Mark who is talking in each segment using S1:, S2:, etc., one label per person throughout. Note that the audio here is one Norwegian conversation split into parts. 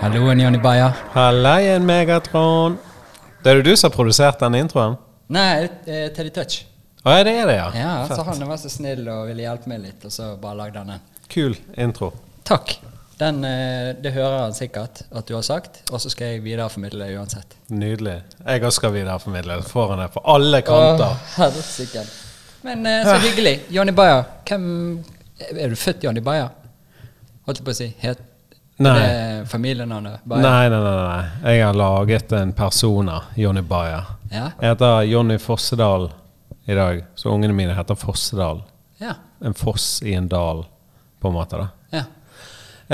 S1: Halloen, Jonny Bayer.
S2: Hallaien, Megatron. Det er jo du som har produsert den introen?
S1: Nei, eh, Teddy Touch.
S2: Å ja, det er det, ja.
S1: Ja, så
S2: Fett.
S1: Han var så snill og ville hjelpe meg litt, og så bare lagde han den.
S2: Kul intro.
S1: Takk. Den, eh, det hører han sikkert at du har sagt, og så skal jeg videreformidle det uansett.
S2: Nydelig. Jeg også skal videreformidle. Så Får han det på alle kanter.
S1: Å, helsike. Men eh, så hyggelig. Jonny Bayer, hvem eh, Er du født Jonny Bayer? Holdt jeg på å si. Het
S2: Nei.
S1: det familienavnet
S2: Nei,
S1: Bayer?
S2: nei, nei, nei. Jeg har laget en persona, Jonny Bayer.
S1: Ja.
S2: Jeg heter Jonny Fossedal i dag, så ungene mine heter Fossedal.
S1: Ja.
S2: En foss i en dal, på en måte. da.
S1: ja.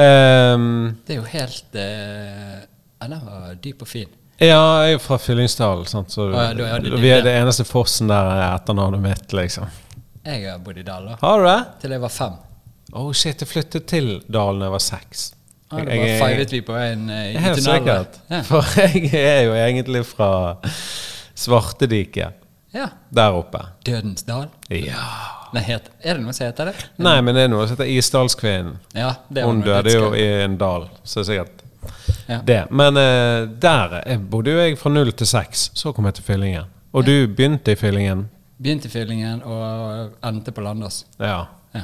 S2: Ehm,
S1: Det er jo helt eh, ja, Den var dyp og fin.
S2: ja, jeg er fra Fyllingsdalen, sant, så
S1: Å, ja, du er- du-
S2: vi er det eneste fossen der er etternavnet mitt, liksom.
S1: Jeg har bodd i Dal da,
S2: Har du det?
S1: til jeg var fem.
S2: Oh shit, jeg flyttet til Dalen da jeg var seks.
S1: Ja, det
S2: Jeg- jeg-
S1: bare feilet vi på veien eh, i
S2: Helt
S1: tunnelen.
S2: sikkert.
S1: Ja.
S2: For jeg er jo egentlig fra Svartediket
S1: ja.
S2: der oppe.
S1: Dødens dal?
S2: Ja.
S1: Nei, het, er det noe som heter det?
S2: Nei, men det er noe som heter Isdalskvinnen.
S1: Ja, det var
S2: Hun
S1: noe
S2: døde
S1: litt
S2: jo
S1: skummelt.
S2: i en dal, så sikkert
S1: Ja.
S2: det. Men eh, der eh, bodde jo jeg fra null til seks. Så kom jeg til Fyllingen. Og du begynte i Fyllingen.
S1: Begynte i Fyllingen og endte på Landås.
S2: Ja.
S1: Ja.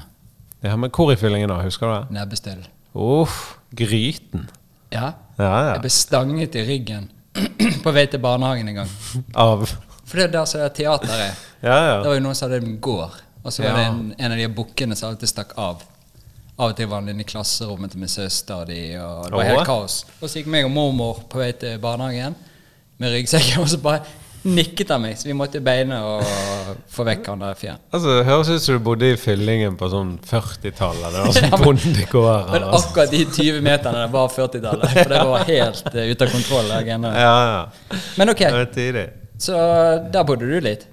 S2: ja. Men hvor i Fyllingen, da? Husker du det?
S1: Nebbestøl.
S2: Uff. Gryten.
S1: Ja.
S2: Ja,
S1: Mm. Jeg
S2: ja.
S1: ble stanget i ryggen på vei til barnehagen en gang.
S2: Av
S1: For det er der som er teateret.
S2: Ja,
S1: Det
S2: ja.
S1: var jo noen som hadde en gård, og så var
S2: Ja.
S1: det en, en av de bukkene som alltid stakk av. Av og til var han inne i klasserommet til min søster og de, og det var
S2: Åh.
S1: helt kaos. Og så gikk meg og mormor på vei til barnehagen med ryggsekken, og så bare nikket han meg, så vi måtte beine og få vekk han der fyren.
S2: Altså, Det høres ut som du bodde i Fyllingen på sånn 40-tallet. Det var
S1: Ja,
S2: sånn
S1: men-
S2: bondegård.
S1: Men
S2: altså.
S1: akkurat de 20 meterne der var 40-tallet, for det var helt eh, ute av kontroll. der greiene der.
S2: Ja, ja.
S1: Men ok,
S2: Det var tidlig.
S1: så der bodde du litt.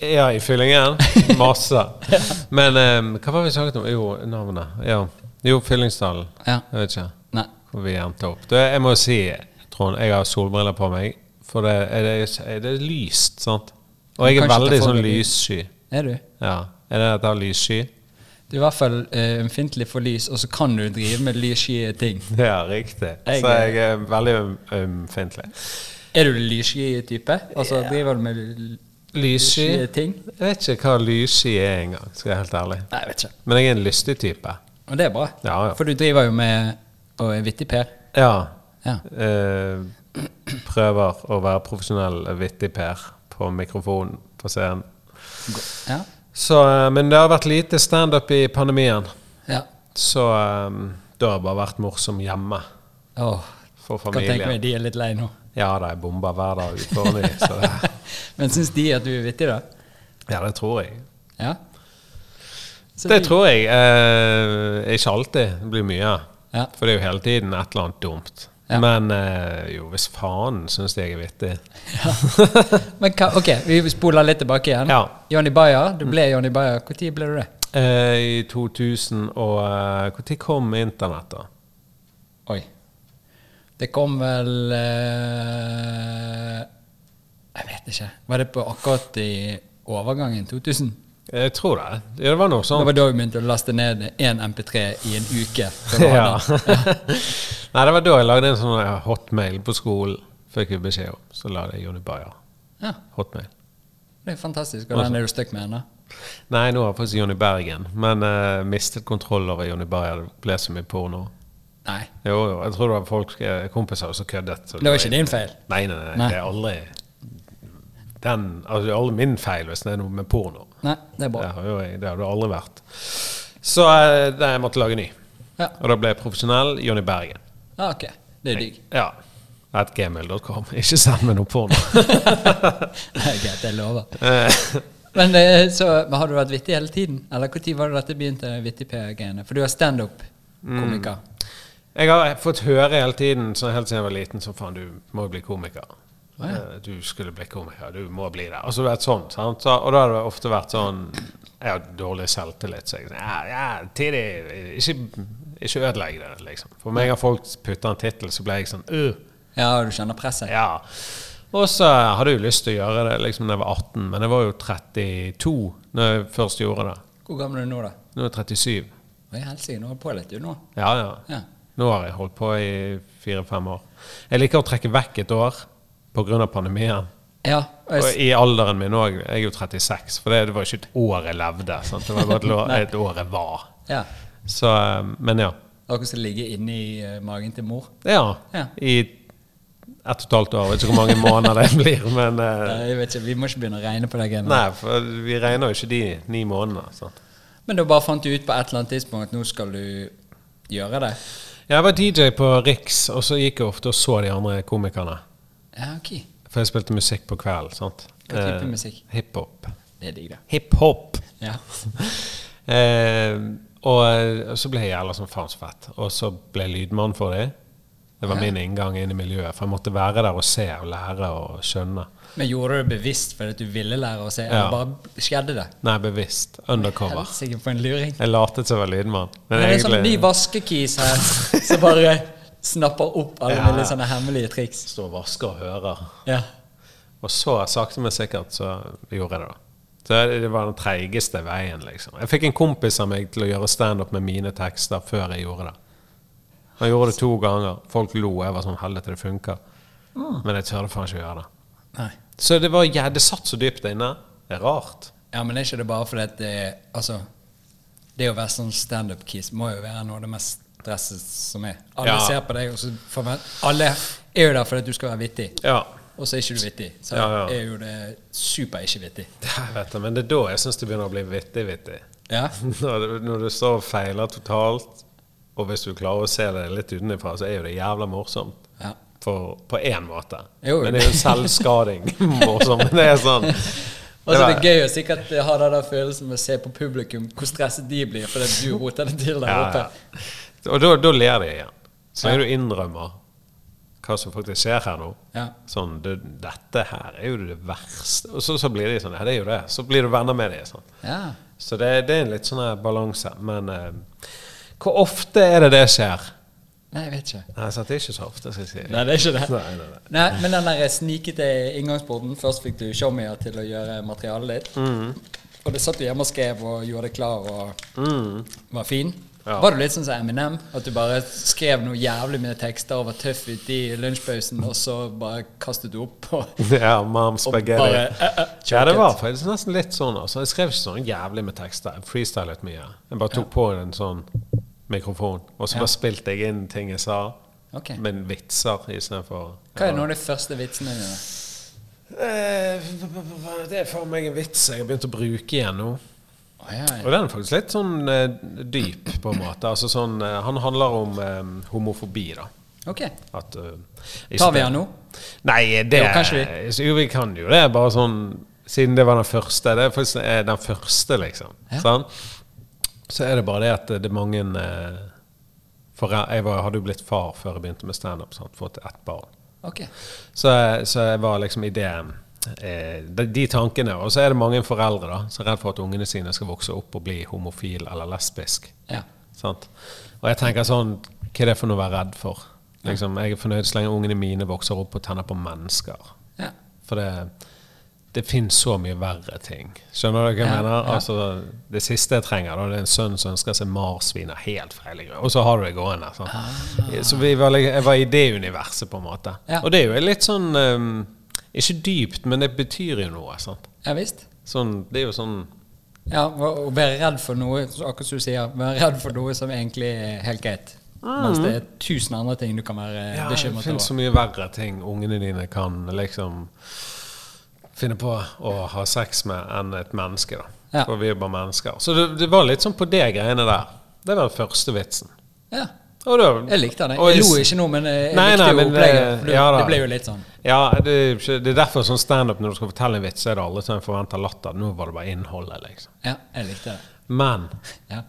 S2: Ja, i Fyllingen. Masse. Men eh, hva var vi snakket om? Jo, navnet. Ja. Jo, Fyllingsdalen.
S1: Ja.
S2: Jeg vet ikke
S1: Nei.
S2: hvor vi endte opp. Du, jeg må si, Trond, jeg har solbriller på meg, for det er, det, er det lyst, sant? Og jeg er
S1: Kanskje
S2: veldig
S1: ta for
S2: sånn
S1: deg lyd.
S2: lyssky.
S1: Er du?
S2: Ja. Er det dette lyssky?
S1: Du er i hvert fall eh, ømfintlig for lys, og så kan du drive med lyssky ting.
S2: Ja, riktig.
S1: Jeg-
S2: Så jeg er veldig øm- ømfintlig.
S1: Er du lyssky type? Altså driver du med l- lyssky
S2: Lyssky?
S1: ting?
S2: Jeg vet ikke hva lyssky er engang, skal jeg være helt ærlig.
S1: Nei, jeg vet ikke.
S2: Men jeg er en lystig type.
S1: Og det er bra.
S2: Ja, ja.
S1: For du driver jo med og er vittig Per.
S2: Ja.
S1: Ja.
S2: Eh, prøver å være profesjonell vittig Per på mikrofonen på scenen.
S1: Ja.
S2: Så, eh, men det har vært lite standup i pandemien.
S1: ja.
S2: Så eh, da har jeg bare vært morsom hjemme
S1: Åh,
S2: for
S1: kan tenke meg
S2: familien.
S1: de er litt lei nå.
S2: Ja da, jeg bomber hver dag utover meg, så det,
S1: Men syns de at du er vittig, da?
S2: Ja, det tror jeg.
S1: Ja. Så
S2: Det
S1: de-
S2: tror jeg. Eh, ikke alltid. Det blir mye.
S1: Ja.
S2: For det er jo hele tiden et eller annet dumt.
S1: Ja.
S2: Men eh, jo, hvis faen syns jeg er vittig.
S1: Men hva, ok, vi spoler litt tilbake igjen.
S2: Ja.
S1: Johnny Bayer, du ble Johnny Bayer. Når ble du det?
S2: Eh, I 2000 og Når kom internett, da?
S1: Oi. Det kom vel eh, Jeg vet ikke. Var det på akkurat i overgangen 2000?
S2: Jeg tror det. Ja, det var noe
S1: Det
S2: sånt.
S1: var da vi begynte å laste ned én MP3 i en uke. Det var
S2: Ja.
S1: da.
S2: Nei, det var da jeg lagde en sånn eh, hotmail på skolen. Fikk vi beskjed om. Så la jeg Jonny Bayer.
S1: ja,
S2: Hotmail.
S1: det er fantastisk. Og den er du stuck med ennå.
S2: Nei, nå har jeg faktisk Jonny Bergen. Men eh, mistet kontroll over Jonny Bayer. Det ble så mye porno.
S1: Nei.
S2: Jo, jo. Jeg tror det var folk, eh, kompiser som køddet. så
S1: Det var ikke din feil.
S2: Nei, nei, nei,
S1: Nei.
S2: det er aldri den, altså, Det er aldri min feil hvis det er noe med porno.
S1: Nei, det er
S2: Det
S1: bra.
S2: har, jo, jeg- det har det aldri vært. Så eh, det, jeg måtte lage ny.
S1: Ja,
S2: Og da ble jeg profesjonell Jonny Bergen.
S1: ja ok. Det er digg.
S2: Ja. At gmail.com. Ikke send meg noe porno.
S1: Det er greit, jeg lover.
S2: Eh,
S1: Men eh, så men har du vært vittig hele tiden? Eller når var det dette begynte, vittig-greiene? For du er
S2: Mm.
S1: standup-komiker.
S2: jeg har fått høre hele tiden sånn helt siden jeg var liten så faen, du må jo bli komiker. Eh, Du skulle bli komiker, du må bli det. Og så har det vært sånn, sant? Så, og da har det ofte vært sånn Jeg har dårlig selvtillit, så jeg sier ja, ja, tidlig, ikke, ikke ødelegg det, liksom. For med en gang folk putter en tittel, så blir jeg sånn uh,
S1: Ja, du kjenner presset?
S2: Ja. Og så hadde jeg jo lyst til å gjøre det liksom da jeg var 18, men jeg var jo 32 når jeg først gjorde det.
S1: Hvor gammel er du nå, da?
S2: Nå er jeg 37.
S1: Hva i helsike, nå holder du på litt, du nå.
S2: Ja, ja.
S1: Ja.
S2: Nå har jeg holdt på i fire-fem år. Jeg liker å trekke vekk et år pga. pandemien.
S1: Ja, og jeg,
S2: Og i alderen min òg. Jeg er jo 36, for det, det var ikke et år jeg levde. Sant? Det var bare et lå- et år jeg var.
S1: s- ja.
S2: Så, eh, men ja.
S1: Dere som ligger inne i eh, magen til mor.
S2: Ja.
S1: Ja.
S2: I ett og et halvt år. Vet ikke hvor mange måneder det blir, men eh,
S1: Nei, Jeg vet ikke, Vi må ikke begynne å regne på det. Greiene.
S2: Nei, for vi regner jo ikke de ni månedene. Sant?
S1: Men da bare fant du ut på et eller annet tidspunkt at nå skal du gjøre det.
S2: Jeg var DJ på Riks, og så gikk jeg ofte og så de andre komikerne.
S1: Ja, ok.
S2: For jeg spilte musikk på kvelden. sant?
S1: Hva type
S2: Eh,
S1: musikk?
S2: Hiphop.
S1: Det er digg, det.
S2: Hiphop!
S1: Ja.
S2: Eh, og, og så ble jeg jævla sånn faen så fett. Og så ble jeg lydmann for dem. Det var min inngang inn i miljøet. For jeg måtte være der og se og lære og skjønne.
S1: Men gjorde du det bevisst fordi at du ville lære å se,
S2: Ja.
S1: eller bare skjedde det?
S2: Nei, bevisst. Undercover.
S1: Helsike, for en luring.
S2: Jeg latet som jeg var lydmann.
S1: Men det er sånn ny vaskekis her som bare snapper opp alle
S2: Ja, ja.
S1: mulige sånne hemmelige triks.
S2: står og vasker og hører.
S1: Ja.
S2: Og så sakte, men sikkert så gjorde jeg det. da. Så Det var den treigeste veien, liksom. Jeg fikk en kompis av meg til å gjøre standup med mine tekster før jeg gjorde det. Han gjorde det to ganger. Folk lo. Jeg var sånn Helvete, det funker. Men jeg tørde faen ikke å gjøre det.
S1: Nei.
S2: Så det, var, ja, det satt så dypt inne. Det er rart.
S1: Ja, men er ikke det bare fordi at det Altså, det å være sånn standup-kis må jo være noe av det mest stresset som er. Alle
S2: Ja.
S1: ser på deg, og så forvent... Alle er jo der fordi at du skal være vittig,
S2: Ja.
S1: og så er ikke du vittig. Så
S2: Ja, ja.
S1: er jo det super-ikke-vittig.
S2: Jeg vet det, men det er da jeg syns det begynner å bli vittig-vittig.
S1: Ja.
S2: Når, du- når du står og feiler totalt, og hvis du klarer å se det litt utenfra, så er jo det jævla morsomt.
S1: Ja.
S2: For, på én måte.
S1: Jo.
S2: Men det er jo selvskading. morsomt. Det er sånn
S1: Og så er
S2: var-
S1: Altså, det gøy å sikkert ha den der følelsen med å se på publikum hvor stresset de blir fordi at du roter det til der
S2: ja,
S1: oppe.
S2: ja. Og da, da ler de igjen. Så lenge du innrømmer hva som faktisk skjer her nå.
S1: Ja.
S2: Sånn, det, 'Dette her er jo det verste.' Og så, så blir de sånn. Ja, det er jo det. Så blir du venner med dem. Sånn.
S1: ja.
S2: Så det, det er en litt sånn her balanse. Men eh, hvor ofte er det det skjer?
S1: Nei, jeg vet ikke.
S2: Nei, sant, det er ikke så ofte, skal jeg si.
S1: Nei, det er ikke det.
S2: Nei, nei, nei.
S1: men den der snikete inngangsporten Først fikk du showmia til å gjøre materialet ditt.
S2: Mm.
S1: Og det satt du hjemme og skrev og gjorde det klar og var fin.
S2: Ja.
S1: Var du litt sånn som Eminem? At du bare skrev noe jævlig mye tekster og var tøff ute i lunsjpausen, og så bare kastet du opp og,
S2: Ja, mom
S1: og
S2: spaghetti.
S1: bare eh, eh,
S2: ja, det
S1: choket.
S2: var faktisk nesten litt sånn. Altså. Jeg skrev ikke sånn jævlig med tekster. Jeg freestylet mye. Jeg bare tok på en sånn mikrofon, og så
S1: Ja.
S2: bare spilte jeg inn ting jeg sa.
S1: Ok.
S2: Men vitser istedenfor
S1: Hva er noen av de første vitsene dine?
S2: Eh, Det er faen meg en vits jeg har begynt å bruke igjen nå.
S1: Å, ja, ja.
S2: Og den er faktisk litt sånn eh, dyp, på en måte. Altså sånn eh, Han handler om eh, homofobi, da.
S1: Ok.
S2: At, eh,
S1: Tar vi den nå?
S2: Nei, det
S1: Jo, kanskje
S2: Jo, vi kan jo det. Bare sånn Siden det var den første. Det er faktisk eh, den første, liksom.
S1: Ja.
S2: Sant? Så er det bare det at det er mange eh, for jeg- Jeg var, hadde jo blitt far før jeg begynte med standup. sant? Fått ett barn.
S1: Ok.
S2: Så, jeg- så jeg var liksom i det eh, de, de tankene. Og så er det mange foreldre da, som er redd for at ungene sine skal vokse opp og bli homofil eller lesbisk.
S1: Ja.
S2: Sant? Og jeg tenker sånn Hva er det for noe å være redd for? Liksom, jeg er fornøyd så lenge ungene mine vokser opp og tenner på mennesker.
S1: ja.
S2: For det, det finnes så mye verre ting. Skjønner du hva jeg
S1: Ja,
S2: mener?
S1: ja.
S2: Altså, det siste jeg trenger, da, det er en sønn som ønsker seg marsvin av helt feil grunn. Og så har du det gående. sant? Så vi var, li- jeg var i det universet, på en måte.
S1: Ah. Ja.
S2: Og det er jo litt sånn um, Ikke dypt, men det betyr jo noe. Sant?
S1: Ja visst.
S2: Sånn, det er jo sånn
S1: Ja, å å være redd for noe så akkurat som du sier, være redd for noe som egentlig er helt greit. Mens det er tusen andre ting du kan være eh,
S2: Ja, det
S1: bekymret
S2: finnes så
S1: over.
S2: mye verre ting ungene dine kan liksom finne på å ha sex med enn et menneske. da
S1: Ja.
S2: For vi er bare mennesker. Så det, det var litt sånn på det greiene der. Det var den første vitsen.
S1: Ja,
S2: Og da,
S1: jeg likte den.
S2: og
S1: Jeg lo ikke nå, men eh, jeg
S2: Nei,
S1: likte
S2: nei,
S1: jo
S2: men det-
S1: opplegget. for Det,
S2: ja da.
S1: det ble jo litt sånn.
S2: Ja, det, er jo ikke- det er derfor sånn standup når du skal fortelle en vits, så er det aldri sånn forventa latter. Nå var det bare innholdet, liksom.
S1: Ja, jeg likte det.
S2: Men
S1: Ja.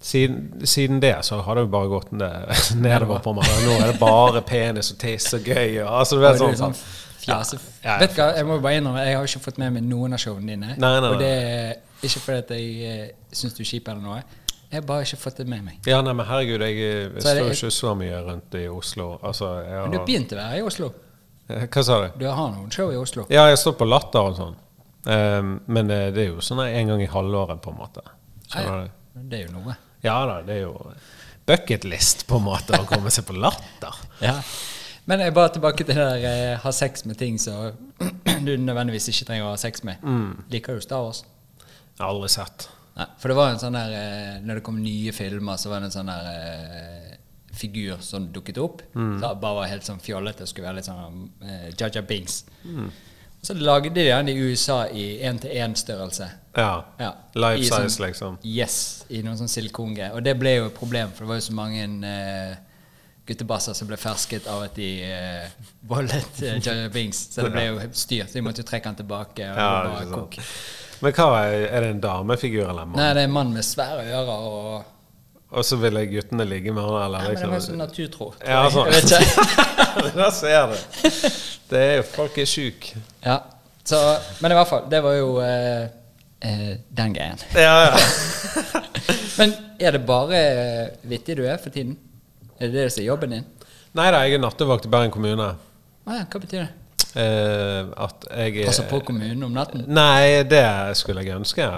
S2: siden, siden det så har det jo bare gått ned- nedover på meg. Nå er det bare penis og tiss og gøy. Og, altså, det
S1: Og
S2: er
S1: det er sånn
S2: sånn, sant?
S1: fjase...
S2: Ja, ja,
S1: Vet du hva, jeg må jo bare innrømme, jeg har ikke fått med meg noen av showene dine.
S2: Nei, nei, nei.
S1: Og det er ikke fordi at jeg eh, syns du er kjip eller noe, Jeg har bare ikke fått det med meg.
S2: Ja, nei, men herregud, jeg, jeg
S1: Så er
S2: står
S1: det-
S2: ikke så mye rundt i Oslo. Altså, jeg
S1: Men du
S2: har,
S1: begynte å være i Oslo.
S2: Eh, Hva sa du?
S1: Du har noen show i Oslo.
S2: Ja, jeg står på Latter og sånn. Ehm, men eh, det er jo sånn en gang i halvåret, på en måte. Skjønner du?
S1: Det er jo noe.
S2: Ja da, det er jo bucketlist, på en måte, å komme seg på Latter.
S1: Ja. Men jeg bare tilbake til det der eh, ha sex med ting som du nødvendigvis ikke trenger å ha sex med. Liker du Star Wars?
S2: Jeg har aldri sett.
S1: Nei, for det var en sånn der eh, Når det kom nye filmer, så var det en sånn der eh, figur som dukket opp. Som bare var helt sånn fjollete og skulle være litt sånn eh, Jaja Bings. Så lagde de den i USA i én-til-én-størrelse.
S2: Ja.
S1: Ja.
S2: Life
S1: I
S2: size,
S1: sånn-
S2: liksom.
S1: Yes, i noen sånn silikongreier. Og det ble jo et problem, for det var jo så mange eh, guttebasser som ble fersket av at de eh, voldet eh, Jaja Bings. Så det ble jo styr, så de måtte jo trekke han tilbake. Og
S2: Ja,
S1: det var
S2: ikke
S1: bare
S2: sant.
S1: kok.
S2: Men hva er, er det en damefigur eller en mann?
S1: Nei, det er en mann med svære ører og
S2: Og så ville guttene ligge med han?
S1: Nei,
S2: Eller,
S1: men det sånn
S2: liksom.
S1: var jo sånn naturtro. tror
S2: Ja,
S1: jeg.
S2: sånn.
S1: Jeg vet ikke.
S2: Der ser du. Det er jo Folk er sjuke.
S1: Ja, så, men i hvert fall, det var jo eh, eh, den greien.
S2: Ja, ja.
S1: Men er det bare eh, vittig du er for tiden? Er det det som er jobben din?
S2: Nei da, jeg er nattevakt i Bergen kommune.
S1: Å ja, hva betyr det?
S2: Eh, at jeg
S1: Passer Altså på kommunen om natten?
S2: Nei, det skulle jeg ønske.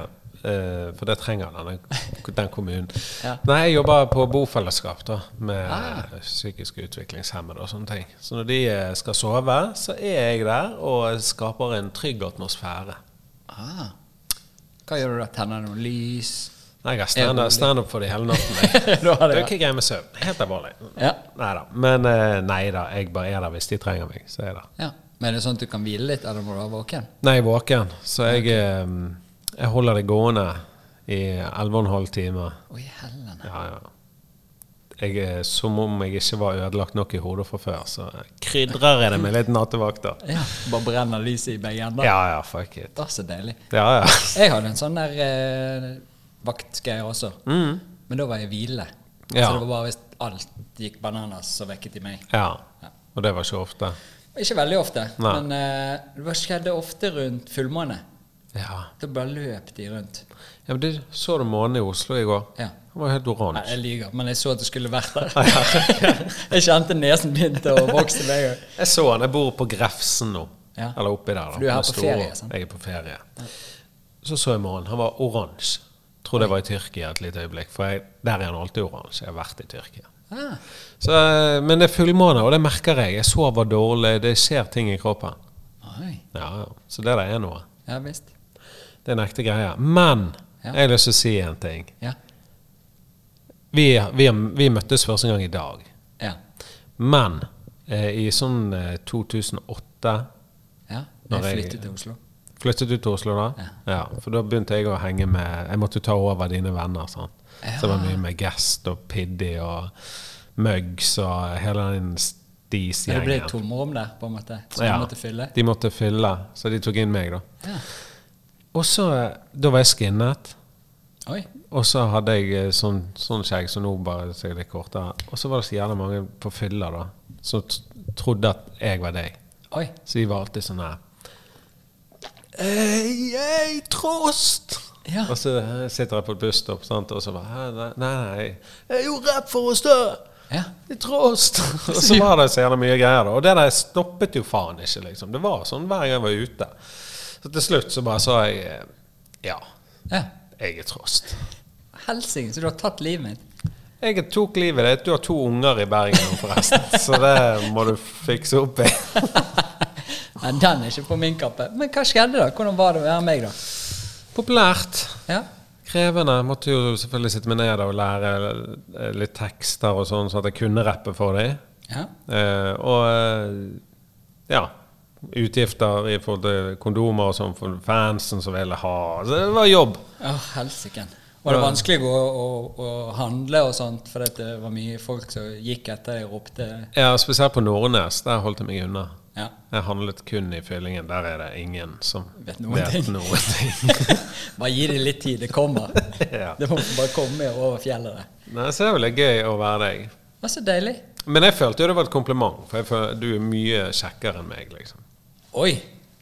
S2: eh, for det trenger denne, den kommunen.
S1: Ja.
S2: Nei, jeg jobber på bofellesskap da, med
S1: Ah.
S2: psykisk utviklingshemmede og sånne ting. Så når de eh, skal sove, så er jeg der og skaper en trygg atmosfære.
S1: Ah. Hva gjør du da? Tenner noen lys?
S2: Nei,
S1: Er
S2: jeg har
S1: det
S2: stand-
S1: mulig?
S2: standup for de hele natten. Jeg.
S1: da har
S2: Det er
S1: det,
S2: jo ikke greie med søvn. Helt alvorlig.
S1: ja.
S2: Nei da. Men eh, nei da, jeg bare er der hvis de trenger meg. Så er jeg der.
S1: ja. Men er det sånn at du kan hvile litt, eller må du være våken?
S2: Nei, jeg er våken. Så jeg, eh, jeg holder det gående i 11,5 timer.
S1: Oi, helvende.
S2: Ja, ja. Jeg er som om jeg ikke var ødelagt nok i hodet fra før, så krydrer jeg det med litt nattevakter.
S1: Ja, bare brenner lyset i begge ender.
S2: Ja, ja, fuck it.
S1: Det er så deilig.
S2: Ja, ja.
S1: Jeg hadde en sånn der eh, vaktgreier også. Men da var jeg hvile.
S2: Ja.
S1: Så det var bare hvis alt gikk bananas, så vekket de meg.
S2: ja. Og det var ikke ofte.
S1: Ikke veldig ofte,
S2: Nei.
S1: men eh, det var- skjedde ofte rundt fullmåne.
S2: Ja.
S1: Da bare løp de rundt.
S2: ja men det, Så du månen i Oslo i går?
S1: Ja.
S2: Den var helt
S1: Nei,
S2: oransje.
S1: jeg lyver, men jeg så at det skulle vært der. jeg kjente nesen begynte å vokse. med en gang.
S2: Jeg så den. Jeg bor på Grefsen nå.
S1: Ja.
S2: Eller oppi der. da.
S1: For du er her
S2: Den
S1: på
S2: store-
S1: ferie, sant?
S2: Jeg er på ferie. Så så jeg månen. Han var oransje. Tror det var i Tyrkia et lite øyeblikk, for jeg, der er han alltid oransje. Jeg har vært i Tyrkia.
S1: Ah.
S2: Så, eh, men det er fullmåne, og det merker jeg. Jeg sover dårlig, det skjer ting i kroppen.
S1: Oi.
S2: Ja, ja. Så det der er noe.
S1: Ja visst.
S2: Det er en ekte greie. Men
S1: Ja.
S2: jeg har lyst til å si en ting.
S1: Ja.
S2: Vi, vi, vi møttes første gang i dag.
S1: Ja.
S2: Men eh, i sånn eh, 2008
S1: ja.
S2: Når
S1: Jeg
S2: jeg-
S1: flyttet til Oslo.
S2: Flyttet du til Oslo da? Ja. For da begynte jeg å henge med Jeg måtte jo ta over dine venner. sant? Så det var mye med Gest og Piddy og Muggs og hele den
S1: Men det ble
S2: stis-gjengen.
S1: et tomrom der, på en måte, som
S2: Ja.
S1: jeg måtte fylle.
S2: De måtte fylle, så de tok inn meg, da.
S1: Ja.
S2: Og så
S1: eh,
S2: Da var jeg skinnet.
S1: Oi.
S2: Og så hadde jeg eh, sånn, sånn skjegg som nå bare ser litt kortere. Og så var det så jævla mange på fylla da som t trodde at jeg var deg.
S1: Oi.
S2: Så de var alltid sånn her Hei, hei, Trost!
S1: Ja.
S2: Og så eh, sitter jeg på et busstopp, sant, og så bare «Hæ, Nei, nei, nei. jeg gjorde rapp for oss, da!
S1: Ja.
S2: Det er Trost! og så var det så jævla mye greier, da. Og det der stoppet jo faen ikke, liksom. Det var sånn hver gang jeg var ute. Så til slutt så bare sa jeg eh, Ja,
S1: ja.
S2: jeg er Trost.
S1: Helsing, så du har tatt livet mitt.
S2: Jeg tok livet ditt. Du har to unger i Bergen nå, forresten. Så det må du fikse opp i.
S1: Nei, den er ikke på min kappe. Men hva skjedde, da? Hvordan var det å være meg, da?
S2: Populært.
S1: Ja.
S2: Krevende. Måtte jo selvfølgelig sitte meg ned og lære eh, litt tekster og sånn, sånn at jeg kunne rappe for dem.
S1: ja.
S2: Eh, og eh, ja. Utgifter i forhold til kondomer og sånn for fansen som ville ha. Så det var jobb.
S1: Å, helsiken. Var det vanskelig å, å, å handle og sånt, for det var mye folk som gikk etter deg og ropte
S2: Ja, spesielt på Nordnes. Der holdt jeg meg unna.
S1: Ja.
S2: Jeg handlet kun i fyllingen. Der er det ingen som
S1: Vet noen ting.
S2: noen ting.
S1: Bare gi det litt tid, det kommer.
S2: Ja.
S1: Det må bare komme over fjellet. det.
S2: Nei, så det er vel gøy å være deg.
S1: Det var så deilig.
S2: Men jeg følte jo det var et kompliment, for jeg føler, du er mye kjekkere enn meg, liksom.
S1: Oi,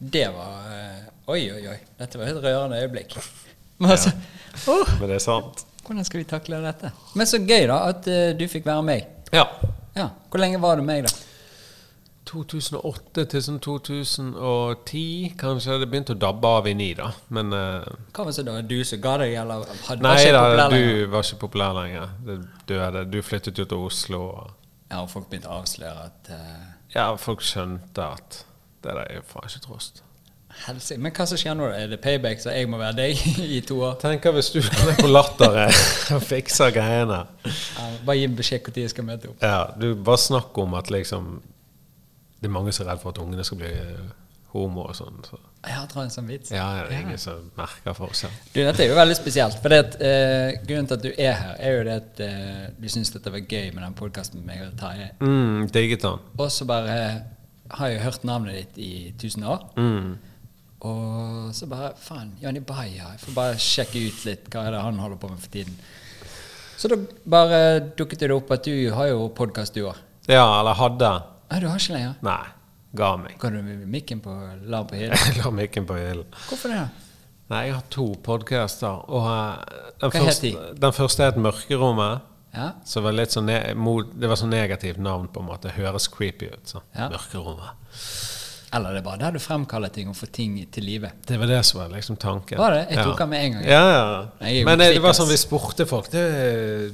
S1: det var eh, Oi, oi, oi. Dette var et rørende øyeblikk. Men altså, åh,
S2: Men det er sant.
S1: Hvordan skal vi takle dette? Men så gøy, da, at eh, du fikk være meg.
S2: Ja.
S1: Ja, Hvor lenge var du meg, da?
S2: 2008 til sånn 2010, kanskje. Det begynte å dabbe av i ni, da. Men eh,
S1: Hva var det da? Du som ga deg, eller hadde var
S2: Nei
S1: ikke
S2: da,
S1: populær lenger?
S2: du var ikke populær lenger. Det døde. Du flyttet jo til Oslo. Og
S1: Ja, og folk begynte å avsløre at eh,
S2: ja, folk skjønte at det der er jo faen ikke trost.
S1: helse. Men hva som skjer nå? da? Er det payback, så jeg må være deg i to år?
S2: Tenker hvis du er på latter eh, og fikser greiene.
S1: Ja, bare gi meg beskjed når jeg skal møte opp.
S2: Ja, du bare snakk om at liksom Det er mange som er redd for at ungene skal bli eh, homo og sånn. Så.
S1: Jeg har en sånn vits.
S2: Ja, ja, det er ingen som merker forskjell.
S1: Du, dette er jo veldig spesielt. For det at, eh, grunnen til at du er her, er jo det at eh, du syns dette var gøy med den podkasten med meg og Terje.
S2: Mm, digget han.
S1: Og så bare har jeg hørt navnet ditt i tusen år.
S2: Mm.
S1: Og så bare Faen, Jani Baja. Jeg får bare sjekke ut litt hva er det han holder på med for tiden. Så da bare dukket det opp at du har jo podkast, du òg.
S2: Ja, eller hadde.
S1: Nei, du har ikke lenger.
S2: Nei. Ga meg.
S1: Kan du mikken på la den på hyllen?
S2: Jeg la mikken på hyllen.
S1: Hvorfor det? da?
S2: Nei, jeg har to podcaster. Og eh, den,
S1: Hva
S2: første,
S1: heter
S2: den første het Mørkerommet.
S1: Ja?
S2: Så det var litt sånn ne mot, det var sånn negativt navn, på en måte. Høres creepy ut. sånn.
S1: Ja.
S2: Mørkerommet.
S1: Eller det er bare der du fremkaller ting og får ting til live.
S2: Det var det som var liksom tanken.
S1: Var det? Jeg tok den med en gang.
S2: Ja, ja.
S1: Nei, jeg er jo
S2: Men eh, det var
S1: kvikk, ass.
S2: sånn vi spurte folk. Det,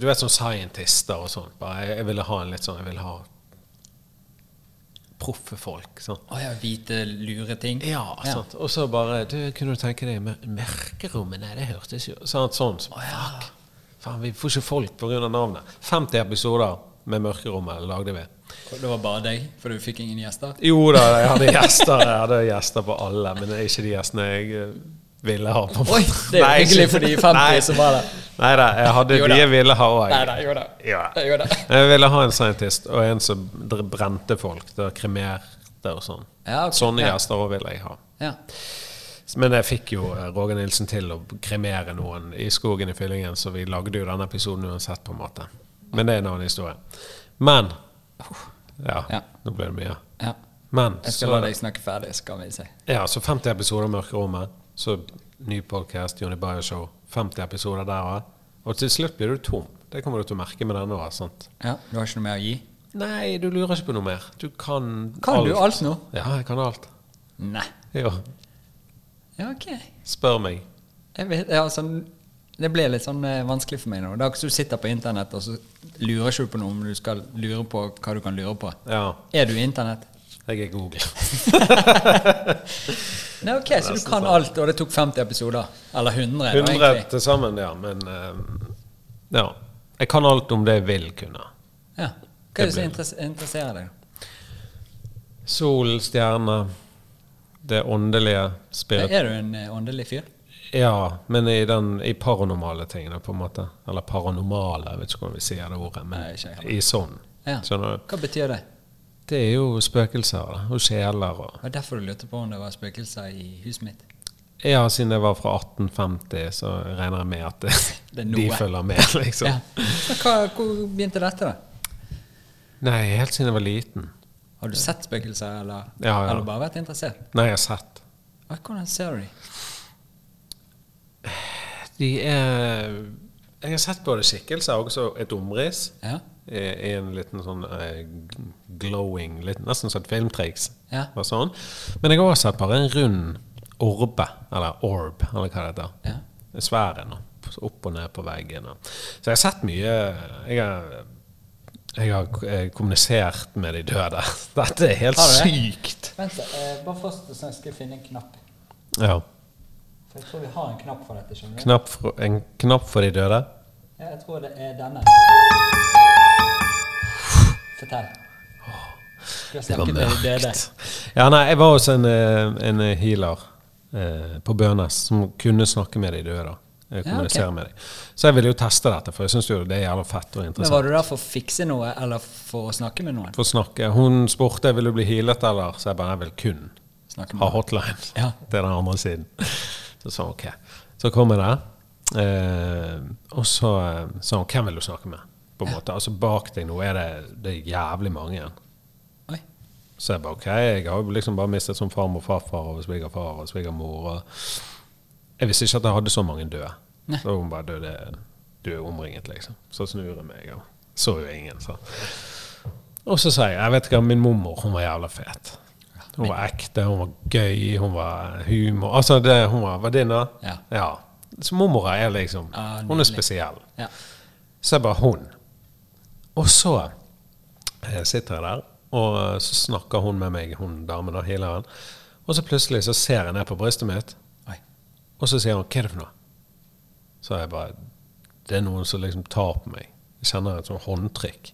S2: du vet sånn scientister og sånn. Bare, jeg, jeg ville ha en litt sånn Jeg ville ha proffe folk. sånn.
S1: Å ja, hvite, lure ting.
S2: Ja, sant. Og så bare du, Kunne du tenke deg mør- Mørkerommet? Nei, det hørtes jo sant, Sånn. Så, fuck. Faen, vi får ikke folk pga. navnet. 50 episoder med Mørkerommet lagde vi.
S1: Og det var bare deg, for du fikk ingen gjester?
S2: Jo da, jeg hadde gjester Jeg hadde gjester på alle, men det er ikke de gjestene jeg eh, ville ha. på
S1: Oi, det er jo hyggelig for de 50
S2: Nei.
S1: som var der.
S2: Neida, jeg hadde
S1: Jo da.
S2: de jeg ville ha òg.
S1: Nei da, jo da.
S2: Ja.
S1: Jo da.
S2: Jeg ville ha en scientist og en som dr- brente folk. Det kremerte og sånn.
S1: Ja, ok.
S2: Sånne
S1: Ja.
S2: gjester òg ville jeg ha.
S1: Ja.
S2: Men jeg fikk jo eh, Roger Nilsen til å kremere noen i skogen i Fyllingen, så vi lagde jo denne episoden uansett, på en måte. Men det er en annen historie. Men Ja,
S1: Ja.
S2: nå ble det mye.
S1: ja.
S2: Men
S1: Jeg skal la deg snakke ferdig, så kan vi se.
S2: Ja, så 50 episoder av Mørkerommet. Så ny podkast, Jonny Bayer Show. 50 episoder der òg. Og til slutt blir du tom. Det kommer du til å merke med denne òg. sant?
S1: Ja, Du har ikke noe mer å gi?
S2: Nei, du lurer ikke på noe mer. Du kan,
S1: Kan du alt nå?
S2: Ja, jeg kan alt.
S1: Nei.
S2: Jo.
S1: Ja, ok.
S2: Spør meg.
S1: Jeg vet, ja, altså, det ble litt sånn eh, vanskelig for meg nå. Det er ikke så du sitter på internett og så lurer ikke du på noe, men du skal lure på hva du kan lure på.
S2: Ja,
S1: Er du i internett?
S2: jeg er Google.
S1: Nei, ok, Så du kan alt, og det tok 50 episoder? Eller 100? da,
S2: 100
S1: egentlig.
S2: til sammen, ja. Men eh, ja. Jeg kan alt om det jeg vil kunne.
S1: Ja. Hva er det som interess- interesserer deg?
S2: Sol, stjerner, det åndelige, spirit
S1: Er du en eh, åndelig fyr?
S2: Ja, men i, den, i paranormale tingene, på en måte. Eller paranormale, jeg vet ikke hvordan vi sier det ordet. Men
S1: Nei, ikke jeg heller.
S2: i sånn.
S1: Ja.
S2: Skjønner du?
S1: Hva betyr det?
S2: Det er jo spøkelser da, og sjeler og
S1: Det var derfor du lurte på om det var spøkelser i huset mitt.
S2: Ja, siden jeg var fra 1850, så regner jeg med at det,
S1: Det er noe.
S2: de følger med, liksom.
S1: Ja. Så hva, hvor begynte dette, da?
S2: Nei, helt siden jeg var liten.
S1: Har du sett spøkelser, eller,
S2: Ja, ja.
S1: eller bare vært interessert?
S2: Nei, jeg har sett.
S1: Hva, hvordan ser du de?
S2: De er Jeg har sett både skikkelser og også et omriss.
S1: Ja.
S2: I i en liten sånn eh, g- glowing litt, Nesten sånn filmtriks.
S1: Ja.
S2: Og sånn. Men jeg har også sett bare en rund orbe, eller orb, eller hva det heter.
S1: Ja.
S2: En Svær en. og Opp og ned på veggen. og- Så jeg har sett mye Jeg har, jeg har k- eh, kommunisert med de døde. Dette er helt
S1: Har du det?
S2: sykt!
S1: Vent, eh, bare først så skal jeg finne en knapp.
S2: Ja.
S1: For jeg tror vi har en knapp for dette, skjønner du.
S2: Knapp for, en knapp for de døde.
S1: Ja, jeg tror det er denne. Fortell. Du har snakket med de døde.
S2: Ja, nei, jeg var hos en, eh, en healer eh, på Bønes som kunne snakke med de døde. da. Eh,
S1: Ja,
S2: Kommunisere
S1: ok.
S2: med de. Så jeg ville jo teste dette, for jeg syns jo det er jævla fett og
S1: Men
S2: interessant.
S1: var du der for å fikse noe, eller for å snakke med noen?
S2: For å snakke. Hun spurte vil du bli healet eller, så jeg bare jeg vil kun
S1: Snakke
S2: ha
S1: med noen.
S2: hotline.
S1: Ja.
S2: Det er den andre siden. Så sa hun ok. Så kom jeg der, eh, og så eh, sa hun hvem vil du snakke med? På en måte. Altså bak deg nå er det, det er jævlig mange igjen.
S1: Oi.
S2: Så jeg bare OK, jeg har jo liksom bare mistet som farmor, farfar og svigerfar og svigermor. Og jeg visste ikke at jeg hadde så mange døde.
S1: Nei.
S2: Så hun bare døde du er omringet, liksom. Så snur jeg meg, og så jo ingen. Så. Og så sa jeg jeg vet ikke, min mormor hun var jævla fet. Hun var ekte, hun var gøy, hun var humor. Altså, det, hun var venninna.
S1: Ja.
S2: Så mormora er liksom
S1: Ah,
S2: Hun er
S1: nydelig.
S2: spesiell.
S1: Ja.
S2: Så er bare hun. Og så eh, sitter jeg der, og eh, så snakker hun med meg, hun damen og healeren. Og så plutselig så ser jeg ned på brystet mitt,
S1: Oi.
S2: og så sier hun 'hva er det for noe?' Så er jeg bare Det er noen som liksom tar på meg. Jeg kjenner et sånt håndtrykk.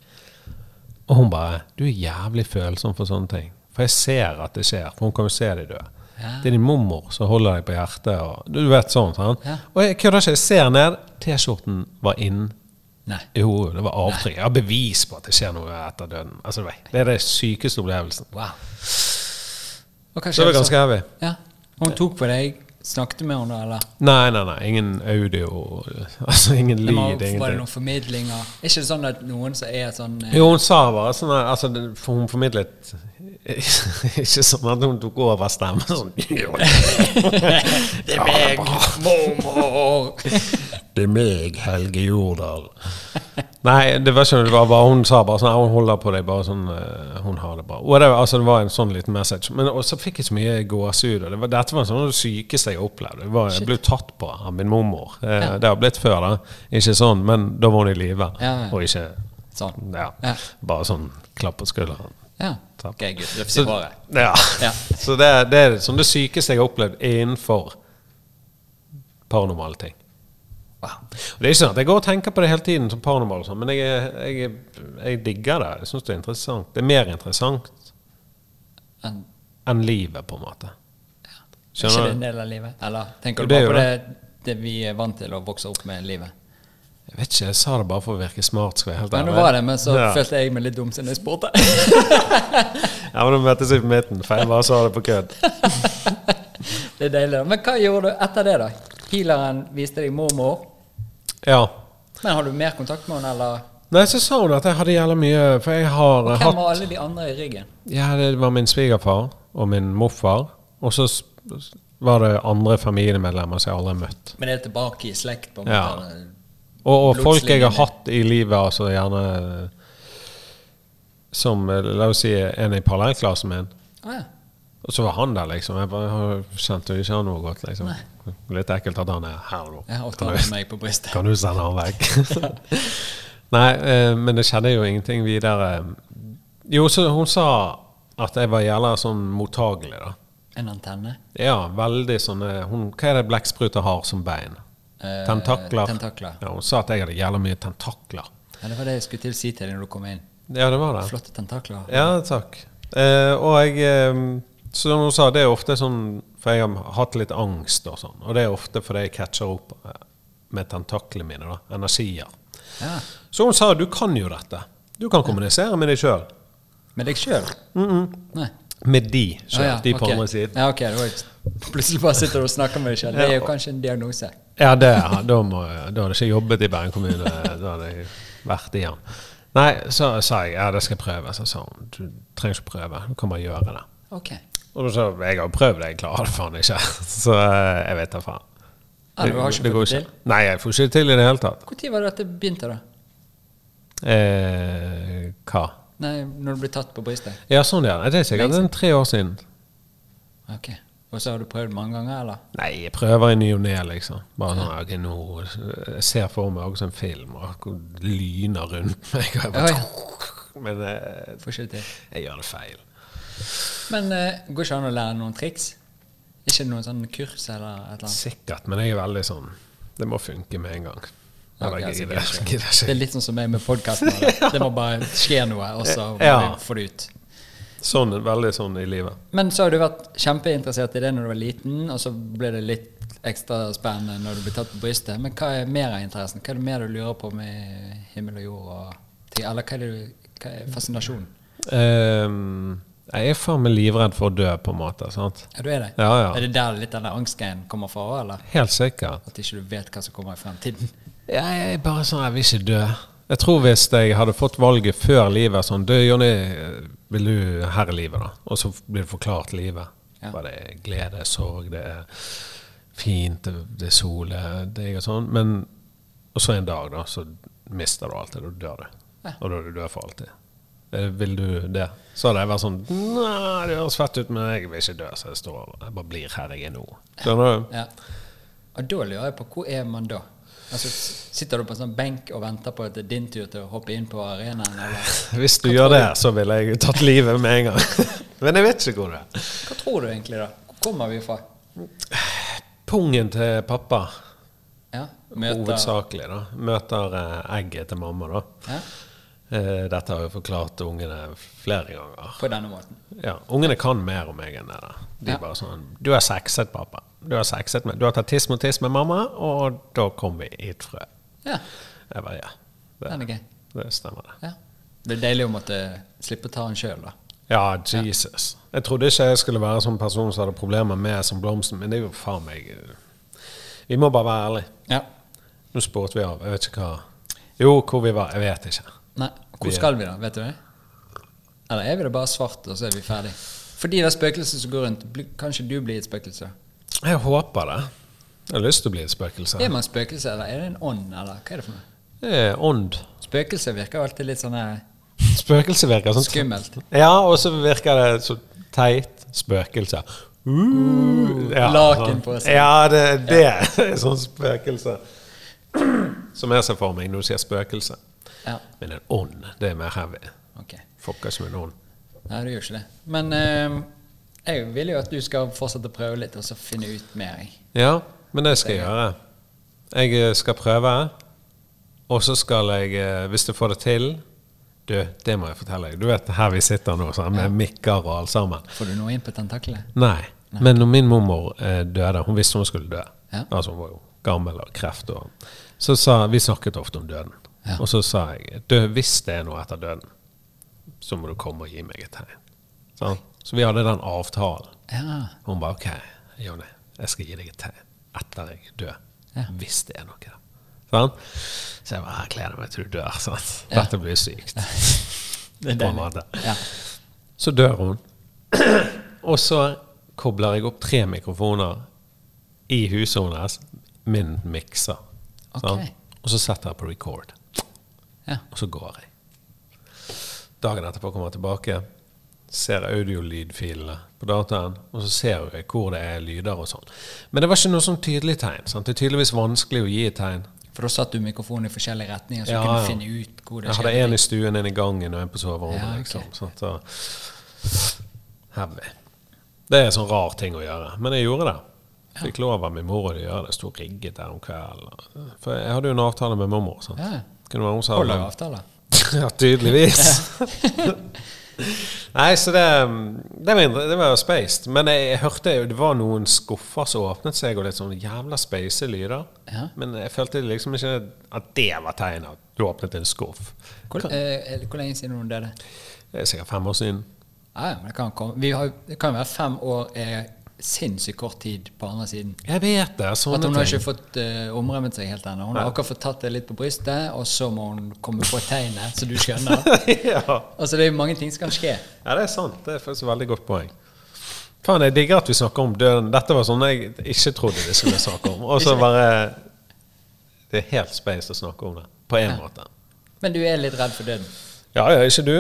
S2: Og hun bare 'Du er jævlig følsom for sånne ting'. For jeg ser at det skjer. For hun kan jo se de døde.
S1: Ja.
S2: Det er din mormor som holder deg på hjertet. Og, du vet sånn, sant?
S1: Ja.
S2: Og jeg kødder ikke. Jeg ser ned. T-skjorten var inn
S1: Nei.
S2: jo, det var avtrykk. Jeg har bevis på at det skjer noe etter døden. Altså, det var- det er den sykeste opplevelsen.
S1: Wow. Og hva
S2: Så det var
S1: skjedde
S2: ganske heavy.
S1: Ja. Hun tok på deg, snakket med henne, eller?
S2: Nei, nei, nei. Ingen audio, altså ingen
S1: Det må- var
S2: lyd,
S1: det
S2: ingenting.
S1: noen formidlinger? Er ikke det sånn at noen som er sånn eh,
S2: Jo, hun sa bare sånn her, altså, det- for hun formidlet Ikke sånn at hun tok over stemmen sånn.
S1: Det er meg,
S2: Ah.
S1: mormor!
S2: Det er meg, Helge Jordal. Nei, det var ikke det var bare hun sa bare sånn, hun holder på deg bare sånn, eh, hun har det bra. Og det, var- altså, det var en sånn liten message. Men også fikk jeg så mye gåsehud. og det var- Dette var sånn av det sykeste jeg opplevde. Det var, jeg ble tatt på av min mormor. Eh, Det har blitt før, da. Ikke sånn, men da var hun i live.
S1: Ja, ja.
S2: Og ikke
S1: Sånn.
S2: ja,
S1: Ja.
S2: bare sånn klapp på skulderen.
S1: Ja.
S2: Takk.
S1: Ok, gutt. Du får si
S2: Så,
S1: bare.
S2: ja.
S1: Ja.
S2: så det, det er sånn det sykeste jeg har opplevd innenfor paranormale ting.
S1: Wow.
S2: Og det er ikke sånn at Jeg går og tenker på det hele tiden, som paranormal, og sånn, men jeg, er- jeg, er- jeg digger det. Jeg syns det er interessant. Det er mer interessant
S1: En,
S2: enn livet, på en måte.
S1: er ikke det
S2: Skjønner
S1: en
S2: du?
S1: del av livet? Eller tenker
S2: Jo,
S1: du
S2: det er
S1: bare på
S2: jo
S1: det, det vi er vant til å vokse opp med livet?
S2: Jeg vet ikke, jeg sa det bare for å virke smart. skal jeg være helt
S1: Men nå
S2: ærlig.
S1: var det, men så
S2: ja.
S1: følte jeg meg litt dum siden jeg spurte.
S2: Ja, men du møttes vi på midten, for jeg bare sa det på kødd.
S1: Det er deilig. da. Men hva gjorde du etter det, da? Healeren viste deg mormor.
S2: Ja.
S1: Men har du mer kontakt med henne, eller?
S2: Nei, så sa hun at jeg hadde jævla mye For jeg har eh,
S1: Hvem
S2: hatt
S1: var alle de andre i ryggen?
S2: Ja, det var min svigerfar og min morfar. Og så s- var det andre familiemedlemmer som jeg aldri har møtt.
S1: Men det er tilbake i slekt, på en
S2: Ja.
S1: måte? eller?
S2: Og, og folk jeg har
S1: Blodslinjene.
S2: hatt i livet, altså gjerne eh, Som eh, la oss si en i parallellklassen min.
S1: Å ja.
S2: Og så var han der, liksom. Jeg bare har- kjente jo ikke han noe godt, liksom. Litt ekkelt at han er her nå.
S1: Jeg har
S2: Kan
S1: tatt
S2: du,
S1: meg på brystet.
S2: kan du sende han vekk? Nei, eh, men det skjedde jo ingenting videre. Jo, så hun sa at jeg var jævla sånn mottagelig, da.
S1: En antenne?
S2: Ja, veldig sånne hun, Hva er det blekkspruter har som bein?
S1: Eh,
S2: Tentakler.
S1: tentakler.
S2: Ja, hun sa at jeg hadde jævla mye tentakler.
S1: Ja, det var det jeg skulle til å si til deg når du kom inn.
S2: Ja, det var det.
S1: Flotte tentakler.
S2: Ja, takk. Eh, og jeg eh, Som hun sa, det er ofte sånn For jeg har hatt litt angst og sånn. Og det er ofte fordi jeg catcher opp eh, med tentaklene mine. da, Energier.
S1: Ja.
S2: Så hun sa du kan jo dette. Du kan kommunisere med deg sjøl.
S1: Med deg sjøl? Nei.
S2: Med de sjøl.
S1: Å ja,
S2: De på
S1: ok.
S2: andre siden.
S1: Ja, ok. Det var jo- Plutselig bare sitter du og snakker med deg sjøl. Det er jo kanskje en diagnose.
S2: Ja, det, da, må, jeg- da hadde jeg ikke jobbet i Bergen kommune. Da hadde jeg vært i den. Nei, så sa jeg ja, det skal jeg prøve. Så sa hun du trenger ikke prøve, du kan bare gjøre det.
S1: Ok.
S2: Og da sa jeg jeg har jo prøvd det, jeg klarer det faen ikke. Så eh, jeg vet da faen.
S1: Ja, du har ikke
S2: går
S1: fått det til?
S2: Nei, jeg får ikke det til i det hele tatt.
S1: Når var det at det begynte, da?
S2: Eh, hva?
S1: Nei, når du ble tatt på brystet?
S2: Ja, sånn ja. Nei, Det er sikkert
S1: Liksom.
S2: en tre år siden.
S1: Ok. Og så har du prøvd mange ganger, eller?
S2: Nei, jeg prøver i ny og ne, liksom. Bare sånn, ok, nå Jeg ser for meg også en film, og hvor det lyner rundt meg. Og jeg
S1: Ja,
S2: bare,
S1: ja.
S2: men eh,
S1: Får ikke det til.
S2: jeg gjør det feil.
S1: Men eh, går ikke an å lære noen triks? Ikke noen sånn kurs eller et eller annet?
S2: Sikkert, men jeg er veldig sånn Det må funke med en gang.
S1: Ok,
S2: Eller, jeg
S1: altså,
S2: gidder
S1: gidder
S2: jeg gidder
S1: Det er
S2: ikke.
S1: litt sånn som meg med podkasten. Det må bare skje noe, og så må
S2: Ja.
S1: vi få det ut.
S2: Sånn, veldig sånn i livet.
S1: Men så har du vært kjempeinteressert i det når du var liten, og så ble det litt ekstra spennende når du ble tatt på brystet. Men hva er mer av interessen? Hva er det mer du lurer på med himmel og jord? Og ting? Eller hva er, det, du- hva er fascinasjonen?
S2: Ehm, jeg er faen meg livredd for å dø, på en måte. sant?
S1: Ja, du er det?
S2: Ja, ja.
S1: Er det der litt den der angstgreien kommer fra, eller?
S2: Helt sikkert.
S1: At ikke du vet hva som kommer i fremtiden?
S2: Jeg, jeg er bare sånn, jeg vil ikke dø. Jeg tror hvis jeg hadde fått valget før livet sånn Du, Jonny, vil du herre livet, da? Og så blir det forklart livet.
S1: Ja.
S2: Hva det er glede, sorg, det er fint, det, det er sol, det er digg og sånn. Men Og så en dag, da, så mister du alt det. Da dør du. Og da er du død for alltid. Eh, Vil du det? Så hadde jeg vært sånn Nei, det høres fett ut, men jeg vil ikke dø, så jeg står Jeg bare blir her jeg er nå. Skjønner du?
S1: Ja. Og da lurer jeg på hvor er man da? Altså, s- sitter du på en sånn benk og venter på at det er din tur til å hoppe inn på arenaen? Eller?
S2: Hvis du gjør det, så ville jeg tatt livet med en gang. men jeg vet ikke hvor det er.
S1: Hva tror du egentlig, da? Hvor kommer vi fra?
S2: Pungen til pappa,
S1: Ja, møter
S2: hovedsakelig, da, møter eh, egget til mamma, da.
S1: ja,
S2: Eh, Dette har jeg forklart til ungene flere ganger.
S1: På denne måten.
S2: Ja, Ungene kan mer om meg enn det. da. De
S1: Ja.
S2: bare sånn 'Du har sexet, pappa. Du har sexet med, du har tatt tiss mot tiss med mamma, og da kom vi i et frø.'
S1: Ja,
S2: Jeg bare, ja.
S1: den
S2: Det,
S1: er gøy.
S2: det stemmer, det.
S1: Ja. Det er deilig å måtte slippe å ta den sjøl, da.
S2: Ja, Jesus. Jeg trodde ikke jeg skulle være sånn person som hadde problemer med som blomsten, men det er jo faen meg eh, Vi må bare være ærlige.
S1: Ja.
S2: Nå spurte vi av Jeg vet ikke hva Jo, hvor vi var. Jeg vet ikke.
S1: Nei, hvor skal vi da? Vet du det? Eller er vi det bare svart, og så er vi ferdig? Fordi det er spøkelser som går rundt. bli- Kanskje du blir et spøkelse?
S2: Jeg håper det. Jeg har lyst til å bli et spøkelse.
S1: Er man spøkelse, eller er det en ånd, eller hva er det for noe?
S2: Det er ånd.
S1: Spøkelse virker jo alltid litt sånn her
S2: Spøkelse virker sånn
S1: skummelt.
S2: Ja, og så virker det så teit. Spøkelser. Uh,
S1: laken på seg.
S2: Ja, det, det er sånn spøkelse. Som jeg ser for meg når du sier spøkelse.
S1: Ja,
S2: Men en ånd, det er mer heavy.
S1: ok.
S2: Fucker ikke med en ånd.
S1: Nei, du gjør ikke det. Men eh, jeg vil jo at du skal fortsette å prøve litt, og så finne ut mer. jeg.
S2: Ja, men det skal jeg gjøre. Jeg eh, skal prøve, og så skal jeg, eh, hvis du får det til Du, det må jeg fortelle deg. Du vet her vi sitter nå, sånn, med mikker og alt sammen.
S1: Får du noe inn på tentaklene?
S2: Nei. Men når min mormor eh, døde, hun visste hun skulle dø.
S1: Ja.
S2: Altså, hun var jo gammel av kreft. Og, så sa, vi snakket ofte om døden.
S1: Ja.
S2: Og så sa jeg du, hvis det er noe etter døden, så må du komme og gi meg et tegn. Sånn? Så vi hadde den avtalen.
S1: Ja.
S2: Hun bare OK, Jonny, jeg skal gi deg et tegn etter jeg dør.
S1: Ja.
S2: Hvis det er noe der. Sånn? Så jeg bare jeg gleder meg til du dør. Sant?
S1: Ja.
S2: Dette blir sykt.
S1: Det er
S2: på en
S1: deilig.
S2: måte.
S1: Ja.
S2: Så dør hun. og så kobler jeg opp tre mikrofoner i huset hennes. Min mikser.
S1: Ok.
S2: sant? Og så setter jeg på record.
S1: Ja.
S2: Og så går jeg. Dagen etterpå kommer jeg tilbake, ser audiolydfilene på dataen, og så ser jeg hvor det er lyder og sånn. Men det var ikke noe sånn tydelig tegn. Sant? Det er tydeligvis vanskelig å gi et tegn.
S1: For da satt du mikrofonen i forskjellige retninger, så
S2: Ja,
S1: du kunne
S2: ja.
S1: finne ut hvor det
S2: Jeg hadde en i stuen, en i gangen og en på soverommet.
S1: Ja, ok.
S2: liksom. sånn, så. Heavy. Det er en sånn rar ting å gjøre. Men jeg gjorde det. Fikk lov av min mor å gjøre det. Sto rigget der om kvelden. For jeg hadde jo en avtale med mormor. Sant?
S1: Ja.
S2: Kunne være hun som
S1: Holder
S2: hadde-
S1: jo avtaler.
S2: ja, tydeligvis. Nei, så det, um, det, var, indre- det var spaced. Men jeg, jeg hørte jo det var noen skuffer som åpnet seg, og litt sånn jævla space lyder.
S1: Ja.
S2: Men jeg følte liksom ikke at det var tegnet. at Du åpnet en skuff.
S1: Hvor, eh, eller hvor lenge siden hun døde?
S2: Det er sikkert fem år siden.
S1: Ah, Ja, ja, men det kan komme. Vi har, jo- det kan jo være fem år er sinnssykt kort tid på andre siden.
S2: Jeg vet det.
S1: At
S2: Sånne
S1: hun har
S2: ting.
S1: ikke fått eh, omrømmet seg helt ennå. Hun har akkurat fått tatt det litt på brystet, og så må hun komme på tegnet, så du skjønner.
S2: ja.
S1: Altså, det er jo mange ting som kan skje.
S2: ja, det er sant. Det er faktisk et veldig godt poeng. Faen, jeg digger at vi snakker om døden. Dette var sånn jeg ikke trodde vi skulle snakke om. Og så bare Det er helt space å snakke om det. På én måte.
S1: Men du er litt redd for døden.
S2: Ja, ja, ikke du?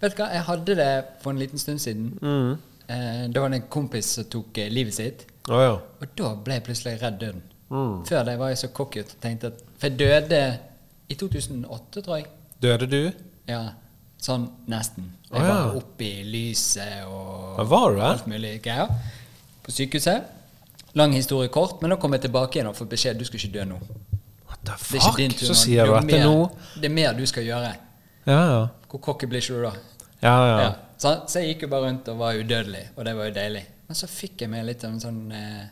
S1: Vet du hva, jeg hadde det for en liten stund siden.
S2: Mm.
S1: Eh, da var det en kompis som tok eh, livet sitt.
S2: Å ja.
S1: Og da ble jeg plutselig redd døden.
S2: Mm.
S1: Før det var jeg så cocky og tenkte at For jeg døde i 2008, tror jeg.
S2: Døde du?
S1: Ja, sånn nesten. Jeg
S2: Å, ja.
S1: var oppe i lyset og
S2: Ja, var du det?
S1: alt mulig greier. På sykehuset. Lang historie kort, men da kom jeg tilbake igjen og fikk beskjed du skal ikke dø nå.
S2: What
S1: Det
S2: the
S1: er ikke
S2: fuck?
S1: din tur
S2: Så
S1: nå.
S2: sier du
S1: Det er
S2: dette
S1: mer-
S2: nå?
S1: Det er mer du skal gjøre.
S2: Ja, ja.
S1: Hvor cocky blir ikke du da?
S2: Ja, ja.
S1: Ja. Så, så jeg gikk jo bare rundt og var udødelig, og det var jo deilig. Men så fikk jeg meg litt av en sånn eh,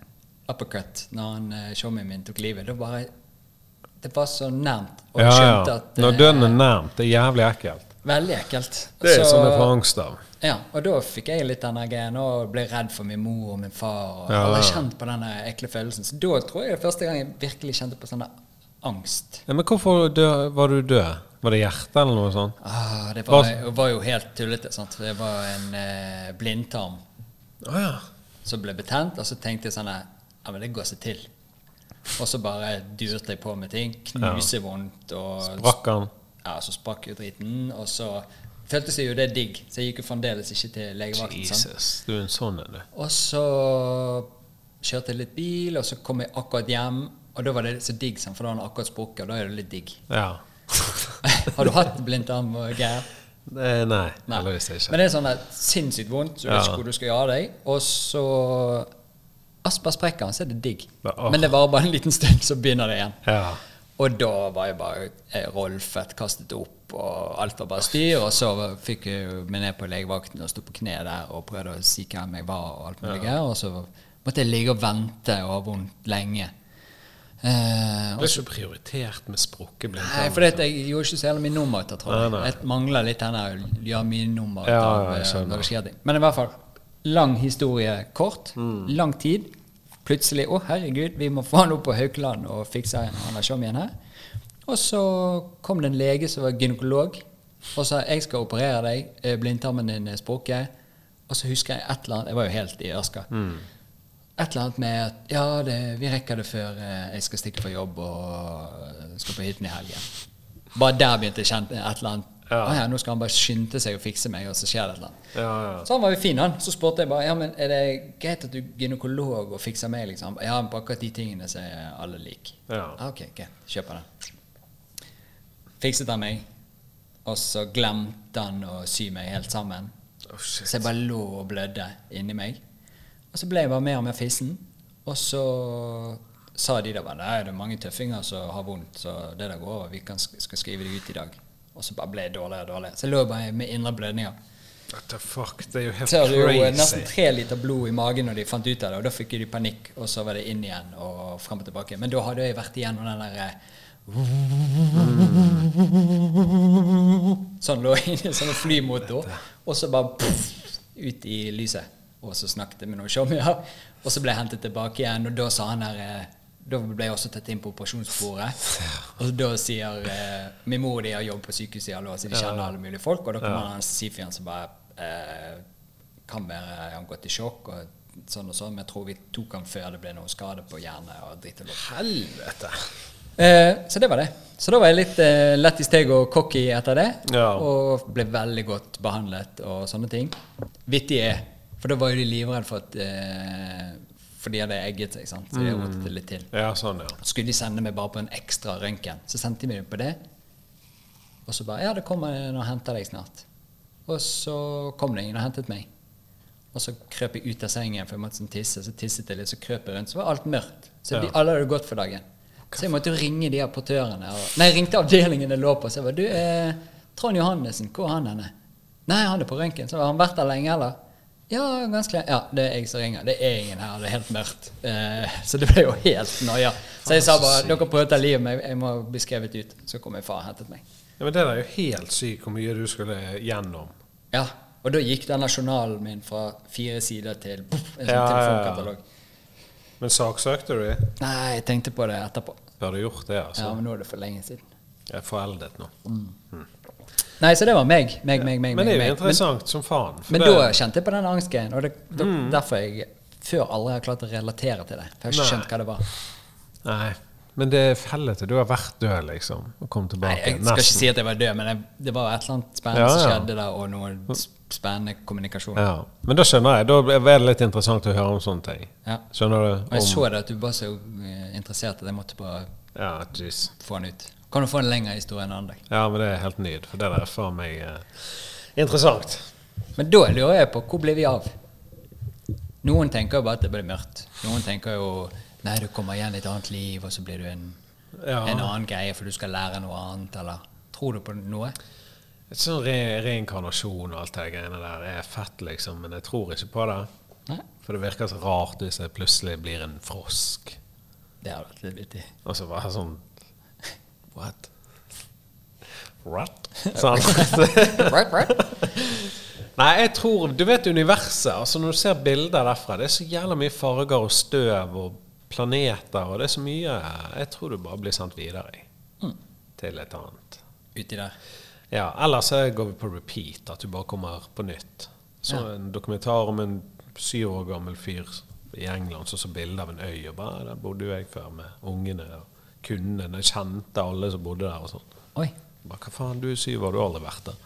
S1: uppercut når han eh, showmien min tok livet. Da bare, det var så nærmt. Og
S2: ja,
S1: jeg
S2: ja.
S1: skjønte at
S2: Når
S1: eh,
S2: døden er nærmt, det er jævlig ekkelt.
S1: Veldig ekkelt.
S2: Det er
S1: Så-
S2: sånn jeg får angst av.
S1: Ja, og da fikk jeg litt den der greien og ble redd for min mor og min far. Og
S2: Ja,
S1: aldri
S2: ja.
S1: kjent på den der ekle følelsen. Så da tror jeg det er første gang jeg virkelig kjente på sånn der angst.
S2: Ja, men hvorfor dø, var du død? Var det hjertet eller noe sånt?
S1: Ah, det var, var jo helt tullete. Sant? Det var en eh, blindtarm
S2: Å ja.
S1: som ble betent, og så tenkte jeg sånn her, Ja, men det går seg til. Og så bare dyrt jeg på med ting. Knusevondt og
S2: Sprakk han?
S1: Ja, så sprakk jo driten. Og så føltes det jo det digg, så jeg gikk jo fremdeles ikke til legevakten. sant?
S2: Jesus, du er en sånn en, du.
S1: Og så kjørte jeg litt bil, og så kom jeg akkurat hjem. Og da var det så digg, sant, for da har han akkurat sprukket, og da er det litt digg.
S2: Ja.
S1: har du hatt blindtarm og greier?
S2: Eh, Nei,
S1: Nei.
S2: heldigvis ikke.
S1: Men det er sånn at sinnssykt vondt, så du vet
S2: Ja.
S1: ikke hvor du skal gjøre av deg. Og så Asper sprekker han, så er det digg.
S2: Ja, åh.
S1: Men det varer bare en liten stund, så begynner det igjen.
S2: Ja.
S1: Og da var jeg bare eh, rolfet, kastet opp, og alt var bare styr. Og så var- fikk jeg meg ned på legevakten og sto på kne der og prøvde å si hvem jeg var. Og alt mulig. Og så måtte jeg ligge og vente og ha vondt lenge. Eh,
S2: Du er ikke prioritert med sprukket
S1: Nei, for det at jeg gjorde ikke så jævlig mye nummer ut av
S2: Nei,
S1: trollet.
S2: nei.
S1: Jeg mangler litt denne gjør mye nummer ut
S2: Ja,
S1: av
S2: ja, jeg
S1: eh,
S2: skjønner.
S1: når det skjer ting. Men i hvert fall, lang historie kort.
S2: Mm.
S1: Lang tid. Plutselig Å, herregud, vi må få han opp på Haukeland og fikse en annen sjom igjen her. Og så kom det en lege som var gynekolog og sa jeg skal operere deg, eh, blindtarmen din er sprukket. Og så husker jeg et eller annet Jeg var jo helt i ørska.
S2: Mm.
S1: Et eller annet med at ja, det, vi rekker det før eh, jeg skal stikke på jobb og eh, skal på hytten i helgen. Bare der begynte jeg å kjenne et eller annet.
S2: Ja.
S1: «Å ja, nå skal han bare skynde seg og fikse meg, og så skjer det et eller annet.
S2: Ja, ja.
S1: Så han var jo fin, han. Så spurte jeg bare ja, men er det greit at du er gynekolog og fikser meg, liksom. Ja, men på akkurat de tingene så er alle like.
S2: Ja.
S1: «Ah, Ok, greit. Kjøper den. Fikset han meg, og så glemte han å sy meg helt sammen.
S2: Oh, shit.
S1: Så jeg bare lå og blødde inni meg. Og så ble jeg bare mer og mer fissen. Og så sa de da bare Nei, det er mange tøffinger som har vondt, så det der går over. Vi kan, sk- skal skrive det ut i dag. Og så bare ble jeg dårligere og dårligere. Så jeg lå bare med indre blødninger.
S2: What the fuck, det er jo helt
S1: Så hadde jeg jo nesten
S2: crazy.
S1: tre liter blod i magen når de fant ut av det, og da fikk jo de panikk, og så var det inn igjen og frem og tilbake. Men da hadde jeg vært igjennom den der eh, Sånn lå jeg inne i en sånn flymotor, og så bare puff, ut i lyset. Og så snakket jeg med noen showmier, og så ble jeg hentet tilbake igjen, og da sa han der eh, da ble jeg også tatt inn på operasjonsbordet. Og da sier eh, min mor og de har jobb på sykehuset i alle år, så de kjenner alle mulige folk. Og da kommer han sifien som bare eh, kan være han har gått i sjokk og sånn og sånn, men jeg tror vi tok han før det ble noe skade på hjerne og dritt og lort.
S2: Helvete.
S1: Eh, så det var det. Så da var jeg litt eh, lett i steg og cocky etter det.
S2: Ja.
S1: Og ble veldig godt behandlet og sånne ting. Vittig er, for da var jo de livredde for at eh, For de hadde egget seg, sant? så de rotet det litt til.
S2: Ja, sånn, ja.
S1: Så skulle de sende meg bare på en ekstra røntgen. Så sendte de meg på det. Og så bare Ja, det kommer en og henter deg snart. Og så kom det ingen og hentet meg. Og så krøp jeg ut av sengen, for jeg måtte sånn tisse. Så tisset jeg litt, så krøp jeg rundt. Så var alt mørkt. Så de, alle hadde gått for dagen. Så jeg måtte jo ringe de apportørene. Og, nei, jeg ringte avdelingen jeg lå på. Så jeg bare Du, eh, Trond Johannessen, hvor er han henne? Nei, han er på røntgen. Så har han vært der lenge, eller? Ja, ganske lenge. Ja, det er jeg som ringer. Det er ingen her, det er helt mørkt. Eh, så det ble jo helt noia. Så jeg sa bare dere prøver å ta livet av meg, jeg må bli skrevet ut. Så kom min far og hentet meg.
S2: ja men det er jo helt sykt hvor mye du skulle gjennom.
S1: Ja, og da gikk denne journalen min fra fire sider til puff, en sånn
S2: Ja, ja, ja.
S1: telefonkatalog.
S2: Men saksøkte du dem?
S1: Nei, jeg tenkte på det etterpå.
S2: Bør du gjort det,
S1: Ja,
S2: altså?
S1: men nå er det for lenge siden.
S2: Jeg er foreldet nå.
S1: Nei, så det var meg. Meg, meg, meg.
S2: Men det
S1: meg, meg.
S2: er jo
S1: Men,
S2: interessant som faen. for
S1: men
S2: det- Mm.
S1: da kjente jeg på den angstgreien, og det, det, derfor jeg før aldri har klart å relatere til det. For jeg har ikke
S2: Nei.
S1: skjønt hva det var.
S2: Nei, men det er fellete. Du har vært død, liksom, og kom
S1: Nei,
S2: tilbake.
S1: jeg skal ikke
S2: Nesten.
S1: si at jeg var død, men jeg, det var et eller annet spennende
S2: Ja,
S1: som
S2: ja.
S1: skjedde der, og noe sp- spennende kommunikasjon.
S2: ja. Men da skjønner jeg. Da er det litt interessant å høre om sånne ting.
S1: Ja.
S2: Skjønner du?
S1: Og jeg
S2: Om,
S1: så det at du var så eh, interessert at jeg måtte bare
S2: ja, jeez.
S1: få den ut. Kan du få en lengre historie en annen dag?
S2: Ja, men det er helt nyd, for det der er faen meg eh, interessant.
S1: Men da lurer jeg på hvor ble vi av? Noen tenker jo bare at det ble mørkt. Noen tenker jo nei, du kommer igjen i et annet liv, og så blir du en,
S2: Ja.
S1: en annen greie for du skal lære noe annet, eller Tror du på noe?
S2: Et sånn re reinkarnasjon og alt det greiene der er fett, liksom, men jeg tror ikke på det.
S1: Nei.
S2: For det virker så rart hvis jeg plutselig blir en frosk.
S1: Det har vært litt vittig.
S2: Og så bare sånn What? What? Sånn.
S1: Right, right.
S2: Nei, jeg tror Du vet universet. altså Når du ser bilder derfra, det er så jævla mye farger og støv og planeter, og det er så mye eh, Jeg tror du bare blir sendt videre jeg. til et annet.
S1: Uti der.
S2: Ja, Eller så går vi på repeat, at du bare kommer på nytt. Så en dokumentar om en syv år gammel fyr i England så så bilde av en øy, og bare der bodde jo jeg før med ungene og kundene. Jeg kjente alle som bodde der og sånn.
S1: Oi.
S2: Bare, hva faen, du er syv, har du aldri vært der?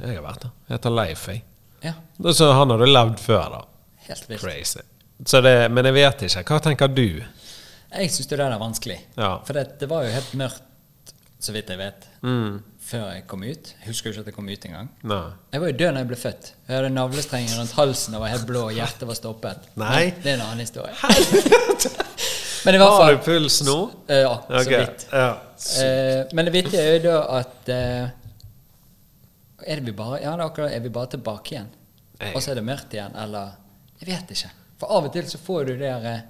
S2: Jeg har vært der. Jeg heter Leif, jeg.
S1: Ja,
S2: Da Så han hadde levd før, da.
S1: helt vilt.
S2: Crazy. Så det, men jeg vet ikke. Hva tenker du?
S1: Jeg syns det der er vanskelig.
S2: Ja. Mm.
S1: For det, det var jo helt mørkt, så vidt jeg vet, Mm. før jeg kom ut. Jeg husker jo ikke at jeg kom ut engang.
S2: Nei.
S1: Jeg var jo død da jeg ble født. Jeg hadde navlestrenger rundt halsen og var helt blå, og hjertet var stoppet.
S2: Nei.
S1: Men det er en annen historie. Men i hvert
S2: Har
S1: fall
S2: du puls nå?
S1: Eh, Ja, så
S2: Ok,
S1: vidt.
S2: Ja.
S1: Eh, men det vittige er jo da at eh, er, det vi bare, ja, det er, akkurat, er vi bare tilbake igjen?
S2: Nei.
S1: Og så er det mørkt igjen, eller Jeg vet ikke. For av og til så får du det der eh,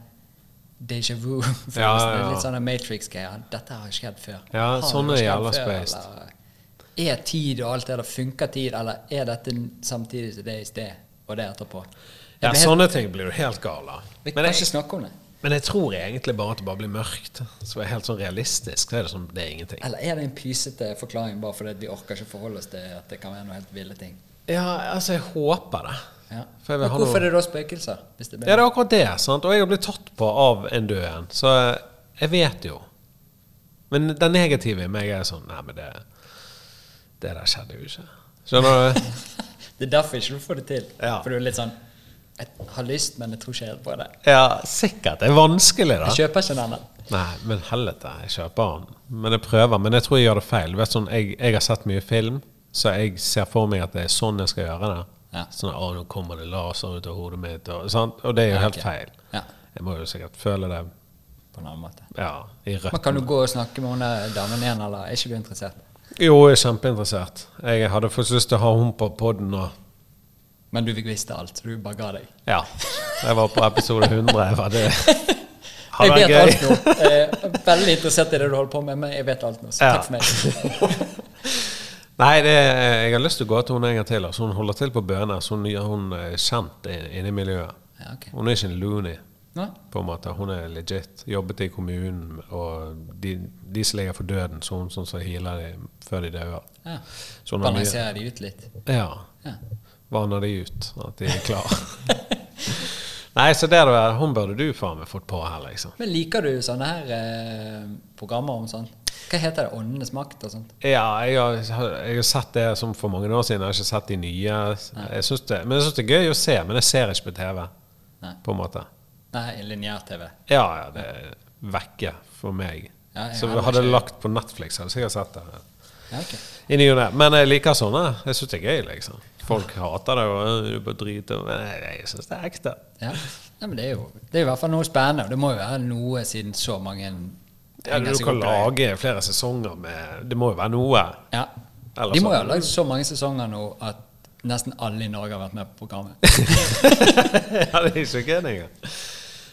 S1: déjà vu-følelsen.
S2: Ja, ja, ja.
S1: Det er Litt sånn en Matrix-greier. Dette har ikke skjedd før.
S2: Ja,
S1: Har
S2: sånn
S1: det
S2: er
S1: skjedd
S2: jævla
S1: før,
S2: spaced.
S1: eller eh, Er tid og alt det der, funker tid, eller er dette n- samtidig som det i sted, og det etterpå? Jeg
S2: ja,
S1: blir helt,
S2: sånne ting blir du helt gal av.
S1: vi
S2: Men
S1: kan
S2: jeg,
S1: ikke snakke om det.
S2: men jeg tror egentlig bare at det bare blir mørkt. Så er helt sånn realistisk. Så er det sånn, det er ingenting.
S1: Eller er det en pysete forklaring bare fordi at vi orker ikke forholde oss til at det kan være noe helt ville ting?
S2: Ja, altså, jeg håper det.
S1: Ja.
S2: For jeg vil
S1: Men
S2: ha
S1: hvorfor
S2: noe-
S1: er det da spøkelser? Hvis det
S2: Ja,
S1: blir
S2: det er akkurat det. sant? Og jeg har blitt tatt på av en død en, så jeg vet jo. Men den negative i meg er sånn Nei, men det Det der skjedde jo ikke. Skjønner du?
S1: Det er derfor ikke du får det til.
S2: Ja.
S1: For du er litt sånn Jeg har lyst, men jeg tror ikke helt på det.
S2: Ja, sikkert. Det er vanskelig, da.
S1: Jeg kjøper ikke den. men-
S2: Nei, men helvete, jeg kjøper den. Men jeg prøver. Men jeg tror jeg gjør det feil. Du vet sånn, jeg, jeg har sett mye film, så jeg ser for meg at det er sånn jeg skal gjøre det.
S1: Ja.
S2: Sånn, å, nå kommer det laser ut av hodet mitt, og, sant? og det er jo
S1: Ja,
S2: helt
S1: ok.
S2: feil.
S1: Ja.
S2: Jeg må jo sikkert føle det
S1: På en annen måte.
S2: ja, i rødt.
S1: Men kan du gå og snakke med hun der damen igjen, eller er ikke du interessert?
S2: Jo, jeg er kjempeinteressert. Jeg hadde faktisk lyst til å ha henne på podden og
S1: Men du fikk visst alt, så du bare ga deg.
S2: Ja. Jeg var på episode 100. Jeg var det.
S1: Jeg
S2: vært
S1: vet alt nå. Eh, Jeg er veldig interessert i det du holder på med, men jeg vet alt nå, så
S2: Ja.
S1: takk for meg.
S2: Nei, det, eh, jeg har lyst til å gå til henne en gang til. Altså, hun holder til på Bønes. Hun, hun er kjent i- inne i miljøet.
S1: Ja, ok.
S2: Hun er ikke en loony,
S1: Nå?
S2: på en måte. Hun er legit. Jobbet i kommunen, og de, de som ligger for døden, så hun sånn som healer dem før de dør.
S1: Ja.
S2: Så hun har mye
S1: Balanserer de ut litt.
S2: Ja.
S1: Ja.
S2: Vanner de ut, at de er klare. Nei, så det der, hun burde du faen meg fått på her, liksom.
S1: Men liker du sånne her eh, programmer om sånn? Hva heter det? Åndenes makt og sånt?
S2: Ja, jeg har, jeg har sett det som for mange år siden. Jeg har ikke sett de nye. Jeg synes det, men jeg syns det er gøy å se, men jeg ser ikke på TV.
S1: Nei.
S2: På en måte.
S1: Nei, lineær-TV.
S2: Ja, ja, det er vekke for meg.
S1: Ja, jeg
S2: så
S1: har
S2: hadde jeg
S1: ikke-
S2: lagt på Netflix, hadde jeg sikkert sett det.
S1: Ja, ok.
S2: I ny og ne. Men jeg liker sånne. Jeg syns det er gøy, liksom. Folk hater det, og øh, du bare driter Men jeg, jeg syns det er ekte.
S1: Ja. Nei, men det er jo det er i hvert fall noe spennende. og Det må jo være noe siden så mange
S2: Ja, du
S1: henger seg
S2: kan
S1: opp i det.
S2: lage flere sesonger med Det må jo være noe.
S1: ja.
S2: Eller
S1: De må
S2: så-
S1: jo ha lagd så mange sesonger nå at nesten alle i Norge har vært med på programmet.
S2: ja, det er ikke kødd engang.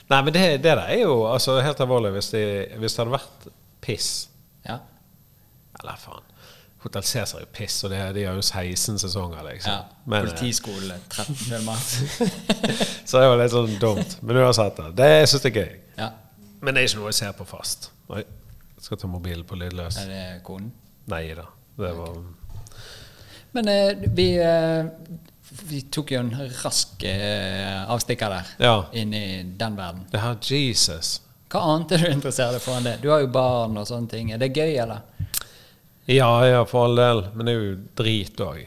S2: Nei, men det, det der er jo altså, helt alvorlig hvis det, hvis det hadde vært piss.
S1: Ja.
S2: Eller faen. Hotell Cæsar er jo piss, og det, de har jo 16 sesonger, liksom.
S1: ja.
S2: Men, eh,
S1: Politiskole 13 filmer.
S2: så det er jo litt sånn dumt. Men uansett, da. Det syns jeg er gøy.
S1: Ja.
S2: Men det er ikke noe jeg ser på fast. Oi. Jeg skal ta mobilen på lydløs.
S1: Er det konen?
S2: Nei da. Det var
S1: Men eh, vi, eh, vi tok jo en rask eh, avstikker der,
S2: Ja.
S1: inn i den verden.
S2: Det her Jesus.
S1: Hva annet er du interessert i foran det? Du har jo barn og sånne ting. Er det gøy, eller?
S2: Ja, ja, for all del. Men det er jo drit òg.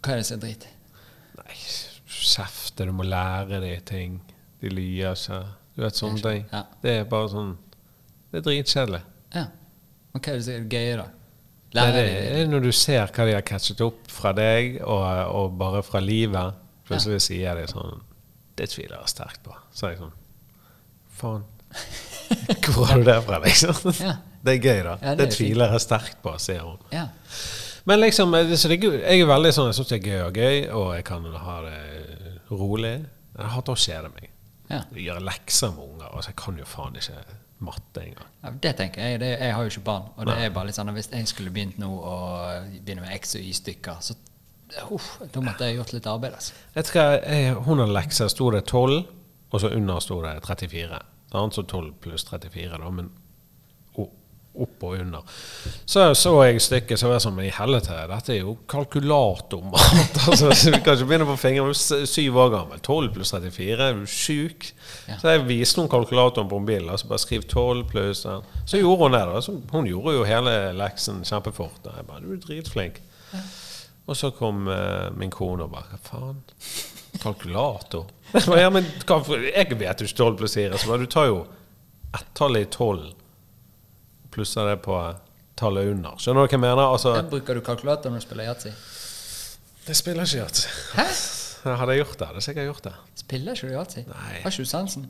S1: Hva er det som er drit?
S2: Nei, kjefte, du må lære de ting. De lyver ikke. Du vet sånne ting.
S1: Ja.
S2: Det er bare sånn Det er dritkjedelig.
S1: Ja. Men hva er det som er gøy, da?
S2: Nei,
S1: Lærer
S2: det
S1: de-
S2: er når du ser hva de har catchet opp fra deg, og, og bare fra livet. Plutselig sier de sånn Det tviler jeg sterkt på. Så er jeg sånn Faen. Hvor har du det fra, liksom?
S1: Ja.
S2: Det er gøy, da.
S1: Ja, det er
S2: det
S1: jo fint.
S2: tviler jeg sterkt på, sier hun.
S1: Ja.
S2: Men liksom, eh, så det, er gu- jeg er veldig sånn, jeg syns det er gøy og gøy, og jeg kan ha det rolig. Jeg hater å kjede meg.
S1: Ja.
S2: Gjøre lekser med unger. Altså, jeg kan jo faen ikke matte engang.
S1: ja, det tenker jeg. Det, jeg har jo ikke barn. Og det er bare litt sånn at hvis jeg skulle begynt nå å begynne med X og Y-stykker, så uff, da måtte jeg gjort litt arbeid, altså.
S2: Jeg tror jeg, eh, hun har lekser, sto det 12, og så under sto det 34. Det er altså 12 pluss 34, da, men oh, opp og under. Så så jeg stykket, så var jeg sånn Men i helvete, dette er jo kalkulatormat! altså, så vi kan ikke begynne på fingeren. Du er syv år gammel. 12 pluss 34, er du sjuk? Så jeg viste henne kalkulatoren på mobilen, og så bare skriv 12 pluss den. Så gjorde hun det. da så Hun gjorde jo hele leksen kjempefort. Og jeg bare Du er dritflink. Og så kom eh, min kone og bare Hva faen? Kalkulator? Jeg bare, ja, men hva, for- jeg vet jo ikke 12 pluss 4. Så bare, du tar jo ett-tallet i 12 plusser det på eh, tallet under. Skjønner du hva jeg mener? Altså,
S1: Da bruker du kalkulator når du spiller yatzy?
S2: det spiller ikke yatzy.
S1: Hæ?
S2: Hadde jeg gjort det, hadde jeg sikkert gjort det.
S1: Spiller ikke du yatzy?
S2: Nei.
S1: Har ikke du sansen?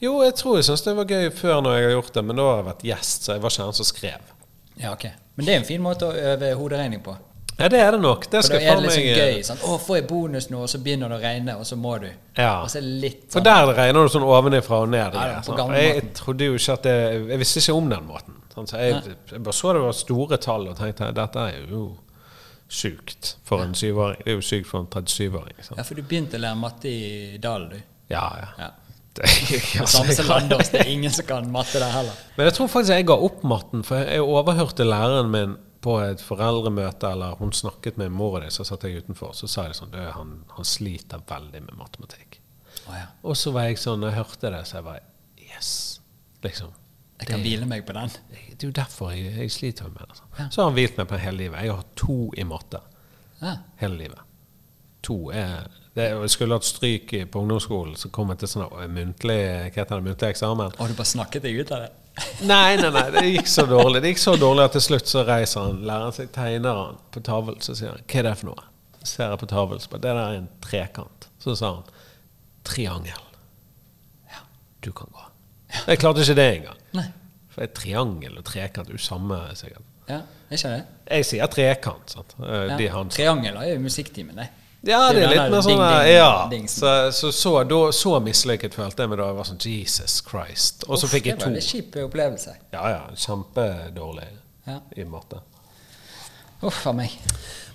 S2: Jo, jeg tror jeg syntes det var gøy før når jeg har gjort det, men da har jeg vært gjest, så jeg var ikke han som skrev.
S1: Ja, ok. Men det er en fin måte å øve hoderegning på.
S2: Ja, det er det nok.
S1: For
S2: Det
S1: da
S2: skal
S1: er
S2: faen
S1: det liksom
S2: meg eh,
S1: gøy. Sånn, å, får jeg bonus nå, og så begynner det å regne, og så må du.
S2: Ja.
S1: Og så er det litt
S2: For
S1: sånn
S2: der regner du sånn ovenifra og ned.
S1: Ja,
S2: igjen,
S1: på
S2: sant?
S1: gamle
S2: For jeg, jeg
S1: måten.
S2: trodde jo ikke at det, Jeg visste ikke om den måten. sant? Så jeg, jeg bare så det var store tall og tenkte dette er jo sjukt for en syvåring. Det er jo sykt for en 37-åring. sant?
S1: Ja, for du begynte å lære matte i dalen, du.
S2: Ja, ja.
S1: Ja.
S2: Det er jo ikke-
S1: Det samme som Landers, det er ingen som kan matte der heller.
S2: Men jeg tror faktisk jeg ga opp matten, for jeg overhørte læreren min på et foreldremøte, eller hun snakket med mora di, så satt jeg utenfor, så sa jeg sånn «Du, han, han sliter veldig med matematikk.
S1: Å ja.
S2: Og så var jeg sånn, når jeg hørte det, så jeg bare Yes! Liksom.
S1: Jeg kan hvile meg på den.
S2: Det er jo derfor jeg, jeg sliter med det. Altså. Så har han hvilt meg på hele livet. Jeg har to i matte
S1: Ja.
S2: hele livet. To er det, Jeg skulle hatt stryk i- på ungdomsskolen, så kom jeg til sånn eh, muntlig Hva heter det? Muntlig eksamen.
S1: Og du bare snakket deg ut av det?
S2: Nei, nei, nei, det gikk så dårlig. Det gikk så dårlig at til slutt så reiser han, læreren seg, tegner han på tavlen, så sier han 'Hva er det for noe?' Så ser jeg på tavlen, så bare 'Det der er en trekant'. Så sa han 'Triangel'. Ja, du kan gå. Jeg klarte ikke det engang.
S1: Nei.
S2: For et triangel og trekant er jo samme, sikkert.
S1: Ja, jeg skjønner det.
S2: Jeg sier trekant, sant. Eh,
S1: Ja.
S2: De han
S1: Triangel er jo musikktimen, det.
S2: ja, det er litt mer sånn
S1: ding,
S2: der,
S1: ding,
S2: ja.
S1: ding,
S2: Så, så, så, da, så mislykket følte jeg meg da. Jeg var sånn Jesus Christ. Og så
S1: Uff,
S2: fikk jeg
S1: Det
S2: to.
S1: var en kjip opplevelse.
S2: Ja, ja. Kjempedårlig
S1: Ja.
S2: i matte.
S1: Uff a meg.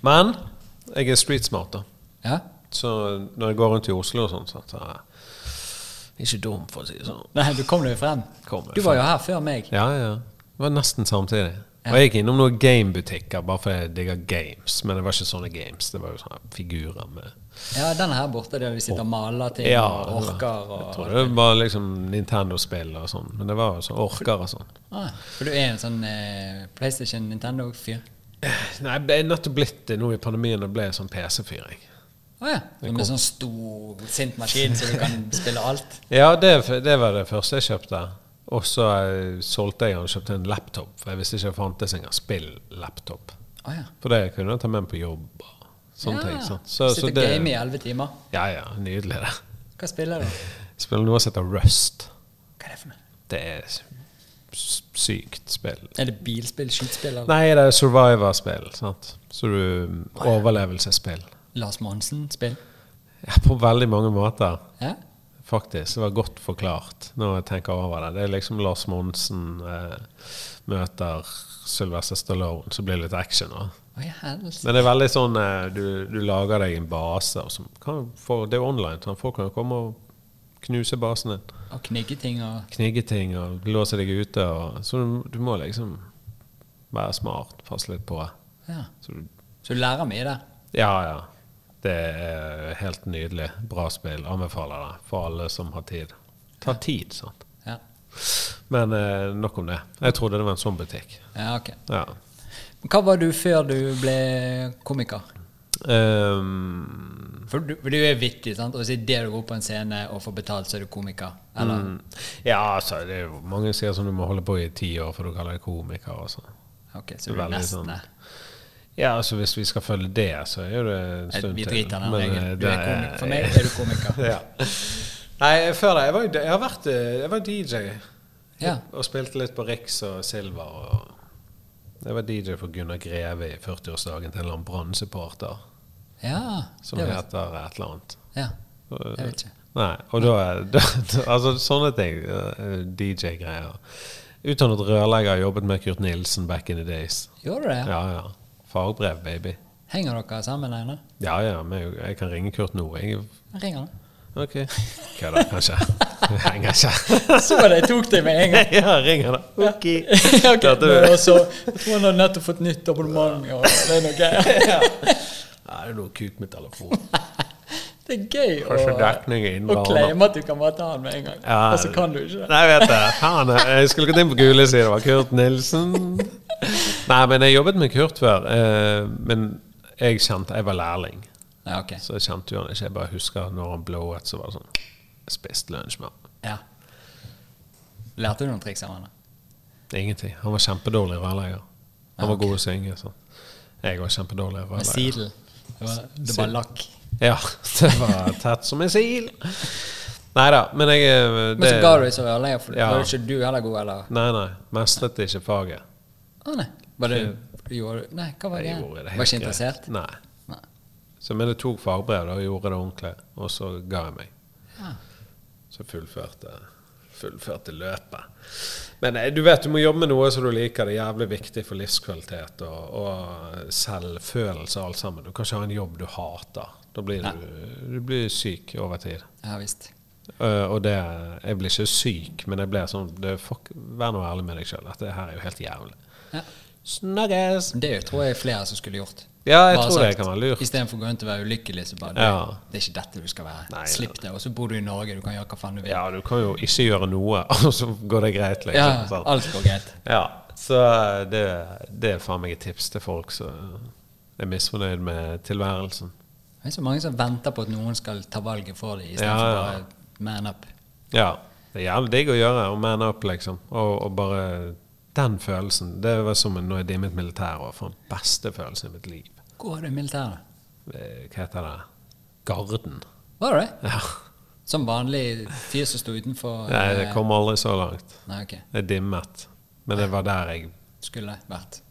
S2: Men jeg er street smart, da.
S1: Ja.
S2: Så når jeg går rundt i Oslo og sånn, så så er jeg ikke dum, for å si det sånn.
S1: Nei, du kom deg jo frem.
S2: Kom deg
S1: Du var jo her før meg.
S2: Ja, ja. Det var nesten samtidig. Og jeg gikk innom noen gamebutikker bare fordi jeg digger games. Men det var ikke sånne games. Det var jo sånne figurer med
S1: Ja, den her borte der vi sitter og maler ting
S2: Ja,
S1: og
S2: det var-
S1: orker
S2: Jeg
S1: og
S2: tror det var liksom Nintendo-spill og sånn. Men det var jo sånn orker og sånn.
S1: ah, For du er en sånn eh, PlayStation Nintendo-fyr?
S2: Nei, jeg er nettopp blitt det nå i pandemien og ble jeg sånn PC-fyr, jeg.
S1: Å ja. Som en sånn stor, sint maskin så du kan spille alt?
S2: Ja, det, det var det første jeg kjøpte. Og så eh, solgte jeg den og kjøpte en laptop, for jeg visste ikke det fantes engang spill-laptop.
S1: Å ja.
S2: For det kunne jeg ta med meg på jobb og sånne
S1: ja.
S2: ting. Sant? Sånn Så, så
S1: Sitter
S2: det,
S1: og gamer i elleve timer.
S2: ja, ja, nydelig det.
S1: Hva spiller du?
S2: Jeg Spiller noe som heter Rust.
S1: Hva er det for noe?
S2: Det er s- s- sykt spill.
S1: Er det bilspill, skytespill eller
S2: Nei, det er survivor-spill, sant. Så du Overlevelsesspill.
S1: Lars Monsen-spill?
S2: Ja, på veldig mange måter.
S1: Ja?
S2: Faktisk. Det var godt forklart når jeg tenker over det. Det er liksom Lars Monsen eh, møter Sylvester Stallone, så blir det litt action. Da.
S1: Å ja, helse.
S2: Men det er veldig sånn eh, du, du lager deg en base, og så kan få, det er online. Sånn, folk kan jo komme og knuse basen din.
S1: Og knigge ting og
S2: Knigge ting og låse deg ute. Og, så du, du må liksom være smart, passe litt på.
S1: Ja.
S2: Så du,
S1: Så du lærer mye der.
S2: ja, ja. Det er helt nydelig. Bra spill. Anbefaler det for alle som har tid. Ta tid, sant.
S1: Ja.
S2: Men eh, nok om det. Jeg trodde det var en sånn butikk.
S1: ja, ok.
S2: Ja.
S1: Hva var du før du ble komiker?
S2: Ehm,
S1: For du, for du er vittig, sant? Og hvis det er det du går på en scene og får betalt, så er du komiker. Eller?
S2: mm, ja, altså, det er jo mange sier sånn du må holde på i ti år for du kaller deg komiker. og sånn.
S1: Ok, så du er
S2: Veldig
S1: nesten
S2: sånn
S1: der.
S2: Ja, altså hvis vi skal følge det, så er jo det en stund
S1: Vi driter i den
S2: men, eh,
S1: regelen. Du er
S2: det
S1: komiker. For meg er du komiker.
S2: ja. Nei, før det. Jeg var, jo- jeg har vært eh, jeg var DJ
S1: Ja.
S2: og spilte litt på Riks og Silver. Og jeg var DJ for Gunnar Greve i 40-årsdagen til en eller annen brannsupporter
S1: Ja.
S2: som
S1: det var-
S2: heter et eller annet.
S1: ja. Jeg vet ikke.
S2: Nei, og da, da, da Altså sånne ting. eh, DJ-greier. Utdannet rørlegger, jobbet med Kurt Nilsen back in the days.
S1: Gjorde du det?
S2: Ja, ja. Fagbrev, baby.
S1: Henger dere sammen ennå?
S2: Ja, ja, men jeg jeg kan ringe Kurt nå. Jeg,
S1: Jeg ringer nå.
S2: ok. Kødder, kanskje. Det henger ikke.
S1: Så var det jeg tok det med en gang.
S2: ja, ringer det. Ok.
S1: Ja, ok.
S2: Dette-
S1: Men også, jeg tror han har nettopp fått nytt abonnement. Og det, er noe greier.
S2: Nei, det er noe kut med telefonen.
S1: det er gøy å,
S2: Kanskje dekning er
S1: å
S2: innblandet.
S1: claime at du kan bare ta han med en gang.
S2: Ja.
S1: Og så kan du ikke det.
S2: Nei, jeg vet det. Faen, jeg- jeg skulle gått inn på gule sider. Det var Kurt Nilsen. Nei, men jeg jobbet med Kurt før. eh, Men jeg kjente Jeg var lærling,
S1: Nei, ok.
S2: så jeg kjente jo han ikke. Jeg bare husker når han blowet, så var det sånn Jeg spiste lunsj med han.
S1: Ja. Lærte du noen triks av han? da?
S2: Ingenting. Han var kjempedårlig rørlegger. Han var god å synge. sånn. Jeg var kjempedårlig
S1: Med
S2: rørlegger.
S1: Sidel? Det var, det var lakk.
S2: Ja, det var tett som en sil. Nei da, men jeg eh,
S1: Men så
S2: det-
S1: ga du deg så rørlegger, for
S2: Ja.
S1: var det ikke du heller god, eller?
S2: Nei, nei. Mestret ikke faget.
S1: Å nei. Var det du gjorde Nei, hva var det?
S2: Jeg gjorde det helt
S1: var ikke
S2: greit.
S1: interessert?
S2: Nei.
S1: Nei.
S2: Så, men jeg tok fagbrev da, og gjorde det ordentlig, og så ga jeg meg.
S1: Ja.
S2: Så fullførte fullførte løpet. Men eh, du vet, du må jobbe med noe som du liker. Det er jævlig viktig for livskvalitet og, og selvfølelse og alt sammen. Du kan ikke ha en jobb du hater. Da blir du, du blir syk over tid.
S1: ja visst.
S2: Eh, og det Jeg blir ikke syk, men jeg blir sånn det, fuck, Vær nå ærlig med deg sjøl. Dette her er jo helt jævlig.
S1: Ja.
S2: Snakkes!
S1: Det er jo, tror jeg flere som skulle gjort.
S2: Ja, jeg
S1: Bare
S2: tror det
S1: sagt,
S2: kan være lurt.
S1: Istedenfor å gå rundt og være ulykkelig, så bare
S2: Ja.
S1: det, det er ikke dette du skal være.
S2: Nei,
S1: Slipp det. Og så bor du i Norge, du kan gjøre hva faen du vil.
S2: Ja, du kan jo ikke gjøre noe, og så går det greit,
S1: Ja,
S2: liksom. sant?
S1: alt går greit.
S2: Ja, så eh, det, det er faen meg et tips til folk som er misfornøyd med tilværelsen.
S1: Det er så mange som venter på at noen skal ta valget for dem, istedenfor
S2: Ja, ja.
S1: bare man up.
S2: Ja, det er jævlig digg å gjøre, og man up, liksom. Og, og bare den følelsen. Det var som når jeg dimmet militæret, og for den beste følelsen i mitt liv.
S1: Hvor var du i militæret?
S2: Eh, Hva heter det? Garden.
S1: Var du det?
S2: Ja.
S1: Som vanlig fyr som sto utenfor
S2: Nei,
S1: eh,
S2: det kom aldri så langt.
S1: Nei, ok.
S2: Jeg dimmet. Men det var der jeg
S1: Skulle vært.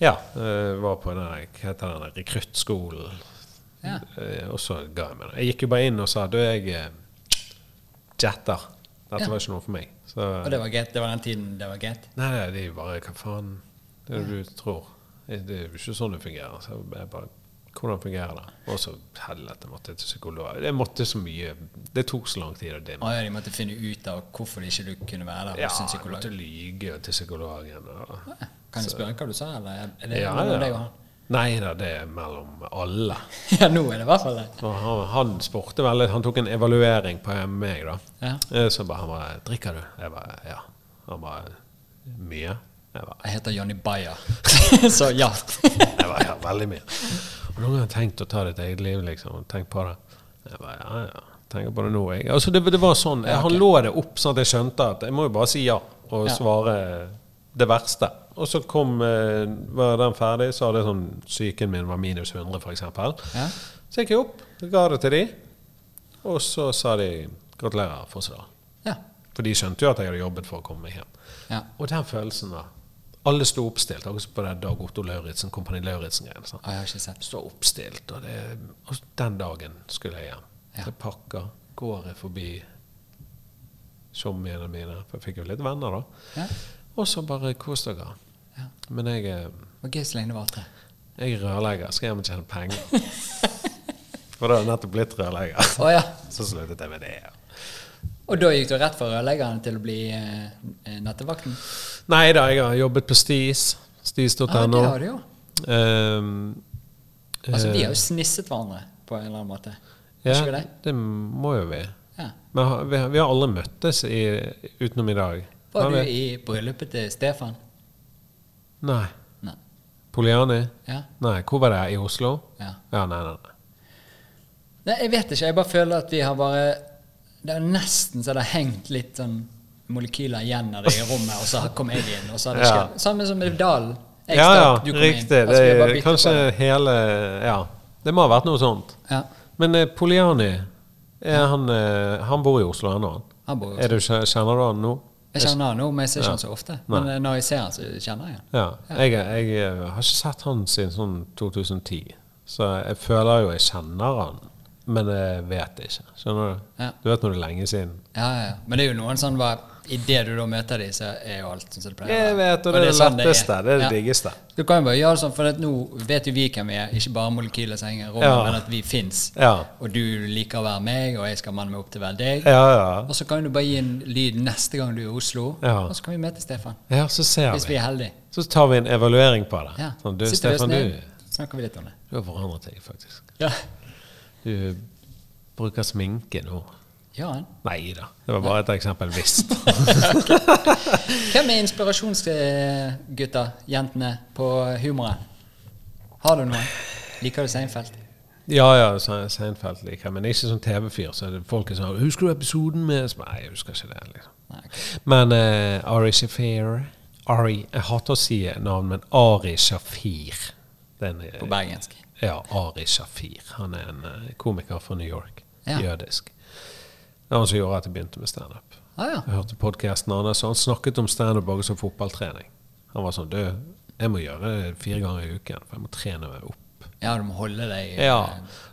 S2: Ja, eh, var på den der, hva heter den der rekruttskolen.
S1: Ja.
S2: Eh, Og så ga jeg meg. det. Jeg gikk jo bare inn og sa du, jeg eh, jetter. Dette
S1: Ja.
S2: var ikke noe for meg. Så,
S1: Og det var greit. Det var den tiden det var greit.
S2: nei, nei, de bare Hva faen det er det du tror? Det er jo ikke sånn det fungerer. Så jeg bare Hvordan fungerer det? Og så helvete, måtte jeg til psykolog. Det måtte så mye Det tok så lang tid å dimme.
S1: Å ja, de måtte finne ut av hvorfor ikke du kunne være der
S2: Ja,
S1: hos en
S2: jeg
S1: psykolog.
S2: måtte lyge til psykologen. Og,
S1: Kan jeg spørre hva du sa, eller er det
S2: ja,
S1: mellom deg og
S2: ja.
S1: han?
S2: Nei da, det er mellom alle.
S1: Ja, nå er det i hvert fall det.
S2: Og han, han spurte veldig Han tok en evaluering på meg, da.
S1: Ja.
S2: Eh, Så bare, han bare 'Drikker du?' Jeg bare 'Ja'. Han bare 'Mye?' Jeg bare,
S1: Jeg heter Johnny Bayer, så ja.
S2: jeg bare 'Ja, veldig mye'. Og noen ganger tenkt å ta ditt eget liv, liksom. Tenk på det. Jeg bare, ja, ja. Tenker på det nå, jeg. Altså, det, det var sånn. Jeg, han lå det opp sånn at jeg skjønte at jeg må jo bare si ja og
S1: Ja.
S2: svare det verste. Og så kom eh, Var den ferdig, så hadde jeg sånn Psyken min var minus 100, f.eks.
S1: Ja.
S2: Så gikk jeg opp, ga det til de, og så sa de 'Gratulerer, Fossedal'.
S1: Ja.
S2: For de skjønte jo at jeg hadde jobbet for å komme meg hjem.
S1: ja.
S2: Og den følelsen da Alle sto oppstilt, også på det Dag Otto Lauritzen, Kompani Lauritzen-greien. sant?
S1: Å, jeg har ikke sett.
S2: Stå oppstilt, og, det, og den dagen skulle jeg hjem.
S1: Ja.
S2: Jeg pakker, går jeg forbi tjommiene mine, for jeg fikk jo litt venner, da.
S1: Ja.
S2: Og så bare kos dere.
S1: Ja.
S2: Men jeg, eh,
S1: Det var gøy så lenge det varte.
S2: jeg er rørlegger, skal hjem og tjene penger. for da har jeg nettopp blitt rørlegger.
S1: Å ja.
S2: Så sluttet jeg med det.
S1: Og da gikk du rett fra rørleggeren til å bli eh, nattevakten?
S2: Nei da, jeg har jobbet på Stis. Stis.no.
S1: Ja, Ah, det har du jo.
S2: Ehm,
S1: Altså,
S2: eh,
S1: vi har jo snisset hverandre på en eller annen måte. Har
S2: ja,
S1: Ikke det?
S2: det må jo vi.
S1: Ja.
S2: Men har- vi har, vi har alle møttes i, utenom i dag. Har
S1: Var du
S2: vi?
S1: i bryllupet til Stefan?
S2: Nei.
S1: Nei.
S2: Poliani?
S1: Ja.
S2: Nei, hvor var det? I Oslo?
S1: Ja.
S2: Ja, nei, nei. nei.
S1: Nei, jeg vet ikke. Jeg bare føler at vi har bare Det er nesten så det har hengt litt sånn molekyler igjen av det i rommet, og så kom jeg inn, og så har det
S2: Ja.
S1: skjedd. Samme som med Dalen. Jeg
S2: ja, ja,
S1: stakk, du kom
S2: riktig.
S1: inn. Altså, vi har bare
S2: det,
S1: byttet
S2: kanskje
S1: på det.
S2: hele Ja. Det må ha vært noe sånt.
S1: Ja.
S2: Men eh, Poliani, er han, eh, han bor i Oslo ennå?
S1: Han bor i
S2: Er du, kje- kjenner du han nå?
S1: Jeg kjenner han nå, men jeg ser ikke han så ofte. Men eh, når jeg ser han, så kjenner jeg han.
S2: Ja. Jeg, jeg eh, har ikke sett han siden sånn 2010, så jeg føler jo jeg kjenner han. men jeg vet ikke. Skjønner du?
S1: Ja.
S2: Du vet når det er lenge siden.
S1: Ja, ja. Men det er jo noen sånn bare Idet du da møter dem, så er jo alt sånn som det pleier. å
S2: Jeg
S1: være.
S2: vet, og det er det
S1: sånn
S2: letteste. Det er det
S1: Ja.
S2: diggeste.
S1: Du kan jo bare gjøre det sånn, for at nå vet jo vi hvem vi er. Ikke bare molekyler som henger i rommet,
S2: Ja.
S1: men at vi fins.
S2: Ja.
S1: Og du liker å være meg, og jeg skal manne meg opp til å være deg.
S2: Ja, ja.
S1: Og så kan du bare gi en lyd neste gang du er i Oslo,
S2: Ja.
S1: og så kan vi møte Stefan.
S2: Ja, så ser
S1: Hvis vi
S2: vi.
S1: er heldige.
S2: Så tar vi en evaluering på det.
S1: Ja.
S2: Sånn, du,
S1: Sitter vi oss
S2: Stefan,
S1: ned,
S2: du,
S1: snakker vi litt om det.
S2: du har forandret deg, faktisk.
S1: Ja,
S2: Du bruker sminke nå.
S1: ja. han.
S2: Nei da. Det var bare et eksempel. Visst.
S1: Hvem er inspirasjonsgutta, jentene, på humoren? Har du noen? Liker du Seinfeld?
S2: Ja, ja, Se- Seinfeld liker jeg, men ikke som TV-fyr. Så er det folk er sånn 'Husker du episoden med Så, Nei, jeg husker ikke det. liksom.
S1: Nei, ok.
S2: Men eh, Ari Shafir Ari, Jeg hater å si navn, men Ari Shafir. Den er,
S1: På bergensk.
S2: Ja, Ari Shafir. Han er en eh, komiker fra New York.
S1: Ja.
S2: Jødisk. Det var han som gjorde at jeg begynte med standup.
S1: Ah, ja.
S2: Jeg hørte podkasten hans, og han snakket om standup bare som fotballtrening. Han var sånn 'Du, jeg må gjøre det fire ganger i uken, for jeg må trene meg opp'.
S1: ja, du må holde deg eh,
S2: Ja.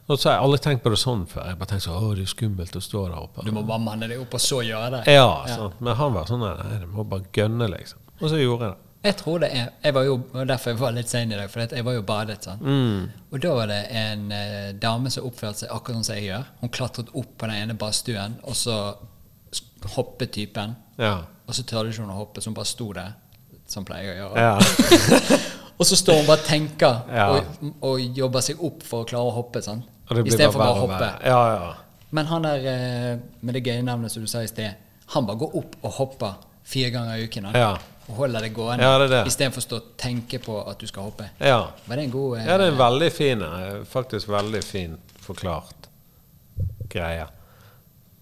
S2: Og så har jeg aldri tenkt på det sånn før. Jeg bare tenkte sånn, å, det er skummelt å stå der oppe.
S1: Du må bare manne deg opp og så gjøre det.
S2: Ja, sant. Men han var sånn, nei, du må bare gønne, liksom. Og så gjorde jeg det.
S1: Jeg tror det er jeg var jo, og Derfor jeg var litt sein i dag, for jeg var jo badet. sånn.
S2: Mm.
S1: Og da var det en eh, dame som oppførte seg akkurat sånn som jeg gjør. Hun klatret opp på den ene badstuen, og så s- hoppet typen.
S2: Ja.
S1: Og så tørde ikke hun å hoppe, så hun bare sto der. Som pleier jeg å gjøre.
S2: Ja.
S1: Og så står hun bare og tenker,
S2: Ja.
S1: og, og jobber seg opp for å klare å hoppe. sånn.
S2: Og det blir
S1: Istedenfor bare å
S2: verre og
S1: hoppe.
S2: verre. Ja, ja.
S1: Men han der eh, med det gøye navnet som du sa i sted, han bare går opp og hopper fire ganger i uken. han.
S2: Ja.
S1: Og holder det gående
S2: Ja, det er det.
S1: istedenfor å stå og tenke på at du skal hoppe.
S2: Ja.
S1: Var det en god eh,
S2: ja, det er en veldig fin, eh, faktisk veldig fin forklart greie.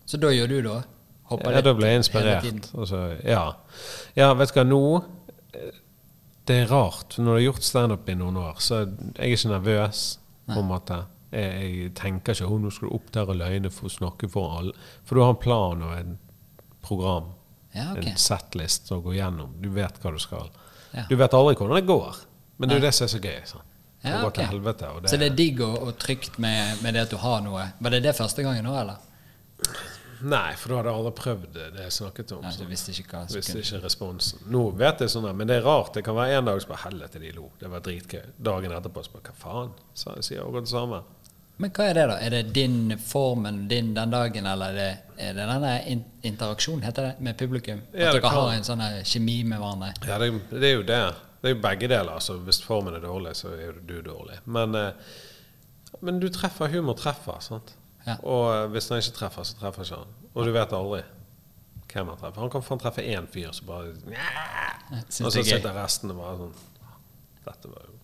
S1: Så da gjør du, da? Hopper
S2: Ja, da
S1: litt
S2: ble jeg
S1: hele tiden.
S2: inspirert. Og så, ja. ja, vet du hva, nå eh, Det er rart. Når du har gjort standup i noen år, så jeg er ikke nervøs. på en måte. Jeg, jeg tenker ikke 'Å, nå skal du opp der og løgne for å snakke for alle'. For du har en plan og en program.
S1: Ja, ok.
S2: En settlist som går gjennom. Du vet hva du skal.
S1: Ja.
S2: Du vet aldri hvordan det går. Men det er jo det som er så gøy. sant? Det
S1: Ja,
S2: går
S1: ok.
S2: til helvete. Og det,
S1: Så det er digg og, og trygt med, med det at du har noe. Var det det første gangen nå, eller?
S2: Nei, for da hadde jeg aldri prøvd det, det jeg snakket om.
S1: Nei, du
S2: sant?
S1: visste ikke hva som
S2: Hvis
S1: kunne
S2: ikke responsen. Nå vet jeg sånn, her, men det er rart. Det kan være en dag som bare helvete, de lo. Det var dritgøy. Dagen etterpå så bare hva faen? Så jeg sier akkurat det samme.
S1: Men hva er det, da? Er det din formen din den dagen, eller er det, er det denne in interaksjonen, heter det, med publikum? At
S2: Ja, det
S1: dere
S2: kan-
S1: har en sånn her kjemi med hverandre?
S2: Ja, det, det er jo det. Det er jo begge deler. Altså, hvis formen er dårlig, så er jo du dårlig. Men, eh, men du treffer. Humor treffer, sant?
S1: Ja.
S2: Og eh, hvis han ikke treffer, så treffer ikke han. Og du vet aldri hvem han treffer. Han kan faen treffe én fyr som bare
S1: Synes
S2: Og så
S1: det er gøy.
S2: sitter resten og bare sånn Dette var jo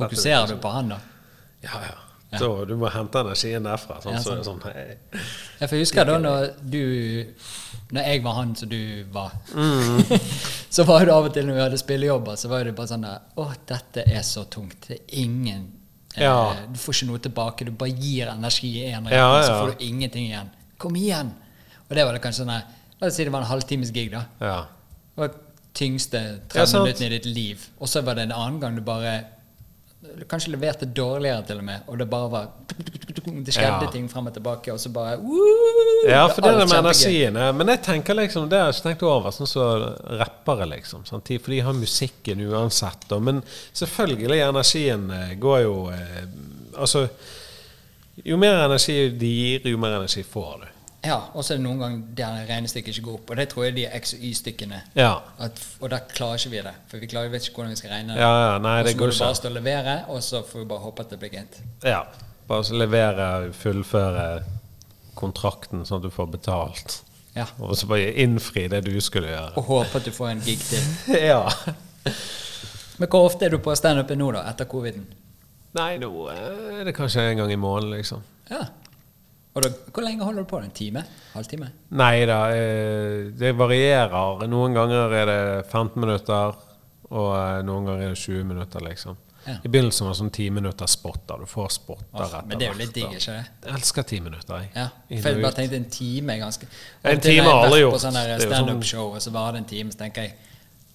S1: Fokuserer du på han, da?
S2: Ja, ja. Så du må hente energien derfra. Sånn,
S1: Ja,
S2: så er det sånn, hei.
S1: Ja, for jeg husker da når du Når jeg var han som du var,
S2: Mm.
S1: så var det av og til når vi hadde spillejobber, så var det bare sånn der Å, dette er så tungt. Det er ingen eh,
S2: Ja.
S1: Du får ikke noe tilbake. Du bare gir energi i én retning,
S2: Ja,
S1: så
S2: ja.
S1: får du ingenting igjen. Kom igjen! Og det var det kanskje sånn der La oss si det var en halvtimes gig, da.
S2: Ja.
S1: Det var tyngste 30
S2: Ja, sant.
S1: minuttene i ditt liv. Og så var det en annen gang du bare du Kanskje leverte dårligere, til og med, og det bare var Det skjedde
S2: Ja.
S1: ting frem og tilbake, og så bare
S2: ja, for det er det med
S1: energi
S2: energien. eh, Men jeg tenker liksom, det har jeg ikke tenkt over, sånn som rappere, liksom. Sant? De- For de har musikken uansett. Og, men selvfølgelig, energien eh, går jo eh, Altså, jo mer energi de gir, jo mer energi får du.
S1: Ja, og så er det noen ganger der regnestykket ikke går opp, og det tror jeg de er X- og Y-stykkene.
S2: Ja.
S1: At, og der klarer ikke vi det, for vi klarer, vi vet ikke hvordan vi skal regne det.
S2: Ja, ja, nei,
S1: og
S2: det
S1: så må
S2: går
S1: du
S2: ikke.
S1: bare stå og levere, og så får vi bare håpe at det blir greit.
S2: Ja. Bare så levere, fullføre kontrakten, sånn at du får betalt.
S1: Ja.
S2: Og så bare innfri det du skulle gjøre.
S1: Og håpe at du får en gig til.
S2: Ja.
S1: Men hvor ofte er du på standupen nå, da, etter coviden?
S2: Nei, nå eh, er det kanskje en gang i måneden, liksom.
S1: Ja. Og da, hvor lenge holder du på? En time? Halvtime?
S2: Nei da, eh, det varierer. Noen ganger er det 15 minutter, og eh, noen ganger er det 20 minutter, liksom.
S1: Ja.
S2: I begynnelsen var det sånn 10 minutter spotter. Du får spotter
S1: Åh,
S2: etter
S1: men det er jo litt
S2: hvert, da.
S1: digg, ikke det?
S2: Jeg elsker 10 minutter, jeg.
S1: Ja.
S2: Inn
S1: For jeg
S2: og
S1: bare
S2: ut.
S1: tenkte en time er ganske
S2: En
S1: Og til
S2: time
S1: når jeg
S2: har alle
S1: vært
S2: gjort.
S1: På sånn der
S2: Det er jo sånn-
S1: standup-show, og så varer det en time, så tenker jeg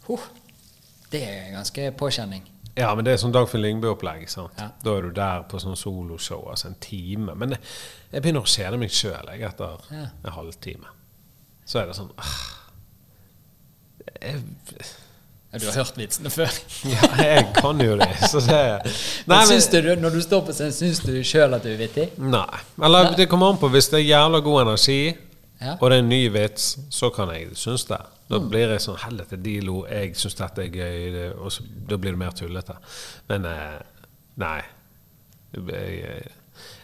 S1: huh, det er ganske påkjenning.
S2: Ja, men det er sånn Dagfinn Lyngbø-opplegg. sant?
S1: Ja.
S2: Da er du der på sånn soloshow, altså en time. Men jeg, jeg begynner å kjede meg sjøl etter
S1: Ja.
S2: en halvtime. Så er det sånn ah, jeg,
S1: Ja, Du har hørt vitsene før.
S2: Ja, jeg kan jo det. Så det
S1: Nei, men, syns du, når du står på scenen, syns du sjøl at du er vittig?
S2: Nei. Eller det kommer an på. Hvis det er jævla god energi,
S1: Ja. Mm.
S2: og det er en ny vits, så kan jeg synes det. Da blir jeg sånn Helvete, de lo. Jeg synes dette er gøy. det- Og så, da blir det mer tullete. Men eh, nei. Jeg, jeg,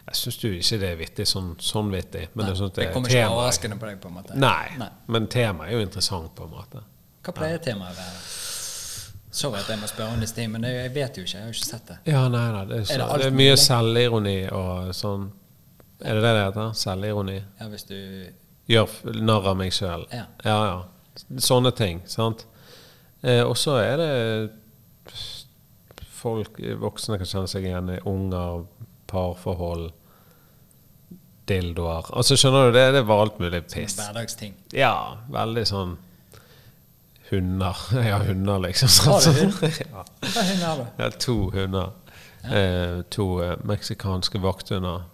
S2: jeg syns jo ikke det er vittig sånn, sånn vittig. Men jeg synes det,
S1: Det
S2: er
S1: kommer ikke
S2: tema.
S1: overraskende på deg, på en måte.
S2: Nei.
S1: Nei.
S2: Men temaet er jo interessant, på en måte.
S1: Hva pleier temaet å være? Sorry at jeg må spørre om disse ting, men jeg- jeg vet jo ikke. Jeg har jo ikke sett det.
S2: Ja, nei da. Det er, så,
S1: Er det
S2: det
S1: alt
S2: er mye selvironi og sånn. Er det det det heter? Selvironi?
S1: Ja, hvis du
S2: Gjør f- narr av meg sjøl.
S1: Ja.
S2: ja, ja. Sånne ting. sant? Eh, og så er det folk Voksne kan kjenne seg igjen i unger, parforhold, dildoer Altså, skjønner du, det, det var alt mulig piss.
S1: Hverdagsting.
S2: Ja, veldig sånn Hunder. Ja, hunder, liksom.
S1: Har du
S2: ja.
S1: Hva hund har du?
S2: Jeg har to hunder. Eh, to eh, meksikanske vakthunder.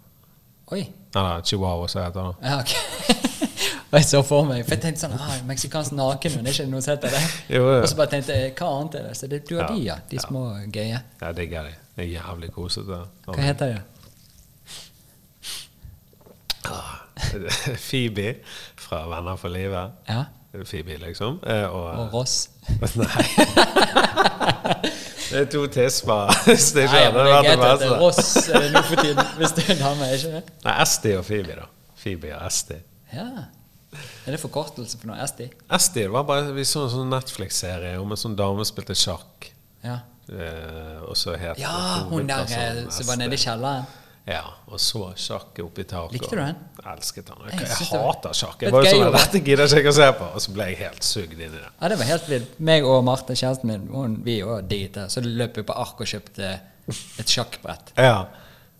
S1: Oi.
S2: Eller chihuahua, som heter det.
S1: Ja, ok. Og jeg så for meg, for jeg tenkte sånn ah, Meksikansk nakenhund, er ikke det noe som heter det?
S2: Jo, jo.
S1: Og så bare tenkte jeg, hva annet er det? Så det er du og
S2: Ja.
S1: de, ja. De små gøye.
S2: Jeg digger de. De er jævlig kosete.
S1: Hva heter de?
S2: Ah, Phoebe fra Venner for livet.
S1: Ja.
S2: Phoebe, liksom. Eh,
S1: Og
S2: Og
S1: Ross.
S2: Nei. Det er to tisper. Hvis det ikke
S1: Nei,
S2: hadde
S1: men det er
S2: vært det
S1: greit at det er
S2: beste.
S1: Ross er det nå for tiden, hvis det er en dame, er ikke det?
S2: Nei, Esti og Phoebe, da. Phoebe og Esti.
S1: Ja. Er det forkortelse for noe? Esti?
S2: Esti det var bare Vi så en sånn Netflix-serie om en sånn dame som spilte sjakk.
S1: Ja.
S2: Eh, og så het
S1: Ja, hun der eh,
S2: hovedpersonen
S1: som var
S2: Esti.
S1: nede i kjelleren.
S2: Ja, og så sjakk oppe i taket.
S1: Likte du den?
S2: Jeg Elsket den.
S1: Jeg
S2: Jeg, jeg
S1: synes det var-
S2: hater sjakk.
S1: Det
S2: Jeg var jo
S1: er
S2: sånn,
S1: gøy å-
S2: Dette gidder ikke jeg å se på. Og så ble jeg helt sugd inn i det.
S1: Ja, det var helt vilt. Meg og Marte, kjæresten min, hun, vi òg digget det. Så løp vi på ark og kjøpte et sjakkbrett.
S2: Ja.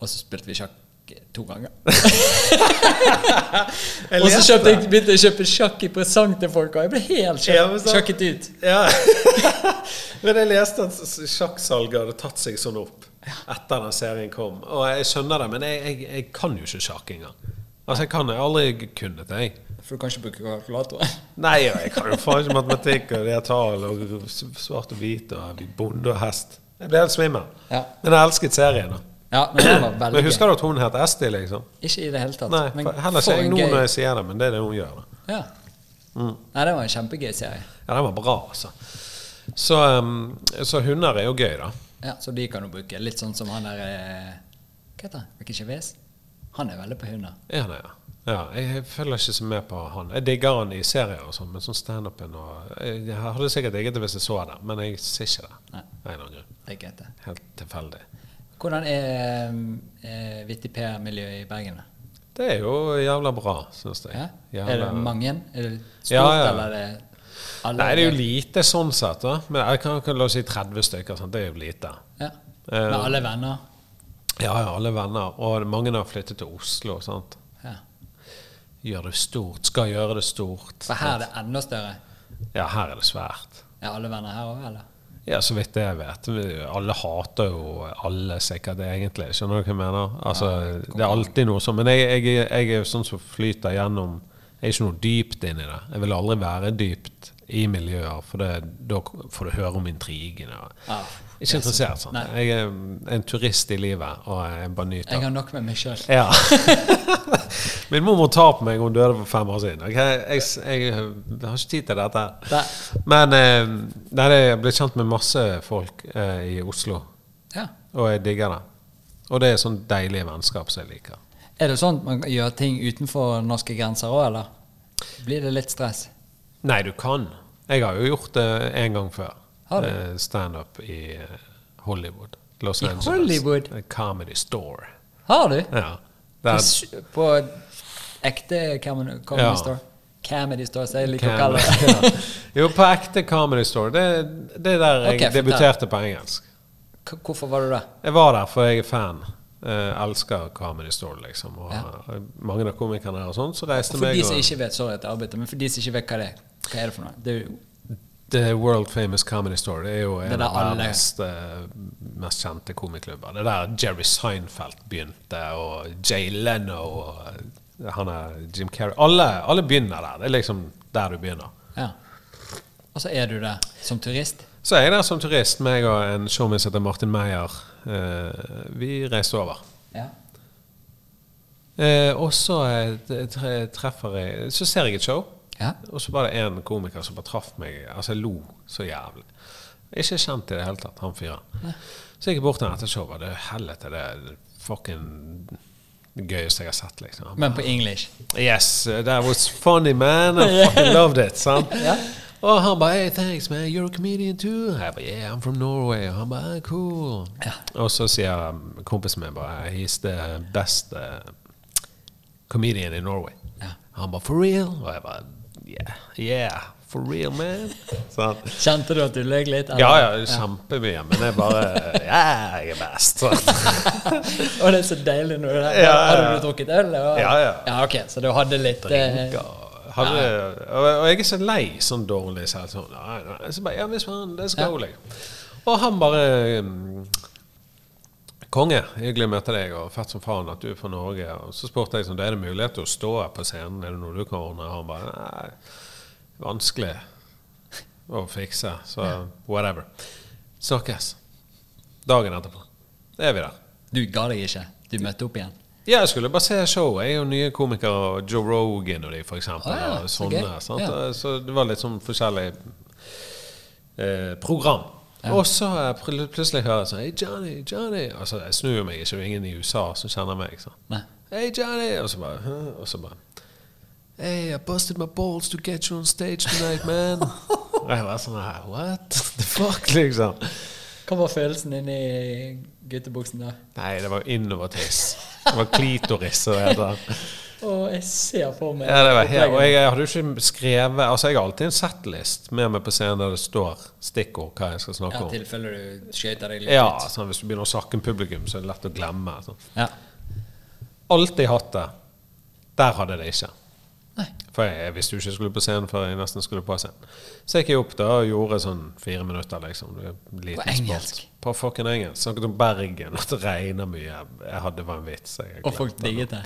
S1: Og så spilte vi sjakk eh, to ganger.
S2: Jeg
S1: og så
S2: leste
S1: kjøpte
S2: det.
S1: jeg, begynte jeg å kjøpe sjakk i presang til folk, og jeg ble helt sjakk,
S2: Ja, men sant.
S1: sjakket ut.
S2: Ja. Men jeg leste at s- sjakksalget hadde tatt seg sånn opp etter den serien kom. Og jeg skjønner det, men jeg, jeg, jeg kan jo ikke sjakk engang. Altså, jeg kan jeg har aldri kunnet det, jeg.
S1: For du kan ikke bruke kalkulatoren.
S2: Nei, og jeg kan jo faen ikke matematikk og de her tall og s- svart og hvit og bonde og hest. Jeg ble helt svimmel.
S1: Ja.
S2: Men jeg elsket serien. da.
S1: Ja, men det var
S2: Men
S1: veldig gøy.
S2: husker du at hun het Esti, liksom?
S1: Ikke i det hele tatt.
S2: Nei,
S1: men
S2: for, heller
S1: for
S2: ikke jeg
S1: en
S2: nå
S1: gøy-
S2: når jeg Mm. sier det, men det er det hun gjør. da.
S1: Ja. Nei, det var en kjempegøy serie.
S2: Ja, den var bra, altså. Så, um, så hunder er jo gøy, da.
S1: Ja, Så de kan du bruke. Litt sånn som han der eh, Hva heter han? Ricky Chavez? Han er veldig på hunder.
S2: Er han det, ja. Ja, jeg følger ikke så med på han. Jeg digger han i serier og sånn, men sånn standupen og eh, Jeg hadde sikkert digget det hvis jeg så det, men jeg ser ikke det.
S1: Nei.
S2: Av en eller annen grunn.
S1: Det er greit, det.
S2: Helt tilfeldig.
S1: Hvordan er eh, Vittig PR-miljøet i Bergen? da?
S2: Det er jo jævla bra, syns jeg.
S1: Ja?
S2: Jævla-
S1: Er det mange? Er det stort,
S2: Ja, ja.
S1: eller er det alle?
S2: Nei, det er jo lite sånn sett, da. Men jeg kan, kan la oss si 30 stykker. Sant? Det er jo lite.
S1: Ja.
S2: Eh,
S1: Med alle venner?
S2: Ja, ja, alle venner. Og mange har flyttet til Oslo, sant.
S1: Ja.
S2: Gjør det stort. Skal gjøre det stort.
S1: For her er det enda større.
S2: Ja, her er det svært.
S1: Er alle venner her òg, eller?
S2: Ja, så vidt jeg vet. Vi- Alle hater jo alle sikkert egentlig. Skjønner du hva jeg mener? Altså, det er alltid noe sånn. Men jeg, jeg, jeg er jo sånn som flyter gjennom Jeg er ikke noe dypt inn i det. Jeg vil aldri være dypt i miljøer, for det, da får du høre om intrigene.
S1: Ja.
S2: Ikke interessert sånn.
S1: Nei.
S2: Jeg er en turist i livet, og jeg bare nyter.
S1: Jeg har nok med meg sjøl.
S2: Ja. Min mormor tar på meg, hun døde for fem år siden. Ok, Jeg, jeg, jeg har ikke tid til dette.
S1: Nei.
S2: Men eh, nei, det- jeg ble kjent med masse folk eh, i Oslo,
S1: Ja.
S2: og jeg digger det. Og det er sånn deilige vennskap som jeg liker.
S1: Er det sånn at man gjør ting utenfor norske grenser òg, eller? Blir det litt stress?
S2: Nei, du kan. Jeg har jo gjort det en gang før.
S1: Har du?
S2: Eh, Standup i eh, Hollywood. Los
S1: I
S2: Angeles.
S1: Hollywood?
S2: Comedy Store.
S1: Har du?
S2: Ja.
S1: På,
S2: Der,
S1: s- på ekte Comedy, comedy
S2: Ja.
S1: Store? Comedy Store, som jeg liker å
S2: Cam-
S1: kalle det.
S2: Ja. Jo, på ekte Comedy Store. Det, det er der jeg
S1: Ok, fortell.
S2: debuterte på engelsk.
S1: K- Hvorfor var du der?
S2: Jeg var der, for jeg er fan. Eh, elsker Comedy Store, liksom. Og
S1: Ja.
S2: eh, mange av komikerne her og sånn. Så reiste
S1: For
S2: meg
S1: de som
S2: og
S1: ikke vet, sorry at jeg avbryter, men for de som ikke vet hva det er, hva er det for noe? Det er jo
S2: The World Famous Comedy Store det er jo en
S1: Det er der
S2: av
S1: alle-
S2: verdens eh, mest kjente komiklubber. Det er der Jerry Seinfeld begynte, og Jay Leno og eh, han er Jim Carrey. Alle, alle begynner der. Det er liksom der du begynner.
S1: Ja. Og så er du der som turist.
S2: Så er jeg der som turist, meg og en showman som heter Martin Meyer. Eh, vi reiste over.
S1: Ja.
S2: Eh, og så eh, t- tre- treffer jeg Så ser jeg et show.
S1: Ja.
S2: Og så var det en komiker som bare traff meg. Altså, jeg lo så jævlig. Ikke kjent i det hele tatt, han fyren. Så gikk jeg bort til han etter showet. Det er helvete, det er fucking det gøyeste jeg har sett, liksom. Han
S1: Men på English.
S2: Yes, uh, that was funny, man. I fucking loved it. Sant? Og han bare hey, thanks, man. You're a comedian too. Jeg bare, yeah, I'm from Norway. Og han bare ah, cool. Og så sier um, kompisen min bare he's the best uh, comedian in Norway.
S1: Ja.
S2: Han bare for real? Og jeg bare yeah, yeah, for real, man. Sant?
S1: Kjente du at du løy litt? eller?
S2: Ja, ja, kjempemye, men jeg bare Ja, jeg er best. sant?
S1: Og det er så deilig når du er der.
S2: Ja, ja, ja.
S1: Hadde du drukket øl? eller?
S2: Ja, ja.
S1: ok, Så du hadde litt eh,
S2: drinker. Hadde, og, og jeg er så lei sånn dårlig selv. Sånn, nei, nei. Så bare, ja, hvis man, det skal jeg. liksom. Og han bare mm, Konge, hyggelig å møte deg, og fett som faen at du er fra Norge. Og så spurte jeg sånn, er det mulighet til å stå her på scenen, er det noe du kan ordne? Og han bare nei, vanskelig å fikse, så whatever. Snakkes. Dagen etterpå. Det er vi der.
S1: Du ga deg ikke. Du møtte opp igjen.
S2: Ja, jeg skulle bare se show. Jeg er jo nye komikere, og Joe Rogan og de, for eksempel.
S1: Ah, ja,
S2: og
S1: så
S2: sånne,
S1: gøy.
S2: sant?
S1: Ja.
S2: Så det var litt sånn forskjellig eh, program. Og så eh, pl- plutselig hører jeg sånn Hei, Johnny, Johnny. Og så jeg snur meg ikke, og ingen i USA som kjenner meg. sant?
S1: Nei.
S2: Hey Johnny! Og så bare, «Hæ?» og så bare Hey, I busted my balls to get you on stage tonight, man. og jeg var sånn her, What the fuck, liksom?
S1: Hva var følelsen din i guttebuksen da?
S2: Nei, det var innovatis. Det var klitoris. og det heter.
S1: Å, jeg ser for meg
S2: Ja, det var helt, og
S1: opplegget.
S2: jeg, hadde jo ikke skrevet Altså, jeg har alltid en setlist med meg på scenen der det står stikkord hva jeg skal
S1: Ja,
S2: snakke om.
S1: tilfelle du skøyter deg litt
S2: Ja,
S1: ut.
S2: sånn, Hvis du begynner å snakke om publikum, så er det lett å glemme. Sånn.
S1: Ja.
S2: Alltid hatt det. Der hadde jeg det ikke.
S1: Nei.
S2: For jeg, jeg visste jo ikke jeg skulle på scenen før jeg nesten skulle på scenen. Så jeg gikk opp da og gjorde sånn fire minutter, liksom. Det er en liten
S1: På engelsk?
S2: Sport. På fucking engelsk. Snakket om Bergen, at det regner mye. Jeg hadde det var en vits. Jeg
S1: Og folk digget det.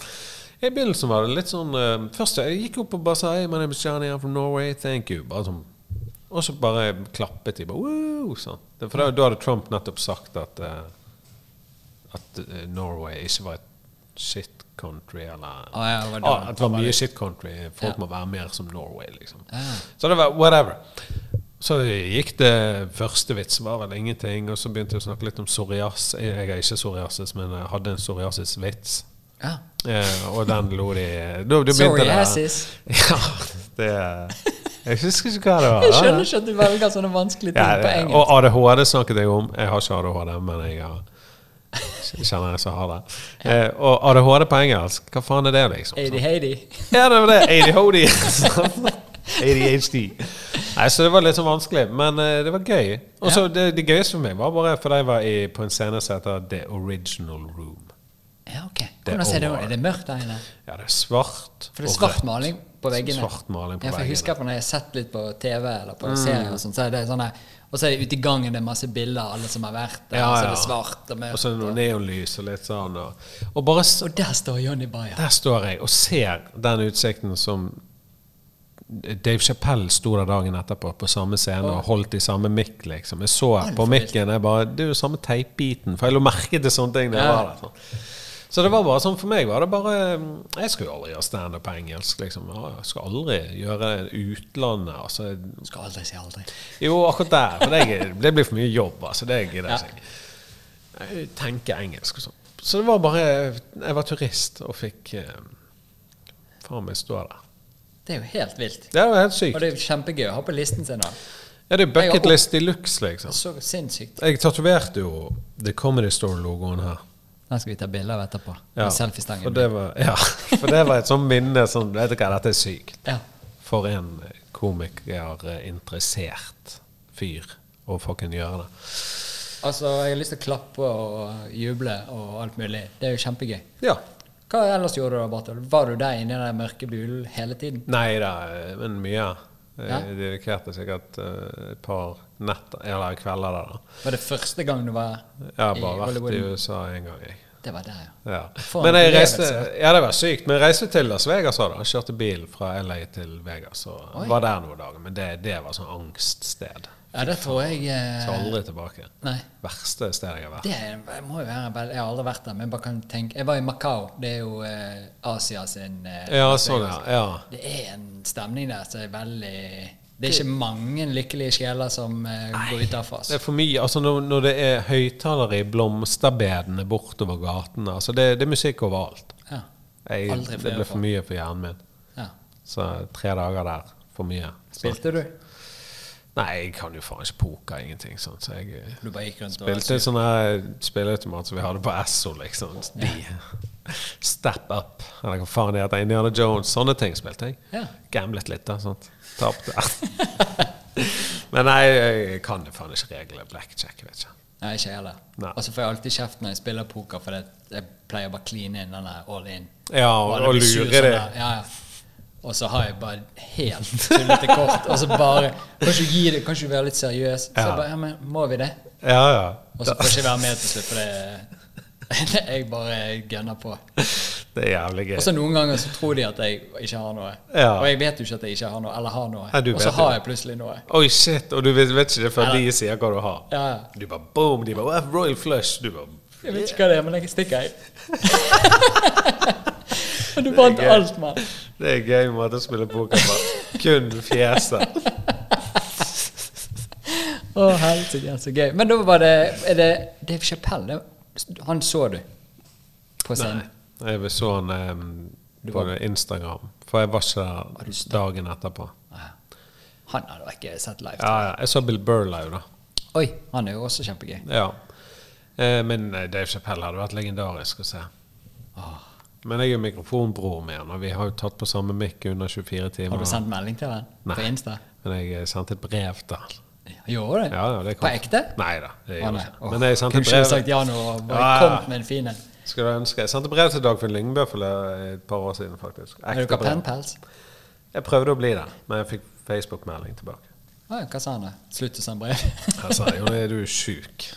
S2: I begynnelsen var det litt sånn eh, Først jeg gikk opp og bare sa Hey, my name is Johnny, I'm from Norway, thank you. Bare sånn Og så bare klappet de. Bare, Woo! Sånn. Det- For da, da hadde Trump nettopp sagt at eh, At eh, Norway ikke var et shit country, eller
S1: Å, ja, det var da
S2: ah,
S1: han
S2: At det var
S1: var
S2: mye
S1: litt-
S2: shit country. Folk
S1: Ja.
S2: må være mer som Norway, liksom.
S1: Ja.
S2: Så det var whatever. Så gikk det første vits, var vel ingenting. Og så begynte jeg å snakke litt om psoriasis. Jeg er ikke psoriasis, men jeg hadde en psoriasis-vits.
S1: Ja.
S2: Eh, og den lo de da, da begynte
S1: Psoriasis.
S2: Det, ja, det Jeg husker ikke hva det var.
S1: Jeg
S2: da.
S1: skjønner ikke at du velger sånne vanskelige ting
S2: Ja,
S1: på
S2: det,
S1: engelsk.
S2: og ADHD snakket jeg om. Jeg har ikke ADHD, men jeg har kjenner jeg som har det. Eh, og ADHD på engelsk, hva faen er det, liksom?
S1: Heidi, Heidi.
S2: Ja, det var det. ADHD. ADHD. Nei, så det var litt sånn vanskelig, men eh, det var gøy. Og så det, det gøyeste for meg var bare fordi jeg var i, på en scene som heter The Original Room.
S1: Ja, ok.
S2: Det er
S1: Hvordan ser det ut?
S2: over.
S1: Er det mørkt der inne?
S2: Ja, det er svart
S1: For det er
S2: og
S1: svart
S2: rødt.
S1: maling på veggene.
S2: Svart maling på
S1: ja, for jeg
S2: veggene. Mm.
S1: husker på når jeg har sett litt på TV eller på serier, og sånt, så er det sånn her Og så er det ute i gangen, det er masse bilder av alle som har vært der, og
S2: Ja,
S1: så er
S2: ja.
S1: det svart og
S2: Og
S1: mørkt.
S2: så er det noe neonlys og litt sånn. Og, og bare s-
S1: Og der står Johnny Bayer.
S2: Der står jeg og ser den utsikten som Dave Chappelle sto der dagen etterpå på samme scene og holdt i samme mikk, liksom. Jeg så på mikken jeg bare Det er jo samme teipbiten, for jeg la merke til sånne ting da jeg
S1: Ja.
S2: var der. Sånn. Så det var bare sånn for meg var det bare Jeg skal jo aldri gjøre standup på engelsk, liksom. Jeg skal aldri gjøre det utlandet. Altså,
S1: Skal aldri si aldri.
S2: jo, akkurat der. For det, det blir for mye jobb. Altså, det gidder jeg ikke. Jeg tenker engelsk og sånn. Så det var bare Jeg var turist og fikk eh, Faen meg stå der.
S1: Det er jo helt vilt.
S2: Det var helt
S1: Og
S2: sykt.
S1: det er jo kjempegøy å ha på listen sin. da.
S2: Ja,
S1: Jeg har
S2: det er
S1: opp-
S2: bucketlist de luxe, liksom.
S1: Så sinnssykt.
S2: Jeg tatoverte jo The Comedy Store-logoen her.
S1: Den skal vi ta bilde av etterpå.
S2: Ja,
S1: Med
S2: For
S1: selfiestangen.
S2: det var, ja, for det var et sånt minne som Vet du hva, dette er sykt.
S1: Ja.
S2: For en komikerinteressert fyr å fucking gjøre det.
S1: Altså, jeg har lyst til å klappe og juble og alt mulig. Det er jo kjempegøy.
S2: Ja.
S1: Hva ellers gjorde du da, Bartol? Var du der inne i den mørke bulen hele tiden?
S2: Nei da, men mye.
S1: Ja.
S2: Jeg dedikerte sikkert eh, et par netter eller kvelder der. da.
S1: Var det første gang du var
S2: Jeg har bare
S1: i Hollywood?
S2: vært i USA én gang, jeg.
S1: Det var der, ja.
S2: Ja.
S1: For en
S2: Men jeg reiste,
S1: opplevelse.
S2: ja, det var sykt. Men jeg reiste til Las Vegas òg, da. Jeg Kjørte bil fra LA til Vegas og
S1: Oi.
S2: var der noen dager. Men det, det var sånn angststed.
S1: Ja, det tror jeg eh,
S2: Skal aldri tilbake.
S1: Nei.
S2: Verste stedet jeg har vært.
S1: Det må jo være vel- Jeg har aldri vært der, men jeg bare kan tenke Jeg var i Macau. Det er jo eh, Asia sin eh,
S2: Ja,
S1: Las
S2: sånn,
S1: Vegas.
S2: ja. ja.
S1: Det er en stemning der som er veldig Det er ikke mange lykkelige sjeler som eh, går ut derfra.
S2: Det
S1: Altså.
S2: er for mye, altså når, når det er høyttalere i blomsterbedene bortover gatene altså det, det er musikk overalt.
S1: Ja.
S2: Jeg,
S1: Aldri
S2: det
S1: flere
S2: ble
S1: for.
S2: for mye for hjernen min.
S1: Ja.
S2: Så tre dager der, for mye.
S1: Spilte du?
S2: Nei, jeg kan jo faen ikke poker, ingenting sånn, så jeg eh,
S1: Du bare gikk rundt og
S2: spilte sånne spilleautomater som vi hadde på Esso, liksom. De. Step up, eller hva faen det heter. Indiana Jones, sånne ting spilte jeg.
S1: Ja.
S2: Gamblet litt, da. Sånt. Tapte. Men nei, jeg kan det faen ikke reglene. Blackjack, vet ikke.
S1: Nei, ikke jeg heller.
S2: Nei.
S1: Og så får jeg alltid kjeft når jeg spiller poker, for det, jeg pleier bare å kline inn den der all in.
S2: Ja,
S1: Bare
S2: og,
S1: bli
S2: og
S1: sur
S2: lure
S1: sånn
S2: det.
S1: der. Ja, ja. Og så har jeg bare helt tullete kort. Og så bare Kan ikke du gi det, kan ikke du være litt seriøs? Så
S2: Ja.
S1: jeg bare, ja, men må vi det?
S2: Ja, ja.
S1: Og så får jeg ikke være med til slutt, for det Jeg bare gunner på.
S2: Det er jævlig gøy.
S1: Og så noen ganger så tror de at jeg ikke har noe.
S2: Ja.
S1: Og jeg vet jo ikke at jeg ikke har noe, eller har noe.
S2: Ja, du
S1: og så
S2: vet
S1: har
S2: det.
S1: jeg plutselig noe.
S2: Oi, shit, og du vet, vet ikke det før
S1: Nei.
S2: de sier hva du har.
S1: Ja, ja.
S2: Du bare boom, de bare "Wow, Royal Flush. Du bare
S1: Jeg vet ikke hva det er, men jeg stikker, jeg. Men du vant
S2: Det er gøy.
S1: alt, mann.
S2: Det er gøy måte å spille poker på. Kun fjeset.
S1: Å, helsike, så gøy. Men da var det Er det Dave Chappelle? det- Han så du på
S2: Nei.
S1: scenen?
S2: Jeg så han em, på Instagram, for jeg var ikke der dagen etterpå.
S1: Ah, Han hadde jeg ikke sett live.
S2: Ja, ja. Jeg så Bill Burr live, da.
S1: Oi, han er jo også kjempegøy.
S2: Ja. Eh, Men eh, Dave Chappelle hadde vært legendarisk å se. Men jeg er jo mikrofonbror med han, og vi har jo tatt på samme mic under 24 timer.
S1: Har du sendt melding til han på
S2: Nei.
S1: Insta?
S2: Men jeg eh, sendte et brev til han.
S1: Gjorde du?
S2: Ja, ja, det
S1: på
S2: kom-
S1: ekte?
S2: Nei da. Det
S1: Å,
S2: gjorde
S1: nei.
S2: jeg ikke.
S1: Åh,
S2: Men jeg sendte
S1: Kunne
S2: et
S1: ikke du
S2: brev,
S1: sagt ja nå og bare
S2: Ja, ja, ja.
S1: kommet med en fin en?
S2: Skulle jeg ønske. Jeg sendte brev til Dagfinn Lyngbø for le- et par år siden, faktisk.
S1: Er du
S2: Ekte
S1: ikke
S2: brev.
S1: pennpels?
S2: Jeg prøvde å bli det, men jeg fikk Facebook-melding tilbake.
S1: Å, Hva sa han da? Slutt å sende brev?
S2: Jeg sa jo er du sjuk.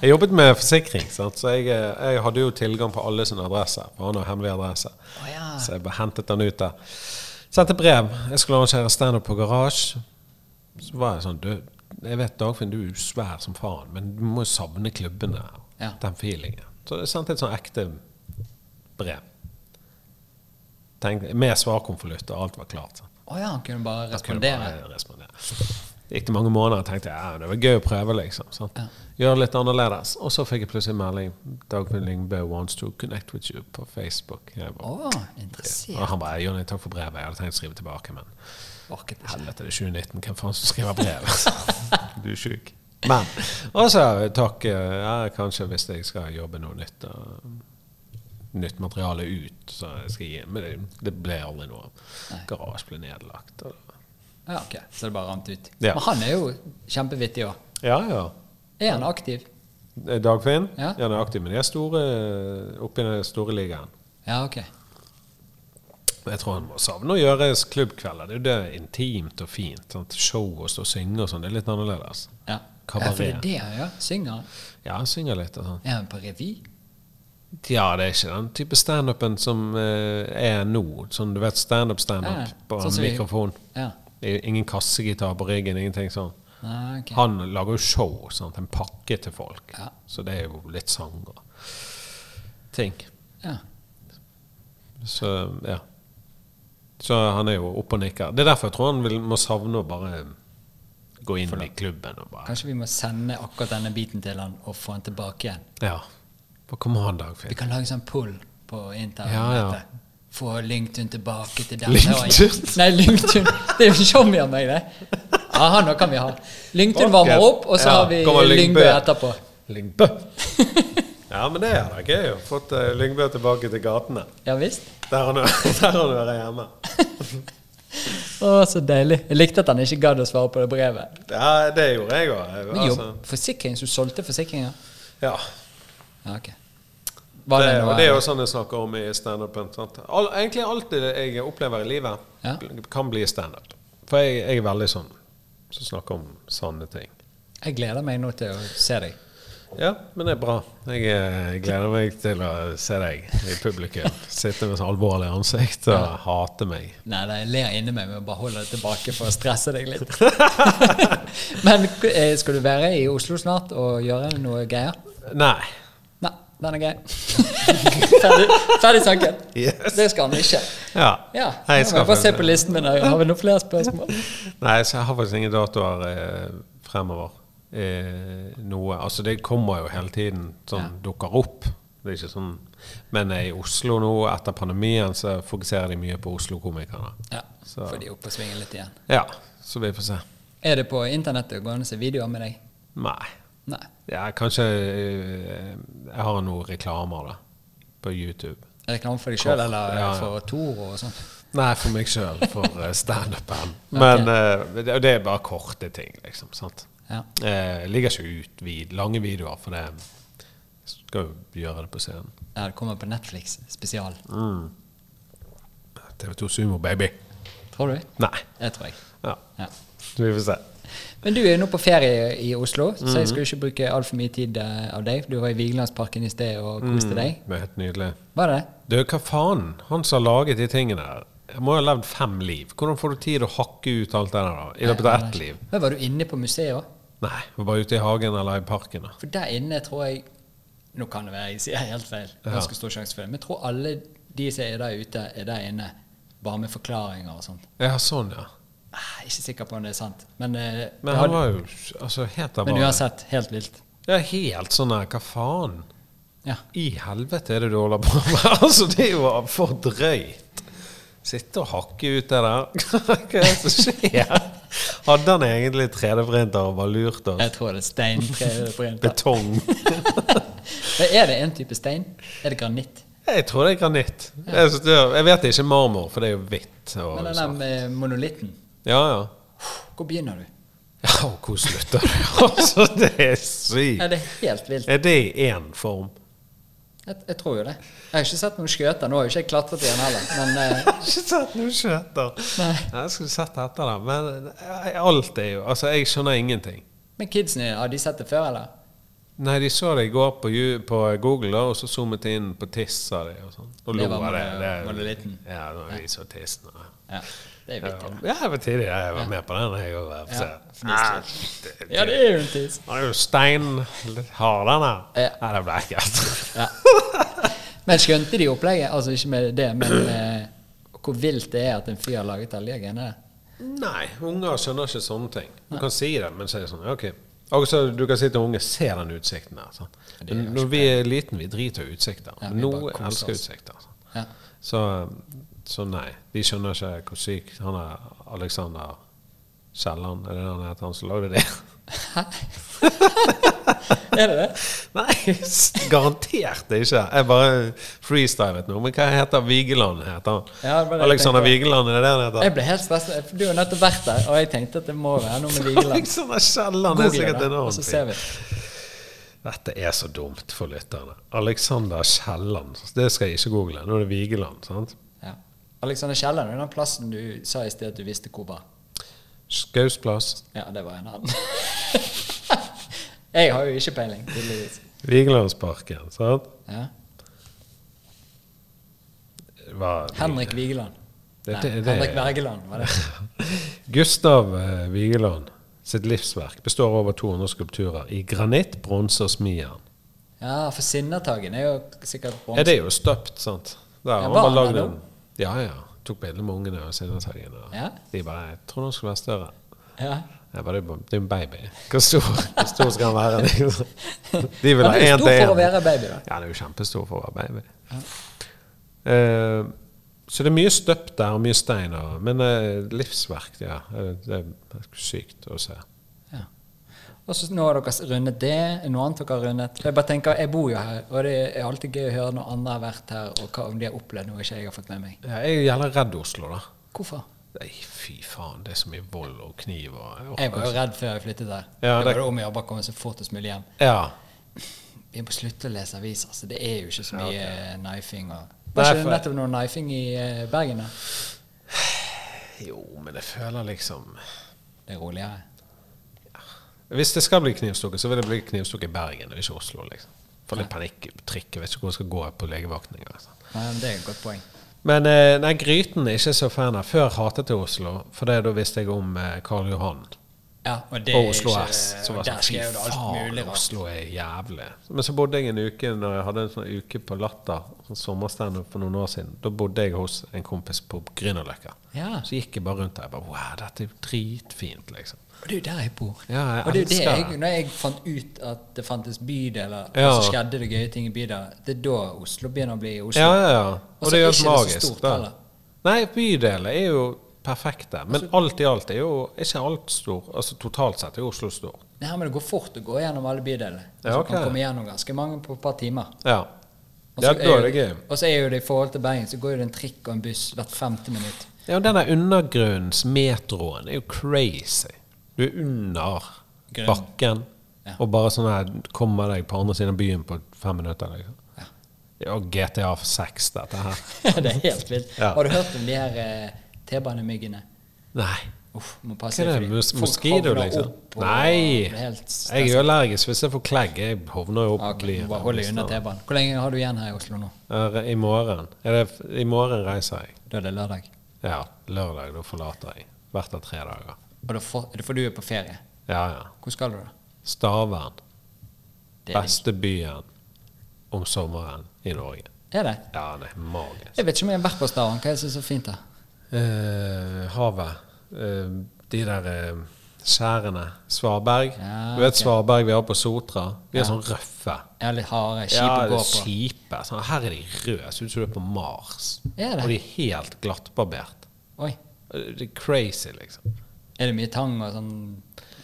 S2: Jeg jobbet med forsikring, sant? så jeg, eh, jeg hadde jo tilgang på alle sine adresser. For han har hemmelig adresse.
S1: Å, ja.
S2: Så jeg bare hentet den ut der. Sendte brev. Jeg skulle arrangere standup på garasje. Så var jeg sånn du, Jeg vet Dagfinn, du er jo svær som faen, men du må jo savne klubbene.
S1: Ja.
S2: Den feelingen. Så jeg sendte et sånn ekte brev. Tenk, med svarkonvolutt, og alt var klart. Sant?
S1: Å ja, han kunne bare
S2: Jeg kunne
S1: respondere.
S2: bare respondere. Det gikk det mange måneder og tenkte jeg, ja, det var gøy å prøve, liksom. Sant?
S1: Ja.
S2: Gjøre det litt annerledes. Og så fikk jeg plutselig en melding. Dagfinn Lyngbø wants to connect with you på Facebook. Jeg
S1: Å,
S2: bare,
S1: interessert.
S2: og han bare Jonny, takk for brevet. Jeg hadde tenkt å skrive tilbake, men
S1: Orket ikke.
S2: helvete, det er 2019. Hvem faen som skriver brev? du er sjuk. Men Og så takk. eh, Ja, kanskje hvis jeg skal jobbe noe nytt. da, Nytt materiale ut. Så jeg skal gi, men det, det ble aldri noe. Garasje ble nedlagt. Og,
S1: Ja, ok. Så det bare rant ut.
S2: Ja.
S1: Men han er jo kjempevittig òg.
S2: ja, ja.
S1: Er han aktiv?
S2: Eh, Dagfinn?
S1: Ja.
S2: Ja. Han er aktiv, men de er store eh, oppe i den store ligaen.
S1: Ja, ok.
S2: Jeg tror han må savne å gjøre s- klubbkvelder. Det er jo det intimt og fint. Sant? Show og stå og synge og sånn. Det er litt annerledes.
S1: Ja.
S2: Kabaret.
S1: Ja, for det er det han gjør. Synger han?
S2: Ja, han synger litt og sånn.
S1: Er han på revy?
S2: Ja, det er ikke den type standupen som eh, er nå. Sånn du vet,
S1: Ja,
S2: standup-standup
S1: ja.
S2: på
S1: Sånn som vi-
S2: mikrofon.
S1: Ja.
S2: I- Ingen kassegitar på ryggen, ingenting sånn.
S1: Ah, ok.
S2: Han lager jo show, sant? en pakke til folk.
S1: Ja.
S2: Så det er jo litt sang og ting.
S1: ja.
S2: Så ja. Så han er jo oppe og nikker. Det er derfor jeg tror han vil, må savne å bare gå inn i klubben og bare
S1: Kanskje vi må sende akkurat denne biten til han og få han tilbake igjen.
S2: Ja. Bare kom an,
S1: Vi
S2: Dagfinn.
S1: kan lage sånn pull på internettet.
S2: Ja, ja.
S1: Få LinkedIn tilbake til den
S2: LinkedIn?
S1: Nei, LinkedIn. Det er jo ikke om vi har meg, det. Ja, han òg kan vi ha. LinkedIn varmer opp, og så
S2: Ja,
S1: har vi
S2: kommer Lyngbø.
S1: Lyngbø etterpå.
S2: Lyngbø! ja, men det er da gøy å få uh, Lyngbø tilbake til gatene.
S1: Ja visst.
S2: Der han, der han hører hjemme.
S1: Å, så deilig. Jeg likte at han ikke gadd å svare på det brevet.
S2: Ja, det gjorde jeg òg.
S1: Men jobb,
S2: altså.
S1: forsikring, så du solgte forsikringer?
S2: ja.
S1: Ja, ok. Var
S2: Det,
S1: det,
S2: og
S1: noe
S2: det er jo sånn jeg snakker om i standupen. sant? Al- Egentlig alt det jeg opplever i livet,
S1: Ja.
S2: bl- kan bli standup. For jeg, jeg er veldig sånn som snakker om sanne ting.
S1: Jeg gleder meg nå til å se deg.
S2: Ja, men det er bra. Jeg eh, gleder meg til å se deg i publikum. Sitte med så alvorlig ansikt og hate meg.
S1: Nei, nei, jeg ler inni meg, men bare holder det tilbake for å stresse deg litt. men eh, skal du være i Oslo snart og gjøre noe greier?
S2: Nei.
S1: Nei, den er grei. ferdig, ferdig sanken.
S2: Yes.
S1: Det skal han ikke.
S2: Ja.
S1: Ja,
S2: Nei,
S1: nå
S2: jeg
S1: må
S2: skal
S1: jeg bare se
S2: faktisk-
S1: på listen min. her. Har vi noen flere spørsmål?
S2: Nei, så jeg har faktisk ingen datoer eh, fremover. Eh, noe Altså, det kommer jo hele tiden. Sånn dukker opp. Det er ikke sånn Men eh, i Oslo nå, etter pandemien, så fokuserer de mye på Oslo-komikerne.
S1: Ja,
S2: Så-
S1: får de opp og svinge litt igjen.
S2: Ja, så vi får se.
S1: Er det på internettet gående å se videoer med deg?
S2: Nei.
S1: Nei.
S2: Ja, kanskje eh, Jeg har noen reklamer da på YouTube.
S1: Er det reklame for deg sjøl eller
S2: Ja, ja.
S1: for Toro og sånn?
S2: Nei, for meg sjøl, for eh, standupen. Men eh, det, og det er bare korte ting, liksom. sant?
S1: Ja.
S2: Eh, jeg ligger ikke ut vid, lange videoer, for det skal jo gjøre det på scenen.
S1: Ja, det kommer på Netflix spesial.
S2: TV2 Sumo, baby.
S1: Tror du?
S2: Nei.
S1: Det tror jeg.
S2: Ja.
S1: Ja.
S2: Vi får se.
S1: Men du er jo nå på ferie i Oslo, så jeg skal jo ikke bruke altfor mye tid eh, av deg. Du var i Vigelandsparken i sted og koste deg.
S2: Det er helt nydelig.
S1: Var det det?
S2: Du, hva faen? Han som har laget de tingene her, jeg må jo ha levd fem liv. Hvordan får du tid å hakke ut alt det der da? i løpet av ett liv?
S1: Men var du inne på museet òg?
S2: Nei, vi var ute i hagen eller i parken. da.
S1: For der inne tror jeg Nå kan det være jeg sier helt feil, ganske stor sjanse for det. Men jeg tror alle de som er der ute, er der inne bare med forklaringer og sånt.
S2: Ja, sånn, ja.
S1: Ah, Ikke sikker på om det er sant. Men, eh,
S2: Men
S1: det
S2: han
S1: hadde,
S2: var jo altså, helt der
S1: men
S2: bare.
S1: uansett, helt vilt.
S2: Ja, helt sånn her, hva faen?
S1: Ja.
S2: I helvete er det du holder på med? altså, det er jo for drøyt. Sitte og hakke ut det der. hva er det som skjer? Hadde han egentlig 3D-printer og bare lurt oss?
S1: Jeg tror det er stein. tre- på en plass.
S2: Betong.
S1: Men Eh, er det en type stein? Er det granitt?
S2: Jeg tror det er granitt. Jeg, synes det er- jeg vet det er ikke marmor, for det er jo hvitt. Og,
S1: Men den
S2: sånn.
S1: der med monolitten,
S2: ja, ja.
S1: hvor begynner du?
S2: Ja, og hvor slutter det? altså, det er
S1: Ja,
S2: sykt.
S1: det er helt vilt.
S2: Er det i én form?
S1: Jeg, jeg tror jo det. Jeg har ikke sett noen skjøter. Nå har jo ikke jeg klatret i den heller. Men eh,
S2: Jeg har ikke sett noe skjøter. Nei, Jeg skulle sett etter det. Men eh, alt er jo Altså, jeg skjønner ingenting.
S1: men kidsen din, har de sett det før, eller?
S2: Nei, de så det i går på, Ju- på Google, da, og så zoomet de inn på tiss av det og sånn. Og
S1: Det
S2: lo
S1: var eh,
S2: av det.
S1: mono- monolitten.
S2: Ja, når de så tissen. og-
S1: Ja, det er
S2: Ja,
S1: vittig. da.
S2: ja, jeg var tidlig. Jeg var med på den. Jeg, og, jeg,
S1: Ja,
S2: Ah, det-
S1: Ja, det er jo en tiss.
S2: Han er jo stein litt hard, den her.
S1: Ja.
S2: Nei, det ble ekkelt.
S1: Ja. Men skjønte de opplegget? Altså ikke med det, men eh, hvor vilt det er at en fyr har laget alle de genene?
S2: Nei, unger skjønner ikke sånne ting. Du kan si det, men så er det sånn ja, OK. Og så Du kan si til unge Se den utsikten der. Sant?
S1: Det er
S2: Men
S1: jo
S2: Når vi er liten, vi driter i utsikter.
S1: Ja, vi
S2: Nå
S1: bare koser
S2: elsker
S1: oss.
S2: utsikter. sånn. Sant?
S1: Ja.
S2: Så, så nei. De skjønner ikke hvor syk han er Alexander Kielland Er det han heter, han som lagde det?
S1: Er det det?
S2: nei, garantert ikke. Jeg bare freestylet nå. Men hva heter Vigeland? heter han?
S1: Ja, det var det jeg
S2: Alexander
S1: tenkte.
S2: Vigeland, er det det han heter?
S1: Jeg ble helt stresset. for Du har nettopp vært der, og jeg tenkte at det må være noe med Vigeland.
S2: Alexander Kielland er
S1: Google
S2: sikkert
S1: det,
S2: en
S1: og
S2: annen
S1: så
S2: fyr.
S1: ser vi.
S2: Dette er så dumt for lytterne. Alexander Kielland. Det skal jeg ikke google. Nå er det Vigeland. sant?
S1: Ja. Alexander Kielland er den plassen du sa i sted at du visste hvor var.
S2: Skausplass.
S1: Ja, det var en annen. jeg har jo ikke peiling, tydeligvis.
S2: Vigelandsparken. sant?
S1: Ja.
S2: Hva-
S1: Henrik Vigeland.
S2: Det-
S1: Nei,
S2: det- det-
S1: Henrik Wergeland var det.
S2: Gustav eh, Vigeland sitt livsverk består av over 200 skulpturer i granitt, bronse og smijern.
S1: Ja, for Sinnataggen er jo sikkert
S2: Ja,
S1: bronse.
S2: det er jo støpt, sant? Der,
S1: Ja,
S2: han
S1: var
S2: bare
S1: han
S2: lagd
S1: der
S2: en Ja, ja. Tok bilde med ungene og sinnataggen. og
S1: Ja.
S2: De bare Jeg trodde han skulle være større.
S1: Ja.
S2: Jeg bare, det er jo bare- det er jo en baby. Hvor stor, hvor stor skal han være? liksom? De vil
S1: Han
S2: ha
S1: er jo
S2: én
S1: stor
S2: til én.
S1: for å være baby, da.
S2: Ja, han er jo kjempestor for å være baby. Eh, så det er mye støpt der, og mye stein. og- Men eh, livsverk, ja. eh, Det er sykt å se.
S1: Ja. Og så nå har dere rundet det, er noe annet dere har rundet. Jeg bare tenker, jeg bor jo her, og det er alltid gøy å høre når andre har vært her, og hva om de har opplevd noe ikke jeg har fått med meg.
S2: Ja, jeg er jævla redd Oslo, da.
S1: Hvorfor?
S2: Nei, fy faen. Det er så mye vold og kniv og orker
S1: Jeg var jo
S2: ikke.
S1: redd før jeg flyttet her.
S2: Ja,
S1: det var
S2: det-
S1: det om å gjøre bare å komme så fort som mulig hjem.
S2: Ja.
S1: Vi må slutte å lese aviser, så det er jo ikke så mye eh, knifing. Og...
S2: Nei,
S1: Var ikke det
S2: for-
S1: nettopp noe knifing i eh, Bergen, da?
S2: Jo, men jeg føler liksom
S1: Det er roligere.
S2: Hvis det skal bli knivstukket, så vil det bli knivstukket i Bergen, og ikke Oslo. liksom. For litt panikk-trikk. Jeg vet ikke hvor jeg skal gå på legevakninga. Liksom.
S1: Nei, men det er et godt poeng.
S2: Men eh, nei, Gryten er ikke så fan av. Før hatet jeg Oslo, for det da visste jeg om eh, Karl Johan
S1: Ja, og det
S2: og
S1: er
S2: Oslo
S1: ikke-
S2: S. Så var
S1: og
S2: det
S1: der
S2: sånn, fy
S1: skrev du alt mulig
S2: faen,
S1: rart.
S2: Oslo er jævlig. Men så bodde jeg en uke når jeg hadde en sånn uke på Latter, sånn sommerstandup for noen år siden. Da bodde jeg hos en kompis på Grünerløkka.
S1: Ja.
S2: Så gikk jeg bare rundt der. Jeg bare, wow, dette er jo dritfint, liksom.
S1: Og det er jo der jeg bor.
S2: Ja, jeg
S1: og det er jo det
S2: elsker
S1: jeg,
S2: det.
S1: når jeg fant ut at det fantes bydeler,
S2: Ja.
S1: og så altså, skjedde det gøye ting i bydeler, det er da Oslo begynner å bli Oslo.
S2: Ja, ja, ja. Og,
S1: Og så
S2: det er
S1: er
S2: jo helt
S1: ikke det så
S2: magisk.
S1: stort,
S2: da.
S1: heller.
S2: Nei, bydeler er jo perfekte. Men
S1: Altså-
S2: alt i alt er jo er ikke alt stor. Altså totalt sett er jo Oslo stor.
S1: Nei, men det går fort å gå gjennom alle bydelene.
S2: Ja,
S1: Så
S2: ok.
S1: kan komme gjennom ganske mange på et par timer.
S2: Ja.
S1: Og
S2: Ja,
S1: så
S2: da er det
S1: jo-
S2: gøy.
S1: Og så er jo det i forhold til Bergen, så går jo det en trikk og en buss hvert femte minutt.
S2: Ja, og den der undergrunnsmetroen er jo crazy. Du er under
S1: Grunn.
S2: bakken,
S1: Ja.
S2: og bare sånn her kommer deg på andre siden av byen på fem minutter. Liksom.
S1: Ja.
S2: Ja, og GTA 6, dette her.
S1: det er helt vilt.
S2: Ja.
S1: Har du hørt om de her eh, T-banemyggene?
S2: Nei.
S1: Uff, må passe
S2: Hva er
S1: deg,
S2: det?
S1: fordi
S2: Mos
S1: folk
S2: moskito,
S1: havner
S2: liksom?
S1: opp og
S2: Nei!
S1: blir helt
S2: Jeg er jo allergisk hvis jeg får klegg. Jeg hovner jo opp
S1: Ja,
S2: og
S1: ok,
S2: blir
S1: bare hold deg unna T-banen. Hvor lenge har du igjen her i Oslo nå?
S2: Er- I morgen. Er det, f- I morgen reiser jeg.
S1: Da er det lørdag.
S2: Ja, lørdag. Da forlater jeg. Hvert av tre dager.
S1: Og da får, da får du jo på ferie.
S2: Ja, ja.
S1: Hvor skal du, da?
S2: Stavern.
S1: Det er,
S2: Beste byen om sommeren i Norge.
S1: er det?
S2: Ja, det er magisk.
S1: Jeg vet ikke om jeg har vært på Stavern. Hva er det som er så fint der?
S2: Eh, havet. Eh, de der eh, skjærene. Svaberg.
S1: Ja,
S2: du vet
S1: ok.
S2: Svaberg vi har på Sotra? De er sånn røffe.
S1: Jeg er litt harde, kjipe
S2: Ja,
S1: å
S2: det
S1: gå
S2: er
S1: på.
S2: kjipe. Sånn, her er de røde. Ser ut som du er på Mars.
S1: Er det?
S2: Og de er helt glattbarbert.
S1: Oi.
S2: Eh, Det er crazy, liksom.
S1: Er det mye tang og sånn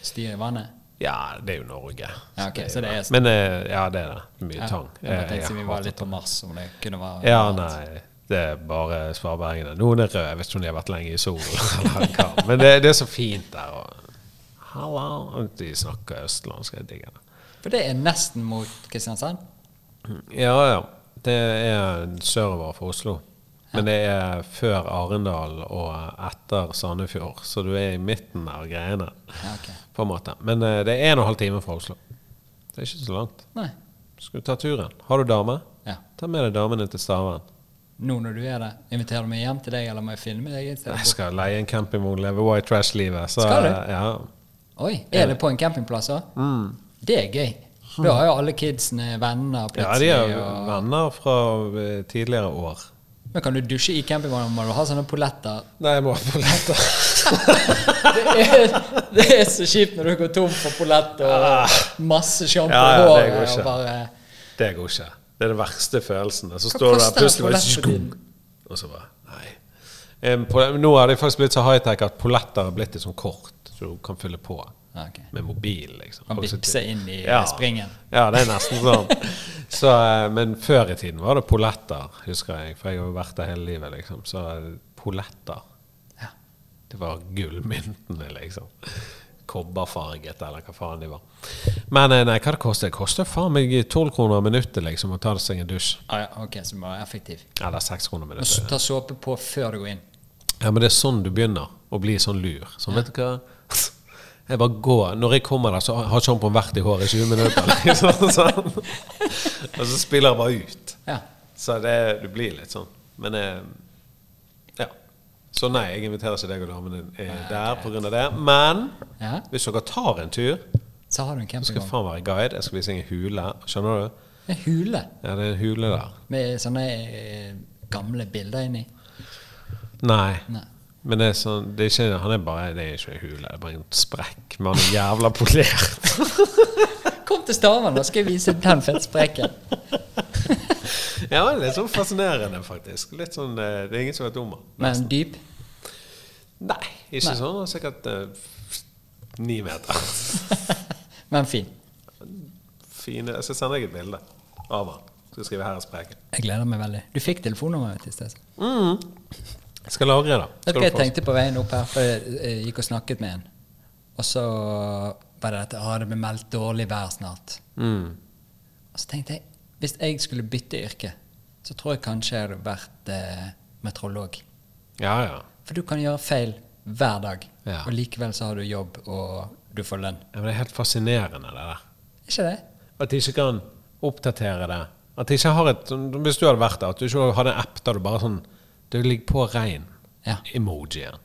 S1: styr i vannet?
S2: Ja, det er jo Norge.
S1: Ja, ok, så det er-
S2: Men eh, ja, det er det. Mye tang.
S1: Jeg bare
S2: Eh,
S1: tenkte
S2: jeg
S1: vi
S2: hater
S1: var litt på Mars, om det kunne være
S2: Ja, nei. Det er bare svabergene. Noen er røde. Jeg vet ikke om de har vært lenge i solen. eller hva. Men det, det er så fint der. Og, Hallo. Og de snakker østlandsk. Jeg digger det.
S1: For det er nesten mot Kristiansand.
S2: Ja, ja. Det er sørover for Oslo. Men det er før Arendal og etter Sandefjord, så du er i midten av greiene.
S1: Ja, ok.
S2: På en måte. Men eh, det er en og en halv time fra Oslo. Det er ikke så langt.
S1: Nei.
S2: Skal du ta turen? Har du dame?
S1: Ja.
S2: Ta med deg damene til Stavern.
S1: Nå når du er der, inviterer du meg hjem til deg, eller må jeg filme deg? et sted?
S2: Jeg skal leie en campingvogn, leve white trash-livet. så,
S1: Skal du?
S2: Ja.
S1: Oi, er det på en campingplass òg? Det er gøy. Da har jo alle kidsene venner
S2: Mm. Hm. Ja, de
S1: plutselig.
S2: er
S1: og...
S2: venner fra eh, tidligere år.
S1: Men kan du dusje i campingvognen? Må du ha sånne polletter?
S2: Nei, jeg må ha polletter.
S1: Det er, det er så kjipt når du går tom for pollett og masse sjampo
S2: Ah. Ja, ja,
S1: i
S2: det går
S1: håret.
S2: ikke.
S1: Og bare,
S2: Det går ikke. Det er den verste følelsen. Og så
S1: Hva
S2: står du der
S1: koster en
S2: plutselig bare
S1: pollett for tiden?
S2: skunk. Og så bare Nei. Em, polle- nå har de faktisk blitt så high-tech at polletter er blitt til sånn kort så du kan fylle på
S1: Ja, ok.
S2: med mobil. liksom.
S1: Kan
S2: Og så-
S1: bipse inn i springen.
S2: Ja, det er nesten sånn. Så, eh, men før i tiden var det polletter, husker jeg. For jeg har jo vært der hele livet, liksom. Så eh, polletter
S1: Ja.
S2: Det var gullmyntene, liksom. Kobberfarget, eller hva faen de var. Men eh, nei, hva det koster? Det koster faen meg 12 kroner minuttet, liksom, å ta seg en dusj.
S1: Ah, ja, ok, så du må være effektiv.
S2: Eller 6 kroner
S1: Og
S2: minuttet.
S1: så ta såpe på før du går inn.
S2: Ja, men det er sånn du begynner å bli sånn lur. Sånn, vet du hva? Jeg bare går. Når jeg kommer der, så har sjampoen vært i håret i 20 minutter. Liksom, sånn. Og så spiller jeg bare ut.
S1: Ja.
S2: Så det, du blir litt sånn. Men eh, ja. Så nei, jeg inviterer ikke deg og damen din eh, der pga. det. Men
S1: Ja.
S2: hvis dere tar en tur,
S1: Så har du en
S2: så skal jeg
S1: campingvogn.
S2: faen være guide. Jeg skal vise deg en hule. Skjønner du?
S1: En hule
S2: Ja, det er en hule der.
S1: med sånne eh, gamle bilder inni.
S2: Nei.
S1: Nei.
S2: Men det er sånn, det er ikke, han er bare det er ikke en hule, det er bare en sprekk. Men han er jævla polert.
S1: Kom til Stavanger, skal jeg vise den fettsprekken.
S2: ja, men det er sånn fascinerende, faktisk. Litt sånn, eh, Det er ingen som vet om han.
S1: Men dyp.
S2: Nei, ikke sånn. Han er sikkert eh, ni meter.
S1: Men fin.
S2: Fine. Jeg skal sende deg et bilde av han. Skal skrive 'her er spreken'.
S1: Jeg gleder meg veldig. Du fikk telefonnummeret mitt i sted.
S2: Mm. Jeg skal lagre det.
S1: Vet du hva
S2: Skal du
S1: jeg
S2: få-
S1: tenkte på veien opp her? For jeg eh, gikk og snakket med en. Og så var det dette ah, det blir meldt dårlig vær snart.
S2: Mm.
S1: Og så tenkte jeg hvis jeg skulle bytte yrke, så tror jeg kanskje jeg hadde vært eh, meteorolog.
S2: Ja, ja.
S1: For du kan gjøre feil hver dag.
S2: Ja.
S1: Og likevel så har du jobb, og du får lønn.
S2: Ja, men det er helt fascinerende, det der.
S1: Ikke det?
S2: At de ikke kan oppdatere det. At de ikke har et, sånn- Hvis du hadde vært der, at du ikke hadde en app der du bare sånn Det ligger på
S1: Ja.
S2: rein-emojien.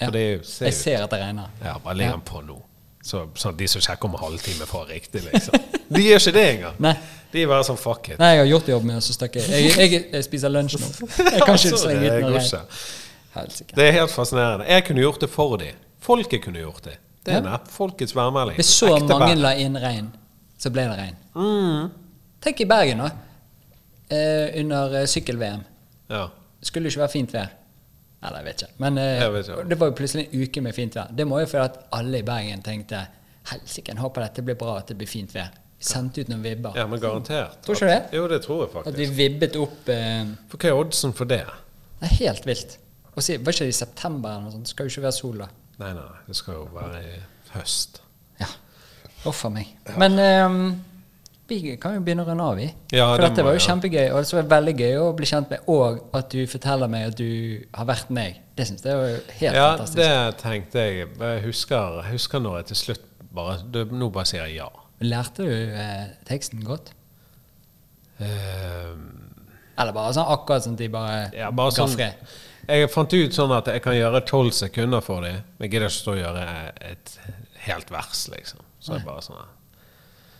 S1: Ja.
S2: For det er jo ser
S1: Jeg
S2: ut-
S1: ser at det regner.
S2: Ja, bare legg den på nå. Så, sånn at de som sjekker om en halvtime, får riktig, liksom. De gjør ikke det engang.
S1: Nei.
S2: De er bare sånn fuck it.
S1: Nei, jeg har gjort jobben min, og så stakk jeg. Jeg, jeg, jeg spiser lunsj nå. Jeg kan ikke
S2: Altså,
S1: slenge
S2: det
S1: ut
S2: går
S1: når jeg
S2: ikke.
S1: Helsike.
S2: Det er helt fascinerende. Jeg kunne gjort det for de. Folket kunne gjort det. Det er en app. Folkets værmelding.
S1: Hvis så
S2: Ekte Mm.
S1: mange
S2: vær.
S1: la inn regn, så ble det regn. Tenk i Bergen, da. Eh, under eh, sykkel-VM.
S2: Ja.
S1: Skulle det ikke være fint vær? Eller jeg vet ikke. Men eh,
S2: Jeg vet ikke.
S1: det var jo plutselig en uke med fint vær. Det må jo fordi at alle i Bergen tenkte helsike, jeg håper dette blir bra, at det blir fint vær. Vi sendte ut noen vibber.
S2: ja, men garantert.
S1: Tror ikke det?
S2: Jo, det tror jeg
S1: At
S2: faktisk.
S1: vi vibbet opp eh,
S2: For hva er oddsen for det?
S1: Det er helt vilt. Og så, var ikke det i september eller noe sånt? Det skal jo ikke være sol da.
S2: Nei, nei, nei, det skal jo være i høst.
S1: Ja. Offer meg. Men ehm, vi kan jo begynne å runde av, vi.
S2: Ja,
S1: For
S2: det
S1: dette
S2: må
S1: var jo
S2: vi, ja.
S1: kjempegøy, og det var veldig gøy å bli kjent med. Og at du forteller meg at du har vært meg. Det syns jeg var jo helt
S2: Ja,
S1: fantastisk.
S2: det tenkte jeg. Jeg husker, jeg husker når jeg til slutt bare det, Nå bare sier jeg ja.
S1: Lærte du eh, teksten godt?
S2: Ehm,
S1: Eller bare sånn akkurat sånn at de bare,
S2: ja, bare
S1: ga
S2: sånn
S1: fred?
S2: Jeg fant ut sånn at jeg kan gjøre tolv sekunder for dem, men jeg gidder ikke stå og gjøre et helt vers, liksom. Så jeg bare sånn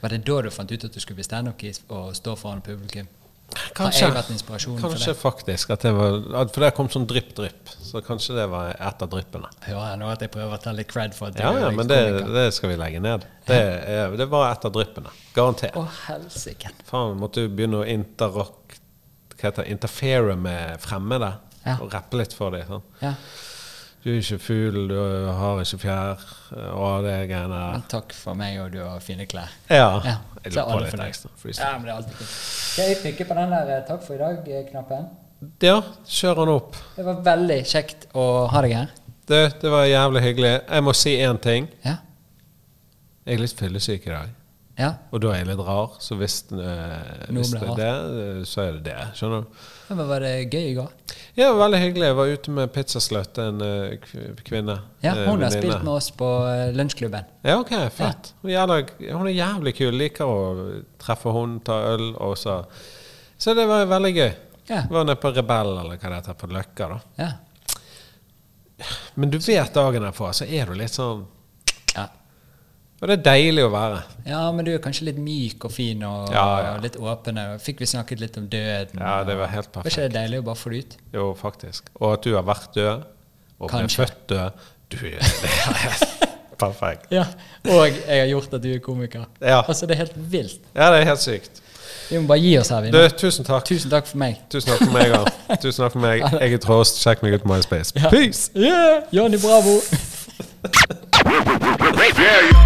S1: Var det da du fant ut at du skulle bli standup-kis og stå foran publikum? Har
S2: Kanskje,
S1: jeg vært inspirasjonen for
S2: kanskje
S1: det?
S2: faktisk. At det var, at for det kom sånn drypp-drypp. Så kanskje det var et av dryppene.
S1: Hører jeg nå at jeg prøver å ta litt cred for at
S2: Ja,
S1: du
S2: ja,
S1: er
S2: men det,
S1: komiker?
S2: det skal vi legge ned. Det, er- det var et av dryppene. Garantert.
S1: Å, helsike.
S2: Faen, måtte du begynne å interrock Hva heter det? Interfere med fremmede?
S1: Ja.
S2: Og rappe litt for dem? Sånn.
S1: Ja.
S2: Du er ikke fugl, du har ikke fjær Og det greiene der.
S1: Men takk for meg, og du har fine klær.
S2: Ja.
S1: Ja,
S2: Jeg
S1: så er
S2: lurer på
S1: alle
S2: litt
S1: fornøyd.
S2: ekstra. freestyle.
S1: Ja, men det er alltid fint. Skal jeg trykke på den der eh, 'takk for i dag'-knappen?
S2: Ja, kjør han opp.
S1: Det var veldig kjekt å ha deg her.
S2: Du, det var jævlig hyggelig. Jeg må si én ting.
S1: Ja.
S2: Jeg er litt fyllesyk i dag.
S1: ja.
S2: Og da er jeg litt rar, så hvis, eh,
S1: Noe
S2: hvis
S1: blir
S2: det er det, eh, så er det det. Skjønner du?
S1: Men var det gøy i går?
S2: Ja, veldig hyggelig. Jeg var ute med pizzaslutt, en eh, kv- kvinne.
S1: Ja,
S2: eh,
S1: Hun har
S2: venninne.
S1: spilt med oss på eh, lunsjklubben.
S2: Ja, ok, fett. Hun, er jævlig, hun er jævlig kul. Liker å treffe hun, ta øl og så Så det var veldig gøy.
S1: Ja.
S2: Var nede på Rebell, eller hva det heter, på Løkka, da.
S1: Ja.
S2: Men du vet dagen herfra, så er du litt sånn
S1: ja.
S2: Og det er deilig å være.
S1: Ja, men du er kanskje litt myk og fin og,
S2: Ja, ja.
S1: og litt åpen. og Fikk vi snakket litt om døden?
S2: Ja, det var helt
S1: Var
S2: perfekt.
S1: ikke det deilig å bare få det ut?
S2: Jo, faktisk. Og at du har vært død, og ble
S1: Kanskje.
S2: født død. Du det er Perfekt.
S1: Ja. Og jeg har gjort at du er komiker.
S2: Ja.
S1: Altså, Det er helt vilt.
S2: Ja, det er helt sykt.
S1: Vi må bare gi oss her.
S2: Du,
S1: Vinne.
S2: tusen takk.
S1: Tusen takk for meg.
S2: Tusen takk for meg. Arn. Tusen takk for meg. Jeg er Trost. Sjekk meg ut på MySpace. Peace!
S1: Yeah! Johnny Bravo.
S3: Yeah.